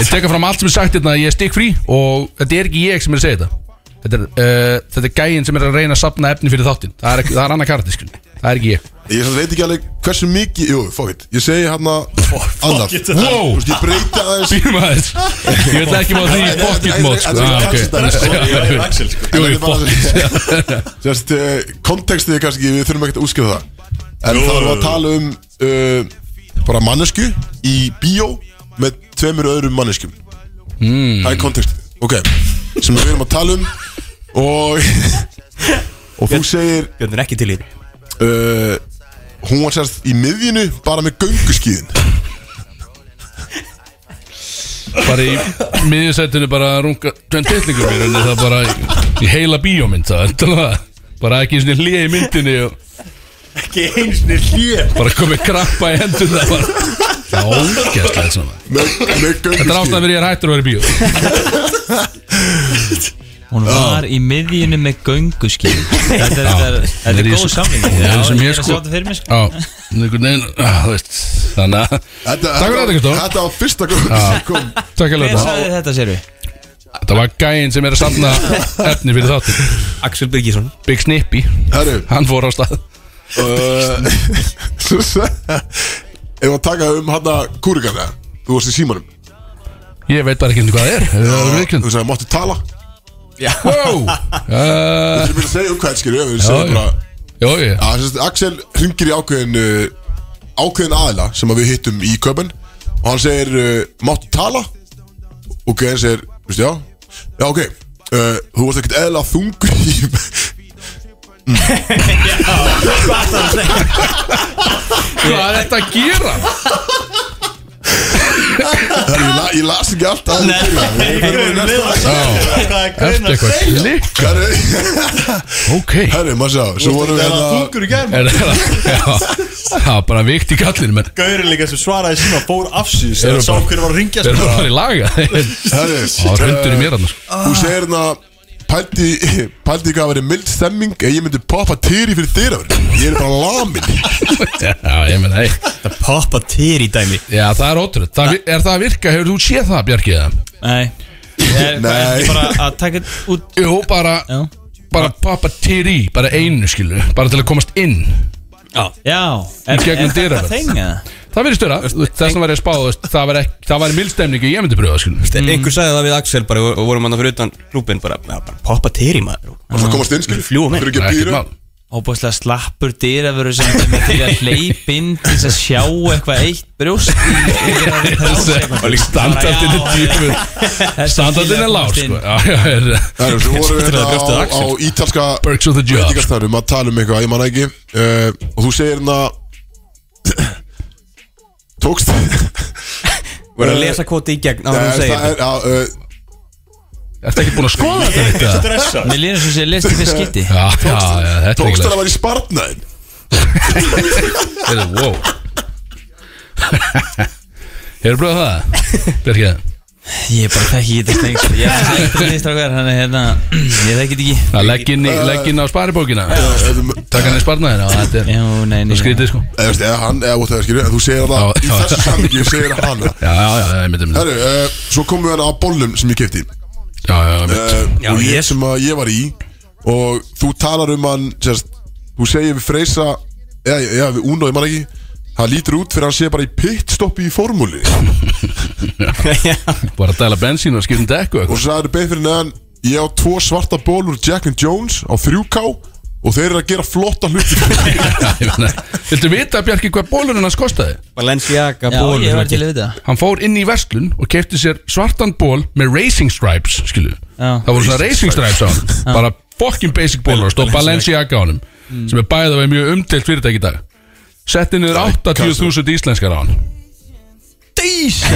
B: ég teka fram allt sem er sagt hérna Ég er stikkfrí og þetta er ekki ég sem er að segja þetta Þetta er, uh, þetta er gæinn sem er að reyna að sapna efni fyrir þáttinn Það er, ekki- það er annað karti, skil Það er ekki ég
A: Ég samt veit ekki alveg hversu mikið Jú, fuck it Ég segi hérna Annað
B: Wow.
A: Þú veist, Ég breyti aðeins
B: Býrum aðeins Ég vil ekki má því í pocket mode,
A: Þetta
B: sko
A: er
B: Ah, ok.
A: kannski stærri, sko.
B: [LAUGHS] Já,
D: Ég er Axel sko
B: Jú,
A: Þetta
B: í
A: er bara [LAUGHS] Sérst, kontekstið er kannski, við þurfum ekkert að útskipa það En
D: Jú,
A: það erum
D: jú,
A: að
D: jú.
A: tala um uh, bara mannesku í bíó með tveimur öðrum manneskum
B: Hmm.
A: Það er kontekstið Ok, sem við erum að tala um og
B: [LAUGHS]
A: og þú segir
C: Björn er ekki til í því.
A: uh, hún var sérst í miðjunu bara með gönguskíðin
B: Bara í miðjusættinu bara að runga Tvenn tillingum mér En það bara í- í heila bíómynd Það er talað það. Bara ekki einu sinni hlið í myndinni og
D: Ekki einsni hlýja
B: Bara komið krampa í hendur Það var Það er ógeðslega svona
A: með, með
B: Þetta er ástæðan
A: gönguskíðin
B: fyrir ég er hættur að vera í bíó
H: [LAUGHS] Hún var í miðjunni með
B: [LAUGHS]
H: gönguskín Þetta er- þetta er þetta
B: Þetta
H: er
B: er
H: góð
B: svo-
H: samling
B: Já, það er sem ég
H: er að
B: sko-
H: sjá þetta fyrir mér sko
B: Já, einhvern veginn, á, þú veist Þannig að
A: Þetta
B: Takk
A: þetta
B: fyrir þetta, Kristó.
A: var- þetta var fyrsta gönguskíðin sem kom
B: Takk
H: Hver
B: alveg það
H: sagði þetta sér við?
B: Þetta var gæinn sem er að safna efni fyrir þáttin
C: Axel Birgisson
B: Big Snippy,
A: Herru,
B: hann fór á stað
A: Uh, Svo se- Ef að taka um hann að kúrikana Þú varst í símanum
B: Ég veit bara ekki hvernig hvað það er Ef Það er
A: Þú
B: viðkjönd
A: sagði, máttu tala
B: Wow
A: Þú
B: Uh,
A: erum að segja um hvað þetta skilur Við
B: Já,
A: segjum
B: já.
A: bara
B: Jó, ég
A: að, sérst, Axel hringir í ákveðin uh, ákveðin aðila sem að við hittum í köpen og hann segir uh, máttu tala og Gæðin segir veistu já já ok uh, þú varst ekkert eðla þungur í
B: Hvað er þetta að gera?
A: Herru, ég, la, ég las ekki allt að það
D: Hvað er
B: Ertu
D: greina
B: eitthvað klikk?
A: Herru,
B: Ok
A: herru, maður sá Svo vorum við
D: Það var
A: hérna
D: þungur í gæm
B: Er það, já Það var bara vikt í kallinu menn
D: Gaurin líka sem svaraði síma fór afsýðis
B: Erum
D: Það sá
B: bara-
D: hverju var að ringja
B: Er það bara í laga? Það
A: Herru,
B: var hundur í mér sko. annars [LAUGHS]
A: Þú segir hérna Pældi, pældi ekki að vera mild stemming Ef ég myndi poppa týri fyrir dyra Ég er bara lamin
B: Já, ég menn, hei
C: Það poppa týr í dæmi
B: Já, það er ótrúð það, vi- Er það að virka? Hefur þú séð það, Bjarki? eða?
H: [LAUGHS] Nei Er hvað,
A: Nei.
H: ekki bara að taka þetta út
B: Jú, bara
H: Já
B: bara poppa til í, bara einu skilu bara til að komast inn
H: Já
B: Í gegnum dyravörð.
H: Það þengið það
B: það verður störa, þess vegna var ég að spá þú veist, það var, ekki, það var mildstæmningu ég myndi pröfa skilu
C: mm. Einhver sagði það við Axel bara og vorum hann fyrir utan klúbin bara, ja, bara poppa týr í maður
A: Og það komast inn skil
C: Fljúgum inn.
A: Þú er ekki
B: Það
A: að
B: er ekkert
A: býra
B: mál.
H: Óbúðslega slappur dyravöru sem þeim er til að hleyp inn til þess að sjá eitthvað eitt brjóst í yfir að við
B: Það er standartinn er djúfur standartinn er lág sko. Já, já, er-
A: Það er svo vorum við
B: brjóstið
A: hérna á, á
B: Axel.
A: ítalska
B: Perks of the job
A: Veitingastarum að tala um eitthvað Ég manna ekki uh, Og þú segir hérna Tókst
B: Eh,
C: Verður að lesa kvoti í gegn á hann
A: Nei,
C: segir
A: Það eh,
C: það
A: er að, uh,
B: Ertu ekki búin að skoða þetta neitt, eða?
H: Mér líður svo sé lest í fyrst skipti
B: [LAUGHS] Já, já, já, þetta er
A: Tókst
B: ekki
A: hann að vera í spartnaðin
B: Heyrðu, wow [LAUGHS] Heyrðu blöð það? Björkja
H: Ég bara þekki þetta stengs Ég er hættur því strákar Þannig hérna [CLEARS THROAT] Ég þekki þetta ekki
B: Það legg inn í, legg inn á sparibókina
A: Eh,
B: Takk hann í sparnaðina og þetta er
H: Já, nei, nei
B: Þú skrítið sko
A: Eða veist, eða hann, eða whatever, skilju En þú segir
B: Já,
A: alltaf, í
B: já.
A: þessu samlingi segir hann hérna,
B: Já, já, já, ég myndi myndi
A: Herru, uh, svo komum við hann að bollum sem ég kefti
B: Já, já, já, myndi
A: uh,
H: Já,
A: og ég
H: ég-
A: sem að ég var í og þú talar um hann sérst, þú segir við Freysa já, já, já, við Uno, ég man ekki hann lítur út fyrir að hann sé bara í pitstoppi í formúli og
C: [LAUGHS]
B: Bara að dæla bensín og skiptum dekku og eitthvað.
A: svo sagður beint fyrir neðan ég á tvo svarta bólur Jack and Jones á 3K og þeir eru að gera flotta hluti
B: Já, ég meina, Viltu vita, Bjarki, hvað bólurinn hans kostaði?
C: Balenciaga
H: Já,
C: bólur
H: ég
C: sem
H: var til
C: ekki-
H: að vita
B: Hann fór inn í verslun og kefti sér svartan ból með racing stripes, skilu
H: Já.
B: Það voru svona racing stripes á hann Bara fucking basic bólur, stóð Balenciaga á hann
H: Mm.
B: Sem er bæðið að vera mjög umdelt fyrirtæk í dag Setti niður 80.000 íslenskar á hann Dísa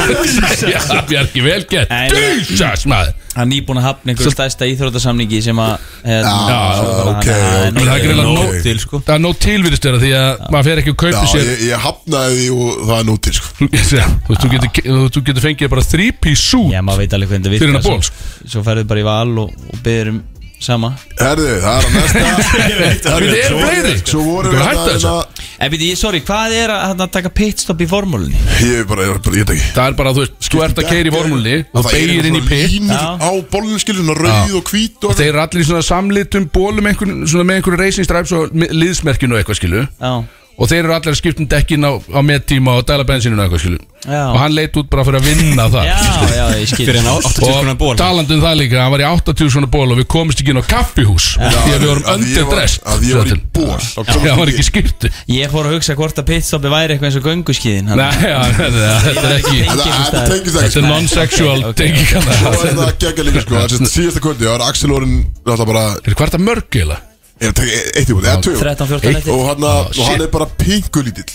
B: [LAUGHS] Já, Bjarki, vel gett
H: Nei, nei.
B: Dísa, smaður
H: Hann er nýbúin að hafna einhver stærsta íþróttasamningi sem að hérna,
A: Já, ok, ok.
B: Það er
H: ekki
B: greinlega
A: Ok.
B: nóg til, sko Það er nóg tilvirist þeirra því að maður fer ekki
A: [LAUGHS]
B: að
A: já,
B: kaupa sér [LAUGHS]
A: ég, ég hafnaði því og það er nútil sko.
B: Þú þú- þú getur, þú- þú getur fengið bara 3-piece suit
H: Já, maður veit alveg hvernig
B: Fyrir sko. hennar
H: það virkar
B: ból,
H: svo- Svo ferðu bara í val og, og byrður um sama
A: herðu, það er að [LAUGHS] næsta
B: Það er fleiri
A: svo vorum við hérna- sko.
B: að
A: að,
B: þetta
A: að
H: En býtti, Eh, ég, sorry, hvað er að, að taka pitstop í formúlunni?
A: ég er bara, ég er bara, ég er ekki
B: Það er bara, þú veist, þú ert að keira í formúli og beigir inn í pitt
H: Já.
A: á bollum skilur, svona rauð og hvít
B: og
A: og
B: þeir eru allir í svona samlitum bólum einhvern, svona með einhverju racing stripes og mi- liðsmerkinu og eitthvað skilu
H: Já,
B: og þeir eru allir að skipta um dekkin á, á mettíma og dæla bensinu og eitthvað skilu
H: Já.
B: og hann leit út bara fyrir að vinna það
H: já,
B: [LAUGHS]
H: já, ég skil
C: Fyrir hann á 80 skonar ból
B: og talandi um það líka, hann var í 80 svona ból og við komist ekki inn á kaffihús því að við vorum
A: að ég var-
B: underdressed
A: að ég var í ból. Þá komst
B: Já, hann var
A: ekki
B: ekki skiptu
H: Ég fór að hugsa hvort að pitstopi væri eitthvað eins og gönguskiðin hann.
B: Nei, já, þetta er ekki
A: Það það tengist
B: Þetta er
A: ekki
B: non-sexual tenging hann
A: Svo er það
B: Þetta
A: að gegja líka sko Það er síðasta kvöldi Það er Axel Orin Náttúrulega bara
B: er hvert að mörg eða
A: Ég er að taka eitt í búin Eða tvö
H: 13-14 eftir
A: Og hann, að,
B: Oh, shit.
A: og hann er bara pingu lítill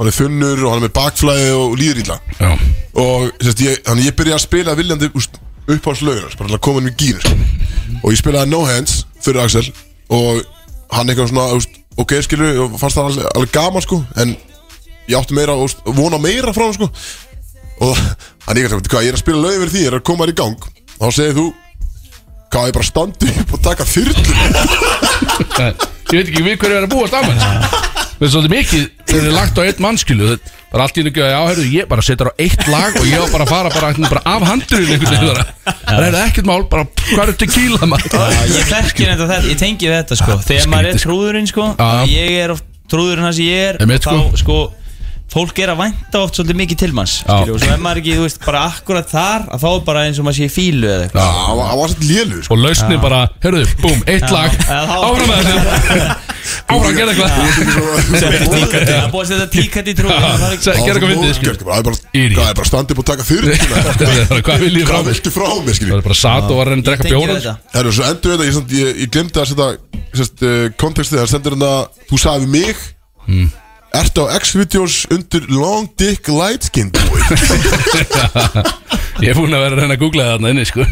A: Hann er þunnur og hann er með bakflæði og líður illa
B: Já,
A: Og sérst, ég, hann, ég byrja að spila viljandi uppáhalslaugur Bara til að koma hann í gýr sko. Og ég spilaði No Hands fyrir Axel Og hann eitthvað svona úst, Ok skilur, og fannst það alveg, alveg gaman sko En ég átti meira úst, Vona meira frá hann sko Og hann ég eitthvað, hvað, ég er að spila laugur fyrir því Ég er að koma þér í gang Þá segir þú Hvað, ég bara standi upp og taka þyrlu
B: Það- Eh, ég veit ekki við hverju er að búast af hann Það er svolítið mikið Það er lagt á eitt mannskilu Það er allt í nýgu að áhörðu Ég bara setur á eitt lag Og ég á bara að fara bara, bara af handurinn einhvern veginn bara. Það er ekkert mál Bara hvað eru tequila maður
H: Já, Ég þekki þetta, þetta, ég tengi við þetta sko Þegar maður er
B: skrítið, sko.
H: trúðurinn sko
B: Já.
H: Ég er oft trúðurinn það sem ég er
B: Einmitt, sko.
H: Þá sko, fólk er að vænta oft svolítið mikið til manns
B: Já.
H: skilju, Og svo er maður ekki, þú veist, bara akkurat þar Að þá er bara eins og maður sé í fílu eða eitthvað
A: Já, hann var- hann var svolítið lélur sko.
B: Og lausni bara Hörðu, búm, eitt lag
H: Já, þá-
B: Áfram með þetta
H: [LAUGHS]
B: Áfram, gerða eitthvað
H: Það er búið að setja tíkat í trúðurinn og það er ekki-
B: Sæ- Gerðu eitthvað fyndið skilju.
A: Það er sko. bara,
B: Idiot.
A: hvað, ég bara standi upp og taka
B: [LAUGHS]
A: þyrlu sko.
B: Þetta er bara, Hvað vil ég frá
A: Hvað
B: mig
A: viltu frá mér,
B: Það
A: skilju
B: er bara sat og var að reyna að drekka
H: Tengi við
B: bjóra
H: þetta
A: Herru, svo endur þetta, ég, samt- ég, ég glemdi að setja sérst, uh, kontekstið, það sendur hérna Þú sagði við mig
B: Hmm.
A: Ertu á X-videos undir Long Dick Light Skin Boy
B: [LAUGHS] Ég er búinn að vera að reyna að googla það þarna inni sko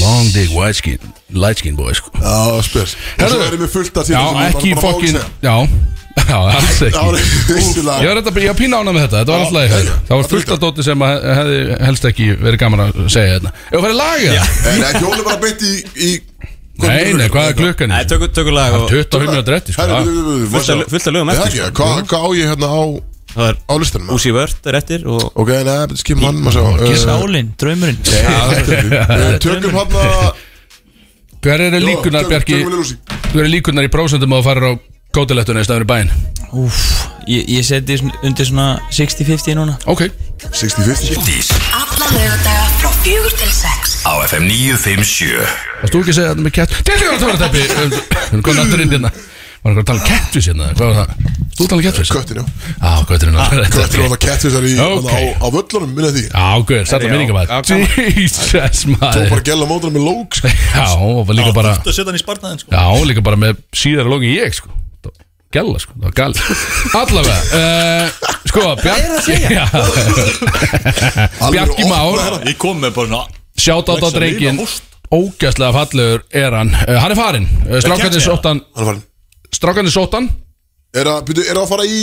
B: Long dick white skin Light skin boy sko
A: Já, spes Og
B: Herru.
A: svo erum við fullt að
B: Já,
A: sem ég
B: ekki
A: bara- bara má
B: fokkin
A: segja.
B: Já, já, alls
A: Það var
B: ekki Ég
A: vissulega
B: var, þetta, ég var pína ánað með þetta, þetta var
A: Já,
B: alltaf í
A: já,
B: hægja Það var
A: þetta
B: fullt
A: líka.
B: af dóti sem að hefði helst ekki verið gaman að segja þetta Ef það farið lagið það?
A: En ekki hún er bara beint í, í
B: Nei, nei, hvað er klukkan í?
C: Nei, tökum tökum lag og
B: 25 minútur eftir sko
A: Herru,
B: Já,
A: við- við- við-
C: Fullt af-
A: við-
C: fullt af lögum
A: Nei,
C: eftir,
A: ekki,
C: sko.
A: Hvað hvað á ég hérna á
C: Það er
A: á listanum?
C: Úsi Vört er eftir og
A: Ok, neða, þetta skipum hann maður sjá
H: Ég
A: uh,
H: Sálinn, draumurinn
A: Við tökum hérna- hann að
B: [LAUGHS] Hver eru
A: Jó,
B: líkunar,
A: tökum-
B: Bjarki?
A: tökum við Lucy.
B: Hver eru líkunar í prósentum að þú farir á kótilettuna í staðinu bæinn?
H: Úf, ég, ég seti svona- undir svona 60-50 núna
B: Ok,
A: 60-50
K: Dís
E: Alla lögadaga frá fjögur til sex
K: á FM 957
B: varst þú ekki að segja þetta með kett? Til ykkur að tóra teppi Hún kom náttúr inn hérna Var einhver að tala kettvis hérna? eða Hvað var það? Varst Þú tala kettvis?
A: Köttin, já
B: Á, gauturinn á
A: Köttin var það kettvisar í
B: Ok.
A: okay. á, á völlunum, minna því
B: Á, gautur, þetta minninga maður Jesus
A: Tók bara
B: maður
A: gæla mótunum með lók sko.
B: Já, og var líka bara
D: Þetta setja hann í spartnaðin sko
B: Já, líka bara með síðara lógin ég sko Það var Gæla sko, það var gæla Allavega, uh, sko Bjarki, já,
A: Alveg
B: Bjarki
A: opnaði
B: Már
A: hérna.
D: Ég kom með bara svona
B: Sjátt á
D: Lexa
B: drengin
D: Lima,
B: Ógæslega fallegur er hann uh, Hann er farinn uh, Strákarnir
D: Kelsey,
B: sóttan Strákarnir sóttan
A: Er að, byrju, er að fara í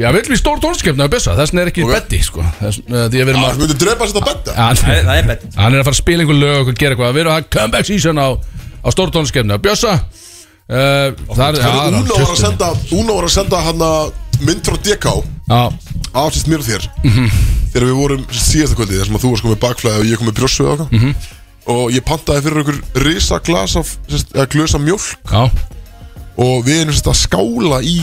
B: Já, við erum í stór tónskefni að byrsa Þess vegna er ekki okay. betti sko. Þess, uh, Því að við erum
A: Þú myndir drepa sér þetta betta
B: að
C: Það er-
B: hann,
C: það er bett
B: hann er að fara að spila einhver lög og gera eitthvað Við erum að hafa comeback season á, á stór tónskefni að bjössa uh, Það er
A: Það er Úna var að
B: senda
A: senda Úna var að senda hann að mynd frá DK Afsist mér og þér
B: Mhm.
A: Þegar við vorum síðasta kvöldi Þar sem að þú varst komið bakflæði og ég komið brjósvið og eitthvað
B: Mhm.
A: Og ég pantaði fyrir okkur Risa glas af, sérst, eða glösa mjólk
B: Já,
A: Og við erum sérst að skála í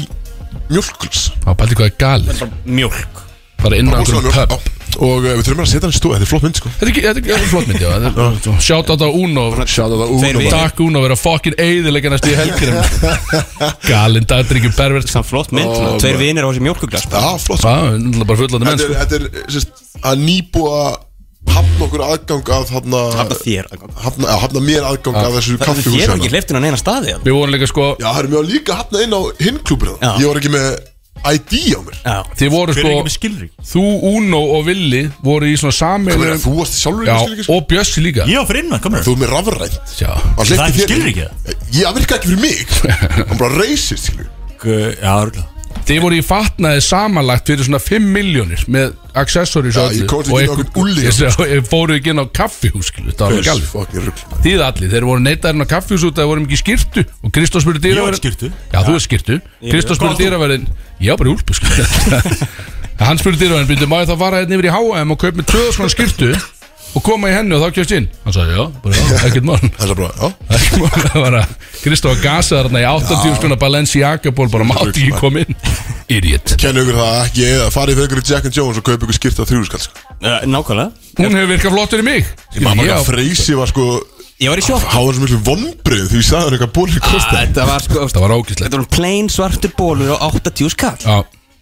A: Mjólkuls
B: það pælti hvað er galið
C: Mjölk
B: Bara inn á einhverjum pub
A: Og eh, við þurfum að setja hann í stóð Þetta er flott mynd sko
B: Þetta er ekki- þetta er ekki- þetta er flott mynd, já Þetta er- Shout out á Uno
A: Sjáðu þetta Úna
C: Þeir
A: bara.
C: við-
B: Takk Uno, vera fucking eiðilega næstu í helginum Galinn dagdryggjum pervert
C: Samt flott mynd,
A: Ó,
C: tveir
A: maður.
C: vinir á þessi mjölkuglas
A: Já, flott sko
B: Já, náttúrulega bara fullandi menn
A: Þetta
B: sko
A: er, þetta er sérst, að nýbúa Hafna okkur aðgang að hafna
C: Hafna þér
A: Hafna, já, hafna mér aðgang að þessu
C: Það
A: kaffihúsi
C: þér var
A: hana.
C: ekki hleyftun á neina staði hérna.
B: Við vorum líka sko
A: Já, það er mjög líka hafna inn á hinn klúbur
C: Já.
A: Ég var ekki með ID á mér
C: Já
B: Þið voru
D: Hver er ekki
B: sko
D: með skilrík?
B: Þú, Uno og Willi voru í svona
A: Ég meina,
B: sameilu
A: Þú varst sjálfur
B: Já,
A: ekki skilrík sko.
B: og Bjössi líka
D: Ég á fyrir innan, komur
A: Þú er með rafrænt
B: Já,
A: Hann
D: Það er
A: hleypti þér
D: ekki
A: inn.
D: skilrík eða?
A: Já, virka ekki fyrir
B: [LAUGHS]
A: mig Hann bara reysist, skilur
B: eh,
D: Já, örgulega
B: Þið voru í fatnaði samanlagt fyrir svona 5 miljónir með accessories
A: Já,
B: og
A: ég
B: öllu.
A: komst ekki
B: Og
A: inn á
B: ykkur-
A: einhvern úlli.
B: Ég segi,
D: sko.
B: og ég fóru ekki inn á kaffihús skilu, Það var alveg galið
A: Fucking rugl
B: Þið allir, þeir voru neitaðurinn á kaffihús út að þeir voru ekki í skýrtu og Kristóf spurði
D: Ég var
B: dýraverðin
D: í skyrtu.
B: Já, þú er skýrtu Kristóf
D: Hvað
B: spurði dýraverðin Ég var bara í úlpu sko [LAUGHS] Hann spurði dýraverðin, byrjuðu, má ég þá fara hérna yfir í H&M og kaup með 2000 svona skýrtu og koma í henni og þá kjöfst inn Hann sagði, já, bara já, ekkert mál
A: Það er bara, já
B: Kristóf að gasa þarna í 80 skona Balenciaga ból bara mátt ekki koma inn Idiot
A: Kennu ykkur það ekki eða Farið fyrir ykkur í Jack and Jones og kaupi ykkur skýrt á þrjúrskall sko.
C: Eh, Nákvæmlega
B: Hún hefur virkað flottur í mig
A: Ég maður bara
B: Já,
A: freysi var sko
C: Ég var í sjokk
A: Háðan svo miklu vombrið Því ég sagði hann eitthvað bólið kostaði
C: Þetta var sko
B: Þetta var ógeðslegt.
C: Þetta var plain svartur bólur á 80 skall
B: Já,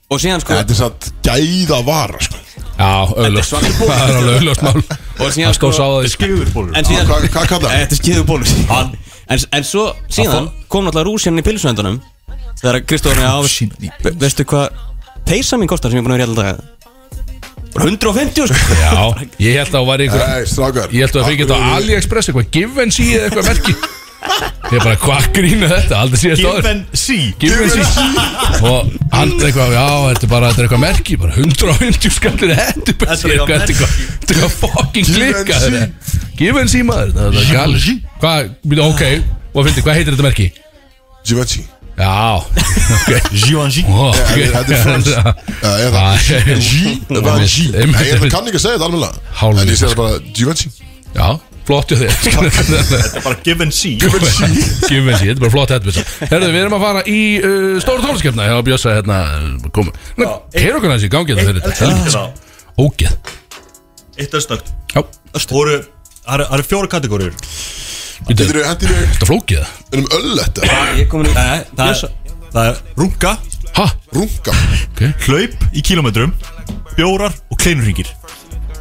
C: Og síðan sko
A: Þetta er satt gæða vara sko.
B: já, auðlöst
C: svartur ból.
B: Það er alveg auðlöst mál
C: Og
B: Hann
C: síðan sko-
B: stóð sá það í
D: Skifurból
C: En síðan
A: Hvað hva kallar það?
C: Þetta er skeiðu bólur en, en svo síðan kom náttúrulega rúsinn í pilsvendunum Þegar Kristófur á Ve- Veistu hvað peysa mín kostar sem ég er búin að vera í alltaf Bara 150 sko
B: Já, ég held að það var einhver
A: Nei, strákar
B: Ég held að það fengi þetta á
A: Akkur-
B: AliExpress Eitthvað Givenchy eða eitthvað merki Ég bara, hvað grínu þetta? Aldrei síðast áður
D: Given C
B: Givenchy [LAUGHS] Og hann eitthvað, já, þetta er bara Þetta er eitthvað merki, bara 150 skallir Hendupessi,
D: Þetta er
B: eitthvað,
D: eitthvað
B: þetta er eitthvað Þetta er eitthvað fucking klikka
A: Givenchy.
B: Givenchy maður, það er galið Hvað, ok, og fyndi, hvað heitir þetta merki?
A: Givenchy
B: Já,
A: [LAUGHS]
D: Givenchy
B: Ó, ok
A: Þetta er
B: [LAUGHS]
A: frans Eða
B: Ah,
A: Givenchy Givenchy Nei,
B: Einmitt,
A: Ég
B: einmitt.
A: kann ekki að segja þetta alveg
B: Hálfur.
A: En ég segja það bara Givenchy
B: Já, flott hjá
A: [LAUGHS]
B: þér
D: Þetta er bara given C
B: Givenchy, þetta er bara flott headbissa Herðu, við erum að fara í uh, stóru tónskefna Hjá Bjössa hérna komu Heyrðu okkur næst í gangi þetta fyrir þetta helvítið.
D: Helvita
B: Ógeð
D: Eitt er snögt
B: Já,
D: Voru Það eru- það eru fjóra kategóriur
B: þetta
A: Getur
B: er
A: þau hendið við
B: flókið það.
A: um öll þetta
C: [LAUGHS] Ég kom inn í
D: Það er Það er runga
B: Ha,
A: Runga
D: Hlaup í kilometrum Bjórar og kleinurringir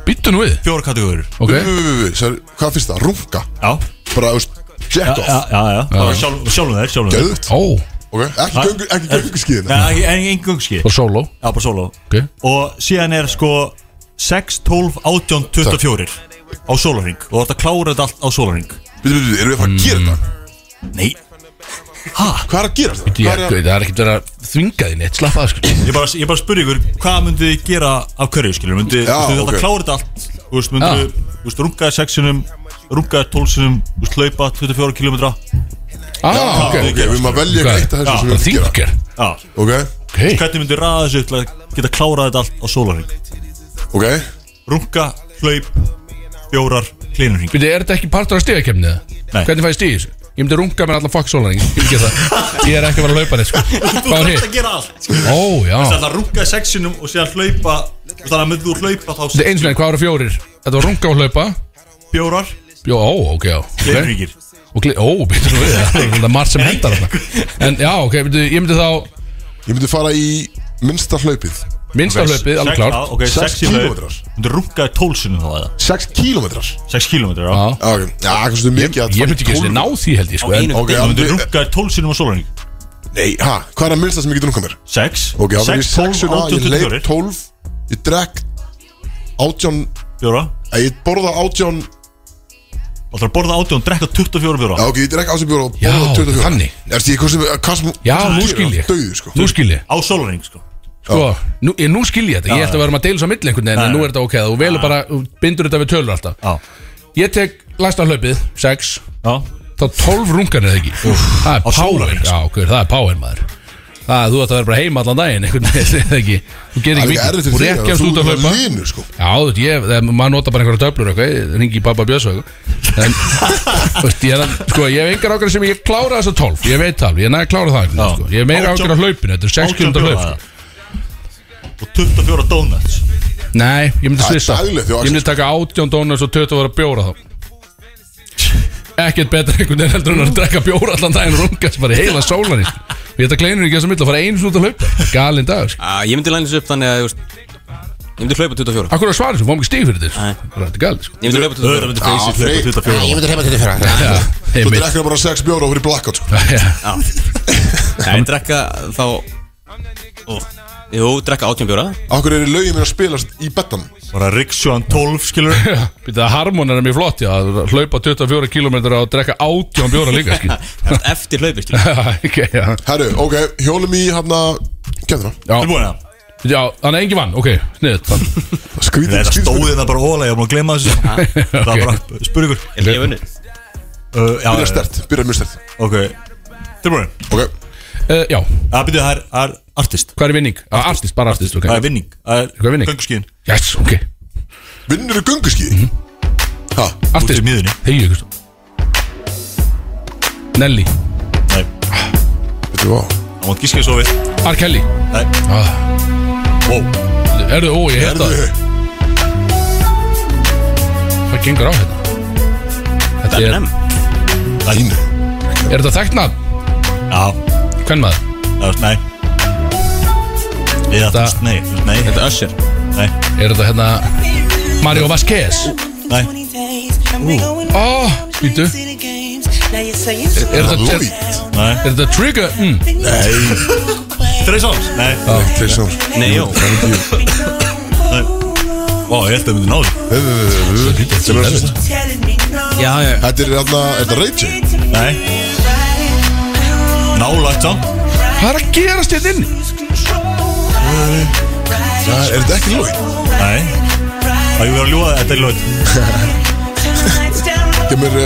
B: býttu nú við
D: Fjóra kategóriur
B: Ok,
A: Við, við, við, við, sagði- Hvað fyrst það? Runga
D: Já
A: Bara, þú veist, jack
D: Já,
A: off
D: já, já Bara sjálf- Sjálfum þeir Sjálfum þeir
A: Gæðut
B: ó,
A: Ok, ekki göngu, ekki göngu skíðina
D: Nei, en engin gungski
B: og solo
D: Já, bara solo
B: Ok,
D: Og síðan er sko 6, 12, 18, 24 Á sólarring Og þú ert að klára þetta allt á sólarring
A: Við, við, við, erum við að fara að
B: Mm.
A: gera þetta?
D: Nei
A: Hvað er að gera þetta?
B: ég,
A: Hvað er að
B: það er ekkert verið að þvinga þín eitt Slappa það sko
D: Ég bara, ég bara spurði ykkur, hvað myndið þið gera af hverju, skilur? Myndið
A: Já,
D: þið
A: ok.
D: þetta klára þetta allt? Þú veist, myndið
B: Já.
D: þið, þú veist, rungaði sexinum, rungaði tólsinum, þú veist, hlaupa 24 km Já,
B: Ah, ok,
A: Ok, við maður velja
B: Hvað?
A: eitthvað eitt af þessu sem við erum
B: Það
A: að gera
B: þingar
A: Ok,
B: Ok,
D: hvernig myndið þið ræða þessu til að geta klára þetta allt á sólarring?
A: ok
D: Runga, hlaup, bjórar, kleinurring
B: Býtu, er þetta ekki partur af stíðakefnið?
D: Nei.
B: Hvernig fæ ég stíð í þessu? Ég myndi runga mér allan fuck sólaring Ég get það. Ég er ekki að vera að laupa neitt sko
D: Þú
B: Hvað var
D: þarf
B: hitt?
D: að gera allt skilur.
B: Ó, já
D: Það er að rungaði sexinum og síðan hlaupa og Þannig að myndið þú hlaupa
B: Þetta er
D: þá
B: eins og enn, hvað eru fjórir? Þetta var runga og hlaupa
D: bjórar,
B: Jó, ó, ok, já okay.
D: kleinurringir
B: Og gli, ó, býtu svo við Það er svona margt sem hendar þarna En já, ok, býtu, ég myndi þá
A: Ég myndi fara í minnsta hlaupið
B: Minnsta hlaupið, alveg
D: Sex-
B: klárt
D: já, Ok,
A: Sex
D: 6 km
A: kílómetrar.
D: Þú rungaði tólsinum þá eða
A: 6 kílómetrar
D: 6 km, já
B: Já.
A: Já, ok Já, hvað sem mikið að
B: Ég myndi ekki að ná því held ég sko en,
A: Ok,
D: Það myndir
A: alveg
D: rungaði 12 sinum á sólarning
A: Nei, hæ, hvað er að minnsta sem ég getur nokkuð mér?
D: 6
A: Ok, það verður
D: 6,
A: í 6-una, ég
D: 18,
A: leip
D: 24
A: 12 Ég drekk 18
D: Fjóra
A: eh, Ég borða 18
D: Það þarf að borða átjón, drekka 24 bjóra
A: Já, ok, ég drekka ásum bjóra og
D: Já,
A: borða 24
B: þannig.
A: Er þetta eitthvað sem, eh, hvað sem
B: Já, nú skil ég
A: Dauðu, sko
B: Nú skil ég
D: Á sólaring, sko
B: Sko, nú, ég, nú skil ég þetta
D: Já,
B: Ég ætti að
D: já.
B: vera maður að deila svo milli einhvern veginn En
D: Nei,
B: nú
D: nei.
B: er þetta ok Þú velur bara, þú bindur þetta við tölur alltaf já. Ég tek læsta hlaupið, 6
D: já.
B: Þá 12 rungar er það ekki Það er power,
A: sko.
D: sólarhring,
B: já, hver, það er power maður Það er, þú ætti að vera bara heima allan daginn Einhvern veginn, [LAUGHS] er það ekki Þú gerir
A: Það er ekki
B: ekki
A: erfitt fyrir
B: mikið Þú
A: þig,
B: rekkjast
A: þú
B: út að
A: ert
B: hlaupa
A: linur, sko.
B: Já, þú veit, ég, þegar maður nota bara einhverja töflur og eitthvað Ringi í pappa Björns og eitthvað En, þú veist, ég, er að- sko, ég hef engar ágjörð sem ég klára þessa 12 Ég veit það, alveg, ég næði að klára það einhvern veginn, sko. Ég hef meira
D: Átján-
B: ágjörð af hlaupinu, þetta er 6
D: átján
B: km hlaup
D: bjóra,
B: sko.
D: Og 24 donuts
B: Nei, ég myndi
A: Það er
B: svissa
A: daglegt, já,
B: Ég myndi taka 18 donuts og 20 ára bjóra þá Ekkert betra einhvern veginn heldur en að drekka bjóra allan daginn og rungast bara í heila sólan í Við þetta kleinur ekki þessum mill að fara einu snútt að hlaupa Galin dag, sko
C: Á, Ah, Ég myndi læna þessu upp þannig að þú veist, Ég myndi hlaupa 24
B: Akkur að svara þessu, fáum ekki stíg fyrir þessu Það er þetta galið, sko
C: Ég myndi hlaupa 24
D: myndi feysi
A: Freyr.
D: hlupa 24
O: myndi reyna þetta fyrir
B: Já,
A: Þú
B: heimill.
A: drekkar bara 6 bjóra og fyrir blackout, sko
B: Já,
C: Nei, ég drekka þá Ó, Jú, drekka 18 bjóra
A: Akkur eru lögin mér að spilast í betan
D: Bara Riksjón 12, skilur
B: býta það harmonar er mér flott, já að Hlaupa 24 km og drekka 18 bjóra líka, skil
C: Eftir hlaupi, skilur
B: [LAUGHS] Ok, já
A: Herru, ok, hjólum í hérna, hafna Kjöndina
D: Þú
B: Já,
D: búin að
B: já þannig að engin vann, ok, sniðið
A: Skrítið,
D: Þetta
A: skrítið
D: stóði þetta hérna bara ólega, ég var búin að gleyma þessu Það
B: [LAUGHS]
D: var bara, spur ykkur
C: Ég hef unnið
D: Uh, já,
A: Byrjar stert, byrjar mjög stert
D: Ok, tilbúin
A: Ok,
B: uh, Já, hvað
D: Það byrjuð, það er- það er artist
B: er vinning? Ah, Artist, bara artist, ok
D: Það er vinning Það
B: Hvað er vinning?
D: Gönguskíðin
B: Yes, ok
A: vinnur í
B: Mhm.
A: gönguskíði Ha,
B: Artist
D: Út í miðjunni.
B: Þegi ykkur Nelly
D: Nei,
A: veitum við á
D: það mátt gíska svo við
B: R. Kelly
D: Nei,
B: ah,
D: wow
B: Erðu, ó, ég hef það
A: Herru,
B: Hvað gengur á hérna? Þetta er,
C: Eminem
A: þín
B: er þetta þekkt nafn?
D: Já,
B: Hvern maður?
D: það var, nei Eða, þú
B: Þetta-
D: veist, nei, þú veist, nei
C: Þetta er Usher
D: Nei,
B: Er þetta hérna Mario Vasquez?
D: nei,
B: Ó, býtu Ah, Er þetta er,
D: nei
B: er þetta Trigger? Mm.
D: Trey Sons, nei
A: Þeir sjóns
C: Nei, jó
D: Ó, ég held að myndi náðu
A: Sem er að sýst
H: Já, já
A: Þetta er hérna, er þetta Rage?
D: Nei Nálægt sá
B: Hvað er að gerast hérna inn?
A: Er þetta ekki Lloyd?
D: Nei Það er verið að ljúga þetta er ljóð
A: Kemur uh,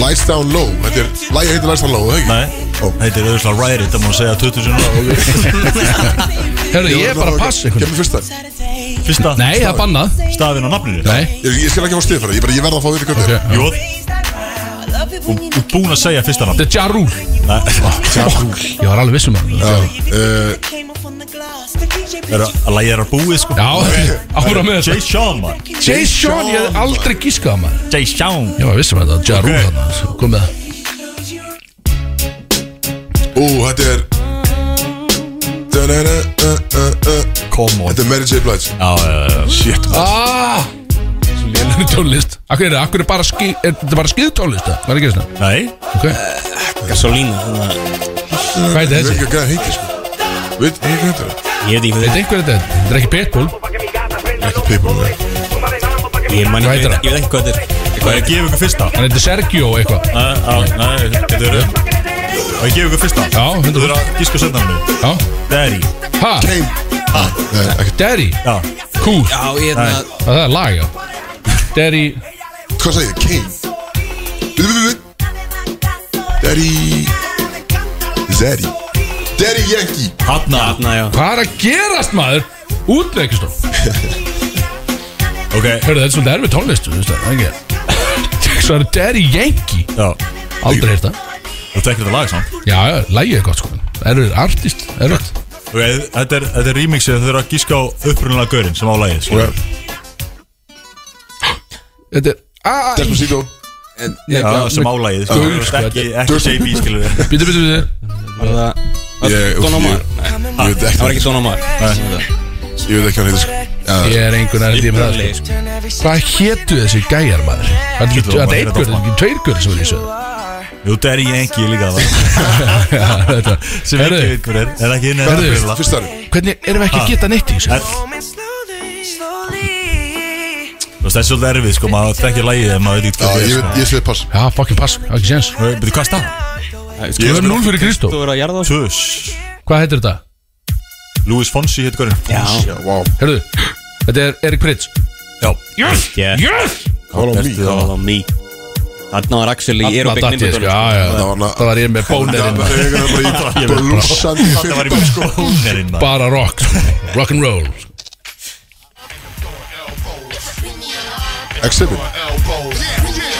A: Lights Down Low Þetta er, lægi heitir Lights Down Low, það ekki?
D: Nei Þetta er auðvitað ræri Þetta má segja 20 sinna
B: Herðu, ég er bara að passa einhvern
A: Kemur fyrst það
D: Fyrsta
B: Nei, það er bannað
D: Stafin á nafninu
B: Nei
A: Ég, ég skal ekki fá stið fyrir það, ég, bara- ég verð að fá þetta hvernig okay.
D: Jóð Þú þú ert búin að segja fyrsta nafn
B: Þetta er Ja Rule
D: Nei [LAUGHS]
B: Ég var alveg vissum að það
A: uh,
D: Er að að lægja er að búið sko
B: Já, [LAUGHS] ára með
D: Jay
B: þetta
D: Sean man
B: Jay Sean, ég hef aldrei gískað að maður
D: Jay Sean
B: Ég var vissum að þetta Ja Rule
D: Ok.
B: þarna sko. Kom með það
A: Ú, þetta er Da-da-da, uh, uh, uh.
D: Come on
A: Þetta er Mary J. Blige
D: Já, já, já, já.
A: Shit
B: Ah, Svo lélæri tónlist Akkur er það, akkur er bara ský Er þetta bara skýðtónlist það? Var ekki þessna?
D: Nei
B: Ok,
C: Gasolina þannig að-
B: hvað er
A: Ég veit
B: þessi?
A: ekki að gæða heiti sko Veit, ég veit þetta
C: Ég veit ekki hvað
B: Þetta er
C: þetta
B: einhver þetta er Þetta er ekki Pitbull
A: Ekki people nei.
C: er Ég man
B: Hvað heitir
C: ekki,
B: hann?
C: ég veit ekki hvað þetta er
D: Hvað er að gefa ykkur fyrsta?
B: Hann heitir Sergio eitthvað
D: Nei, á, nei, þetta er auðvitað Að gefa ykkur fyrsta
B: Já,
D: Þú
B: 100%.
D: verður að gíska setna hann
B: Já
D: Daddy
B: Ha,
A: Name Ah, Nei, ekki
B: Derry
D: Já
B: Cool
C: Já, ég er
D: Nei.
C: það
B: Það er lag, já Derry
A: Hvað segir, Kane Við, við, við Daddy Zaddy Daddy Yankee
D: Hanna
C: Þarna, já
B: Hvað er að gerast, maður? Út með ekki stóð
D: Ok
B: Hörðu, þetta er svolítið erfið tónlist Þú veist það, það er ekki [LAUGHS] Svo er Derry Yankee
D: Já
B: Aldrei heyrt það
D: Þú tekur þetta lag samt
B: Já, já, lagið er gott sko Erfið, artist, erfið
D: Ok, þetta er, þetta er remixið Þau eru að gíska á upprunalega gaurinn sem á lagið sko.
A: Ok.
B: Þetta er Ah,
A: Despacito
D: Já, sem á lagið sko.
B: Gaur, sko,
D: Ekki, ekki JB skilur við
B: Býtu, býtu, býtu
C: Var
A: Ég-
C: það Don Omar
A: Ég
C: Nei,
A: veit
C: það var
A: ekki
C: ekki Don Omar
A: Ég veit ekki hvað hann heitir sko Já,
B: Ég er einhvern veginn tíma það sko. Hvað hétu þessi gæjar maður? Það er ekki-
D: Getur þú
B: það er
D: bara
B: einhver,
D: heyra
B: það er ekki tveir gör sem er í þessu
D: [LAUGHS] Jú, þetta er ég engi líka það
B: Þetta-
D: Sem
B: Heyrðu,
D: ekki veit hver er Er það ekki inn
B: Herðu,
D: eða
A: Fyrst það
B: Hvernig erum við ekki að geta neitt í þessu?
D: Þú veist, það er svolítið erfið sko, maður þekkir lægið en maður veit ekki
A: Ah,
D: hvað
B: Já, ég-
D: sko.
B: ég
A: sveit pass
B: Já, fucking pass, það er ekki séns
D: Byrju, hvað er stað?
B: Ég er 0 fyrir Kristó
D: Þú
C: verður að jarða
D: Tjus
B: Hvað heitir þetta?
D: Louis Fonsi heitir hverjum
B: Já, wow Herðu, þetta er Erik Pritz
D: Já
B: Yes,
D: Yeah.
B: yes
C: Call on me Call on me Þarna var Axel í
B: Þarna
C: Aerobic
B: datt ég, sko,
C: Nimbus
B: já, já. Það var ég með bónerinn
A: Það er bara í
B: Ég
A: bara sko.
B: veit bara-
A: blúsandi
B: Þetta var í
D: sko. bónerinn
B: Bara rock, sko. rock and roll
A: Exhibit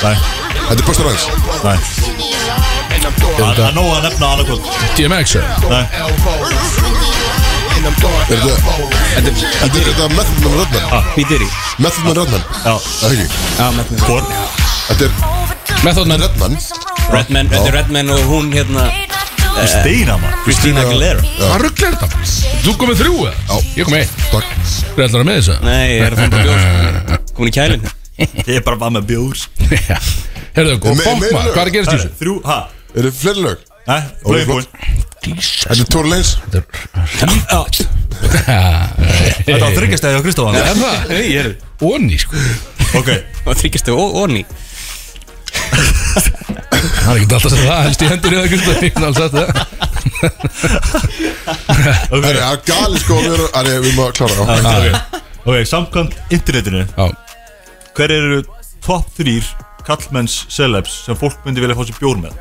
D: Nei
A: Þetta er Busta Rhymes
D: Nei
A: þetta-
D: Það er nóg að nefna annað hvort
B: DMX
D: Nei
A: Er þetta Þetta er þetta Method Man
C: Ah.
A: Redman
C: Píteri
A: Method Man Redman
D: Já
A: Það ekki
C: Já, Method Man
D: Hvor?
A: Þetta er
B: Method
A: Man Redman
C: Redman, þetta er Redman og hún hérna eh,
D: Christina, man.
C: Christina Aguilera
B: Hvað rugglar þetta? Þú komið þrjú eða? Já Ég kom eitt
A: Takk
B: Þú ætlar að með þess að?
C: Nei, ég er að fara bara bjór Komin í kælin
D: Ég er bara bara með bjór
B: [LAUGHS] Já Herðu, og
A: Me- meira
B: fólk maður,
A: lög.
B: hvað er að gerast í þessu?
D: Þrjú, ha?
A: Er þetta fleiri lög?
D: Nei, blöðin búinn
A: Þetta er Tory Lanez
D: Þetta var þryggjastæði á Kristofan
B: Er það?
C: Nei, ég er
B: Onni, sko
D: Ok,
C: Það þykist þau onni
B: Það er ekki alltaf sem það helst í hendur eða Kristó Ég er alls að það
A: Það er það er gali sko að vera Það er við maður klára á
D: ok, ok, samkvæmt internetinu
B: Já.
D: Hver eru top 3 kallmenns celebs sem fólk myndi vilja fá sér bjór með?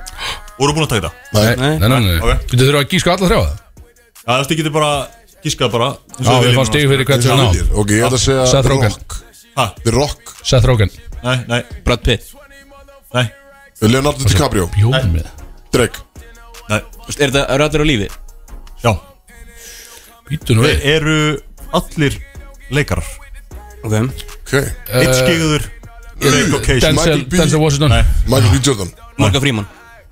D: Voru búin að taka það?
A: Nei,
C: Nei.
B: Nei, nei, nei
D: Ok.
B: Þú þurfa að gíska alla þrjá það?
D: Já, þú veist, ég geti bara gískað bara eins
B: Já,
D: og þið
B: við
D: viljið
B: fannst stig fyrir hvert sem
A: Það er
B: við náðum.
A: það Ok, ég ætla að segja
B: Seth Rogen.
A: Rock
D: Ha?
A: The Rock
B: Seth Rogen
D: Nei, nei,
C: Brad Pitt Þú
D: nei,
A: Leonardo DiCaprio
B: Bjóðum við
A: Drake
D: nei,
C: veist, Er þetta rættur á lífi?
D: já
B: Býtu nú við
D: Eru allir leikarar?
C: Ok
A: Ok
B: Eh,
D: Eitt skegður, leik og case
B: Denzel,
A: Michael B.
B: Denzel Washington
D: Nei.
A: Michael B. Jordan
C: Morgan Freeman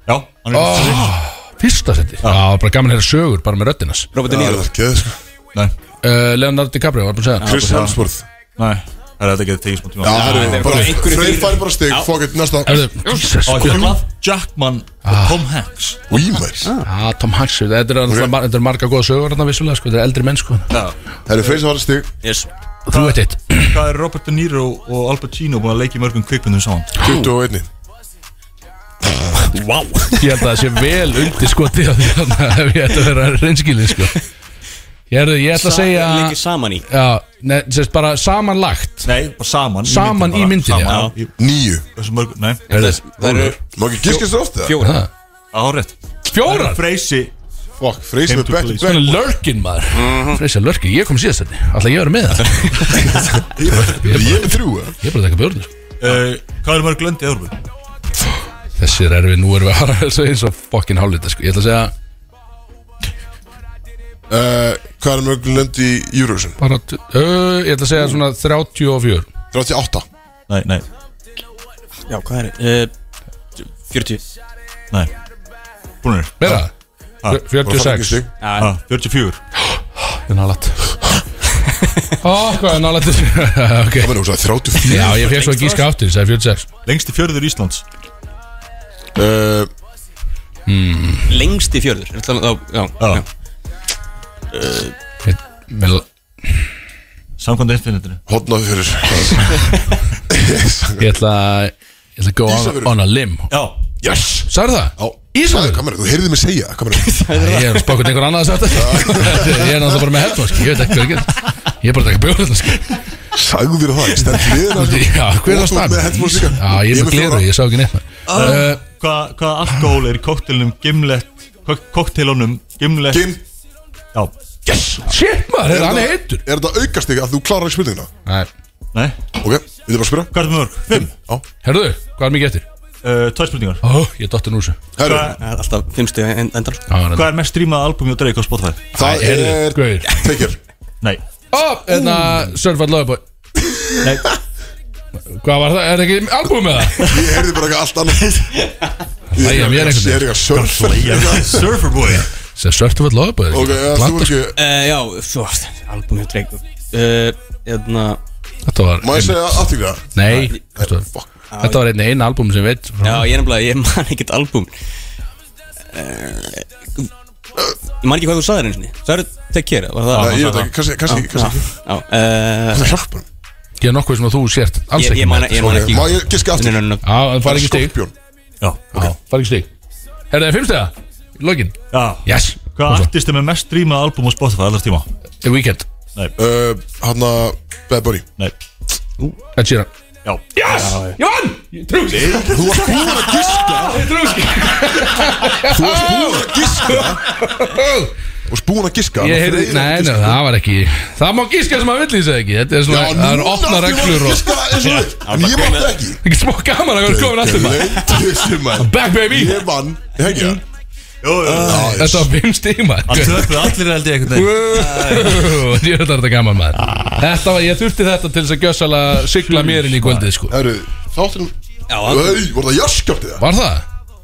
D: Já, hann er
B: Ah.
D: oh.
B: Fyrsta seti Já, það var bara gaman að heyra sögur Bara með röddinas
C: Robert De
A: Það er
C: Niro
A: það geð sko
D: Nei,
B: uh, Leonardo DiCaprio var búin að segja það.
A: Chris Hemsworth
D: nei, það er þetta getið tekið smá tíma
A: Já, það er
C: þetta er
A: bara
C: bara einhverju
A: Freyr
C: fyrir-
A: fær bara stig Fuck it, næsta
B: Herðu, Jesus
D: Og
B: guð.
D: Hugh Jackman
B: Ah.
D: og Tom Hanks
A: Weimar
B: Já, Tom Hanks Þetta eru okay. mar, þetta eru marga góða sögur Þetta vissulega sko Þetta er eldri menn sko
A: Það er Freyr sem fær stig
C: Yes
B: Þú veit eitt
D: Hvað er Robert De Niro og Al Pacino búin að leika í mörgum kvikmyndum saman?
A: 21
D: Vá wow.
B: Ég held að það sé vel undir sko Því að þannig að ef ég ætti að vera reynskilin sko Ég, er, ég ætla að segja
C: Leikir saman í
B: Já, neð, sérst bara samanlagt
D: Nei, bara saman
B: Saman í myndinni,
D: bara.
B: já.
D: Saman
A: 9
D: í þessu mörgum, nei
B: Herðu,
C: Það eru
A: Má ekki giskast það ofta
C: fjóra
B: það.
D: Árétt
B: Fjórar
D: Freysi
A: Fuck, Freyr sem
D: Came
A: er
D: to
A: back to
D: place.
A: back
B: Svona lörkin maður Freysa lörkin Ég kom síðast þetta Alltaf ég verið með það
A: Er ég með þrjú? eða?
B: Ég er bara að taka björnir sko
D: uh, Hvað eru mörg lönd í Európu?
B: Þessi er erfið Nú erum við að hara þessu eins og fokkin hálita sko Ég ætla að segja
A: Eh, Hvað er mörg lönd í Eurovision?
B: bara t- ö, Ég ætla að segja svona 34
A: 38
D: Nei, nei,
C: Já, hvað er það? 40
D: nei Búinir
B: Meira
D: Ah.
B: Fjö- 46
A: stig
D: ah, 44
B: Það er nálægt Ó, hvað er nálægt þessu? [LAUGHS] Ok
A: Það verður húsað 34
B: Já, ég fekk svo að gíska áttir, sagði 46
D: Lengsti fjörður Íslands
A: Eh,
C: Lengst í fjörður Er það- þá- Já,
D: Já.
C: já
B: Ég- mér l-
D: Samkvæmt internetinu
A: Horn á fyrir
B: Ég ætla að Ég ætla að go on,
A: Ísafjörður.
B: on a limb
D: Já
A: Yes
B: Sagði það?
A: Já
B: Ísafjörður?
A: Kamera, þú heyrðið mig segja Kamera
B: Ég er spákvæmt einhver annað að segja [LAUGHS] þetta Ég er náttúrulega bara með hefnum, sko Ég veit ekki hvað ég get Ég er bara að taka bjóður þetta, sko
A: Sagðu þér það, ég stend við það
B: [LAUGHS] Já, hver
A: Og
B: er það
A: þú
B: stað?
A: með headphones líka.
B: Já, ég er með gleru, ég sá ekki neitt uh,
D: Hvað hva alkohól er í koktelunum Gimlet Koktelunum Gimlet
A: Gim,
D: Já
B: Shit, maður, er hann
A: það-
B: heitur?
A: er þetta aukast ekki að þú klarar ekki spurningina?
B: Nei
D: Nei
A: Ok, við erum bara að spyrja
D: Hvað er það mörg? Fimm
A: Já,
B: Herðu, hvað er mikið eftir?
D: uh, Tvær spurningar
B: Ó, ég er dottin úr þessu
A: herru,
D: Hvað-
C: Það er alltaf fimmstu endar
B: Já, hann er-
D: Hvað er mest strímað albumi og dreik á Spotify?
A: það
B: Herðu,
A: er
B: gauður
A: Take care
D: Nei
B: Ó, hérna, enna, Surfat Loveboy
D: Nei
B: Hvað var það? Er það ekki albúm með það?
A: Ég heyrði bara eitthvað allt annað
B: Æ, ég er einhvern
A: Ég er
B: veginn
A: eitthvað surfer
B: [LAUGHS]
D: Surferboy
B: Sem Surfat Loveboy
A: Ok, ja, þú er
B: Glata,
A: ekki
C: Eh, Já, svo Albumið dreik Eh, Þannig að
B: Þetta var
A: Má ég segja aðtíkla?
B: Nei Þetta var-
A: Fuck
B: þetta var einni eina albúm sem ég veit
C: Já, ég er nefnilega, ég man ekkert albúm Eh, Ég man ekki hvað þú sagðir eins og niður Sagður Take Care, var það Ah,
A: Nei, ég veit ekki, kannski, kannski, kannski
C: Já, eh,
A: Það er hjálpar
B: Ég er nokkuð sem að þú sért alls
C: Ég-
B: ekki
C: ég man-
B: með.
C: ég man ekki. Má ég
A: giska aftur?
B: Já, það fari ekki stig
A: Skorpjón
O: Já,
B: ok, fari ekki stig Er það fimmstega? Lokin?
O: Já
B: Yes
O: Hvað artist er með mest streamað album á Spotify allars tíma?
B: The Weeknd
O: Nei
A: uh, Hanna Bad Bunny
O: Nei
B: Ed Sheeran
O: Já
B: Yes! Ég vann! Ég trúst
A: Þú varst búin að giska
B: Ég trúst
A: Þú varst búin að giska Þú varst búin að giska
B: Ég heyrði, nei, nei, það var ekki Það má gíska sem að villi þess ekki Þetta er svona,
A: Já,
B: það er
A: núna
B: opna
A: allt í lagi
B: reglur og
A: giska eins og við. En ég mátti ekki.
B: Ekki smá gaman að vera komin aftur maður
A: maður
B: Back baby
A: Ég vann, hegja
B: Þetta var fimm stig maður
P: Allt tökum, allir held ég einhvern
B: Wow, [LAUGHS] Ég veit að þetta er gaman maður Þetta var, ég þurfti þetta til þess að gjössala sigla mér inn í kvöldið sko
A: Herru, þátturinn Þau, voru það jarskjöldið
B: Var það?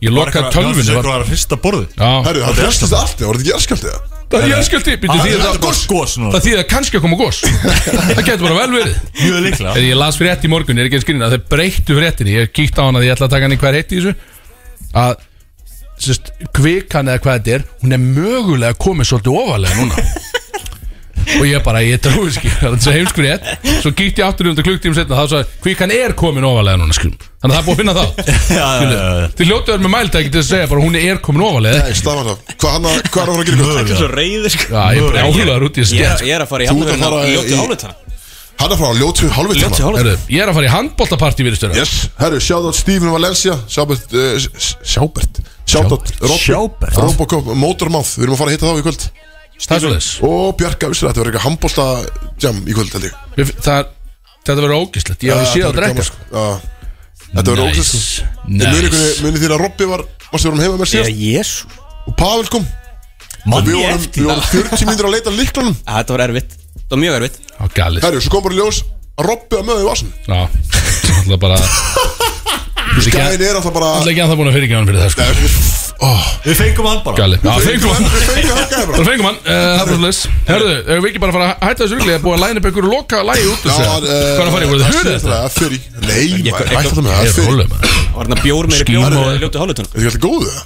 B: Ég lokaði tölvunni
O: Það
B: var-
O: var að fyrsta Ah, borði
A: Herru, það restist allt, það voru ekki jarskjöldið
B: Það er jarðskjálfti, býttu, þýðir það-
D: Ah.
B: Það þýðir að kannski að koma gos Það getur bara vel verið
O: Mjög líklega.
B: Þegar ég las frétt í morgun, ég er ekki að skrýna Þeir breyttu fréttinni, ég kíkti á hana Því ég ætla að taka hann í hver heitti í þessu Að sérst, kvikan eða hvað þetta er Hún er mögulega komið svolítið ofalega núna Og ég bara, ég trúi ekki Það er þessi heimsfrétt Svo kíkti ég aftur um þetta klukktíum setna Það sagði, kvikan er komin ofalega núna skrum Þannig að það er búið að finna þá Þið hljóttu verður með mæltæki til að segja bara Hún er komin ofalega
A: Nei, stafan það Hvað hann að, hvað er að fara að gera
C: Það er svo reyður sko
B: Já, ég er bara áhugaður út í þessu
C: Ég er-
B: sko.
C: Ég er að fara í hérna handverðin á ljóttu hálfutan
A: Hann er frá ljótu hálfvitana
C: Ljótu hálfutan
B: Herru, Ég er að fara í handbóltapartí við störu
A: Yes, herru, sjáðátt Stephen Valencia Sjábert, uh, sjábert Sjáðátt
P: Sjábert.
A: Robocop Motormouth Við erum að fara að hitta þá í kvöld
B: Það er svoleiðis.
A: Og Bjarka Ísra, þetta verður eitthvað handbólta jam í kvöld held ég
B: Mér fin- Það er Þetta verður ógislegt, ég hef
A: Ja,
B: séð
A: þetta
B: að
A: verður
B: drekka
A: gaman, sko. Já. Þetta verður sko.
B: Nice.
A: ógæst
B: Nice.
A: Ég muni þér að Robby var Varstu vorum heima með sér
C: jésu
A: Og Pavel kom
C: Man,
A: Og við
C: ég
A: vorum,
C: eftir
A: við
C: það.
A: vorum 40 mínútur að leita að líklanum
C: Þetta var erfitt Það var mjög erfitt
B: Á galið
A: Herru, svo kom bara í ljós að Robby var með í vasan
B: Já, alltaf
A: [LAUGHS]
B: bara
A: Skæðin er alltaf bara
B: Alltaf ekki að það búin að fyrirgefa hann fyrir það sko
O: Við fengum hann bara
B: Galið, já fengum hann
A: Við fengum hann gæði bara
B: Það fengum hann, eh, það er svolítið Herðu, ef við ekki bara fara að hætta þessu rugli Það er búið að læna upp einhverju loka lægi út
A: Já,
B: þessu
A: eh,
B: Hvað er að fara í, voru þið hörðu þetta?
A: Það er fyrir Nei, maður, hætti það með það
B: Ég
A: er
B: er
A: fyrir
B: rólega maður
C: Það var hérna bjór meiri
B: Skíma
C: bjór
B: og-
C: í ljóttu hálfutan
A: Er þið alltaf góðu það?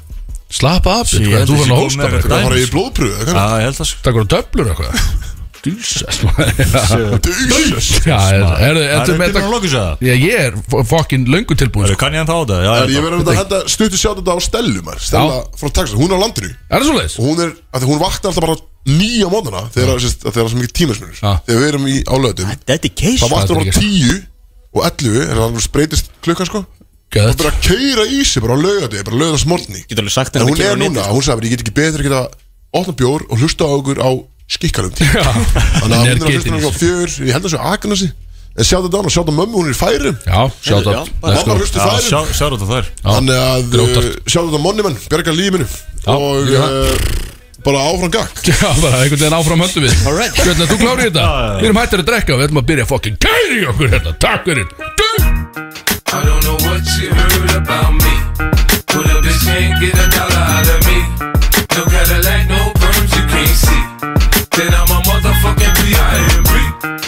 B: Slappa af, sko, þú fann að hósta
A: Það er
B: bara
A: bara í blóðpröðu
O: Já,
B: Ah.
A: Það
O: ég held að sko
B: Takk voru töflur eitthvað Jesus maður
O: [LAUGHS]
A: Jesus
B: Já, herðu,
O: Það
B: þetta
O: er
B: er með
O: byrjun að loka sér það
B: Já, ég er fokkin löngu tilbúin
O: Eru,
B: sko.
O: Kann ég hann þá á þetta? Já,
A: Herru, Ég
O: held að.
A: verður að henda stuttu sjátt þetta á Stellu maður Stella frá Texas, hún er á landinu
B: Er það svolítið?
A: Og hún er, að hún vaknar alltaf bara nýja móðana
B: Ah.
A: Þegar að- sérst, að þegar það er svo mikið tímasmunur
B: Já.
A: Þegar við erum í álöðum
C: Dedication
A: Það vaknar
B: Það
A: bara
B: er Ah. ekki.
A: tíu og ellu Þegar það breytist klukkan sko Það
B: Gött
A: byrja að keira í sig bara á lögati Bara lögðan smortni
C: Getur alveg sagt
A: En hún
C: henni að kemur
A: er
C: á netið,
A: núna,
C: sko.
A: hún sagði bara, Ég get ekki betur að geta opna bjór og hlusta á okkur á skikkarum tíu Þannig að
B: Hún
A: hún
B: er
A: er að
B: geitin
A: hlusta
B: í
A: á okkur á fjör Ég held að þessu Agnesi En sjátt þetta á hana, sjátt á mömmu, hún er í færum
B: Já, sjátt
C: já,
B: að
C: bara-
A: Mamma hlusta í
O: Já,
A: færum
O: sjá- sjáðu þetta þær
A: Þannig að uh,
B: Grjótart.
A: sjálf þetta monni menn, bjarga lífinu Og
B: líka
A: uh, bara áfram gakk
B: [LAUGHS] Já, bara einhvern veginn áfram höndum við Hvernig að þú klárir þetta? Við erum hættir að drekka Við ætlum að byrja að fokkin kæri í okkur hérna Takk fyrir
P: I don't know what you heard about me Pull up this chain, get a dollar out of me No Cadillac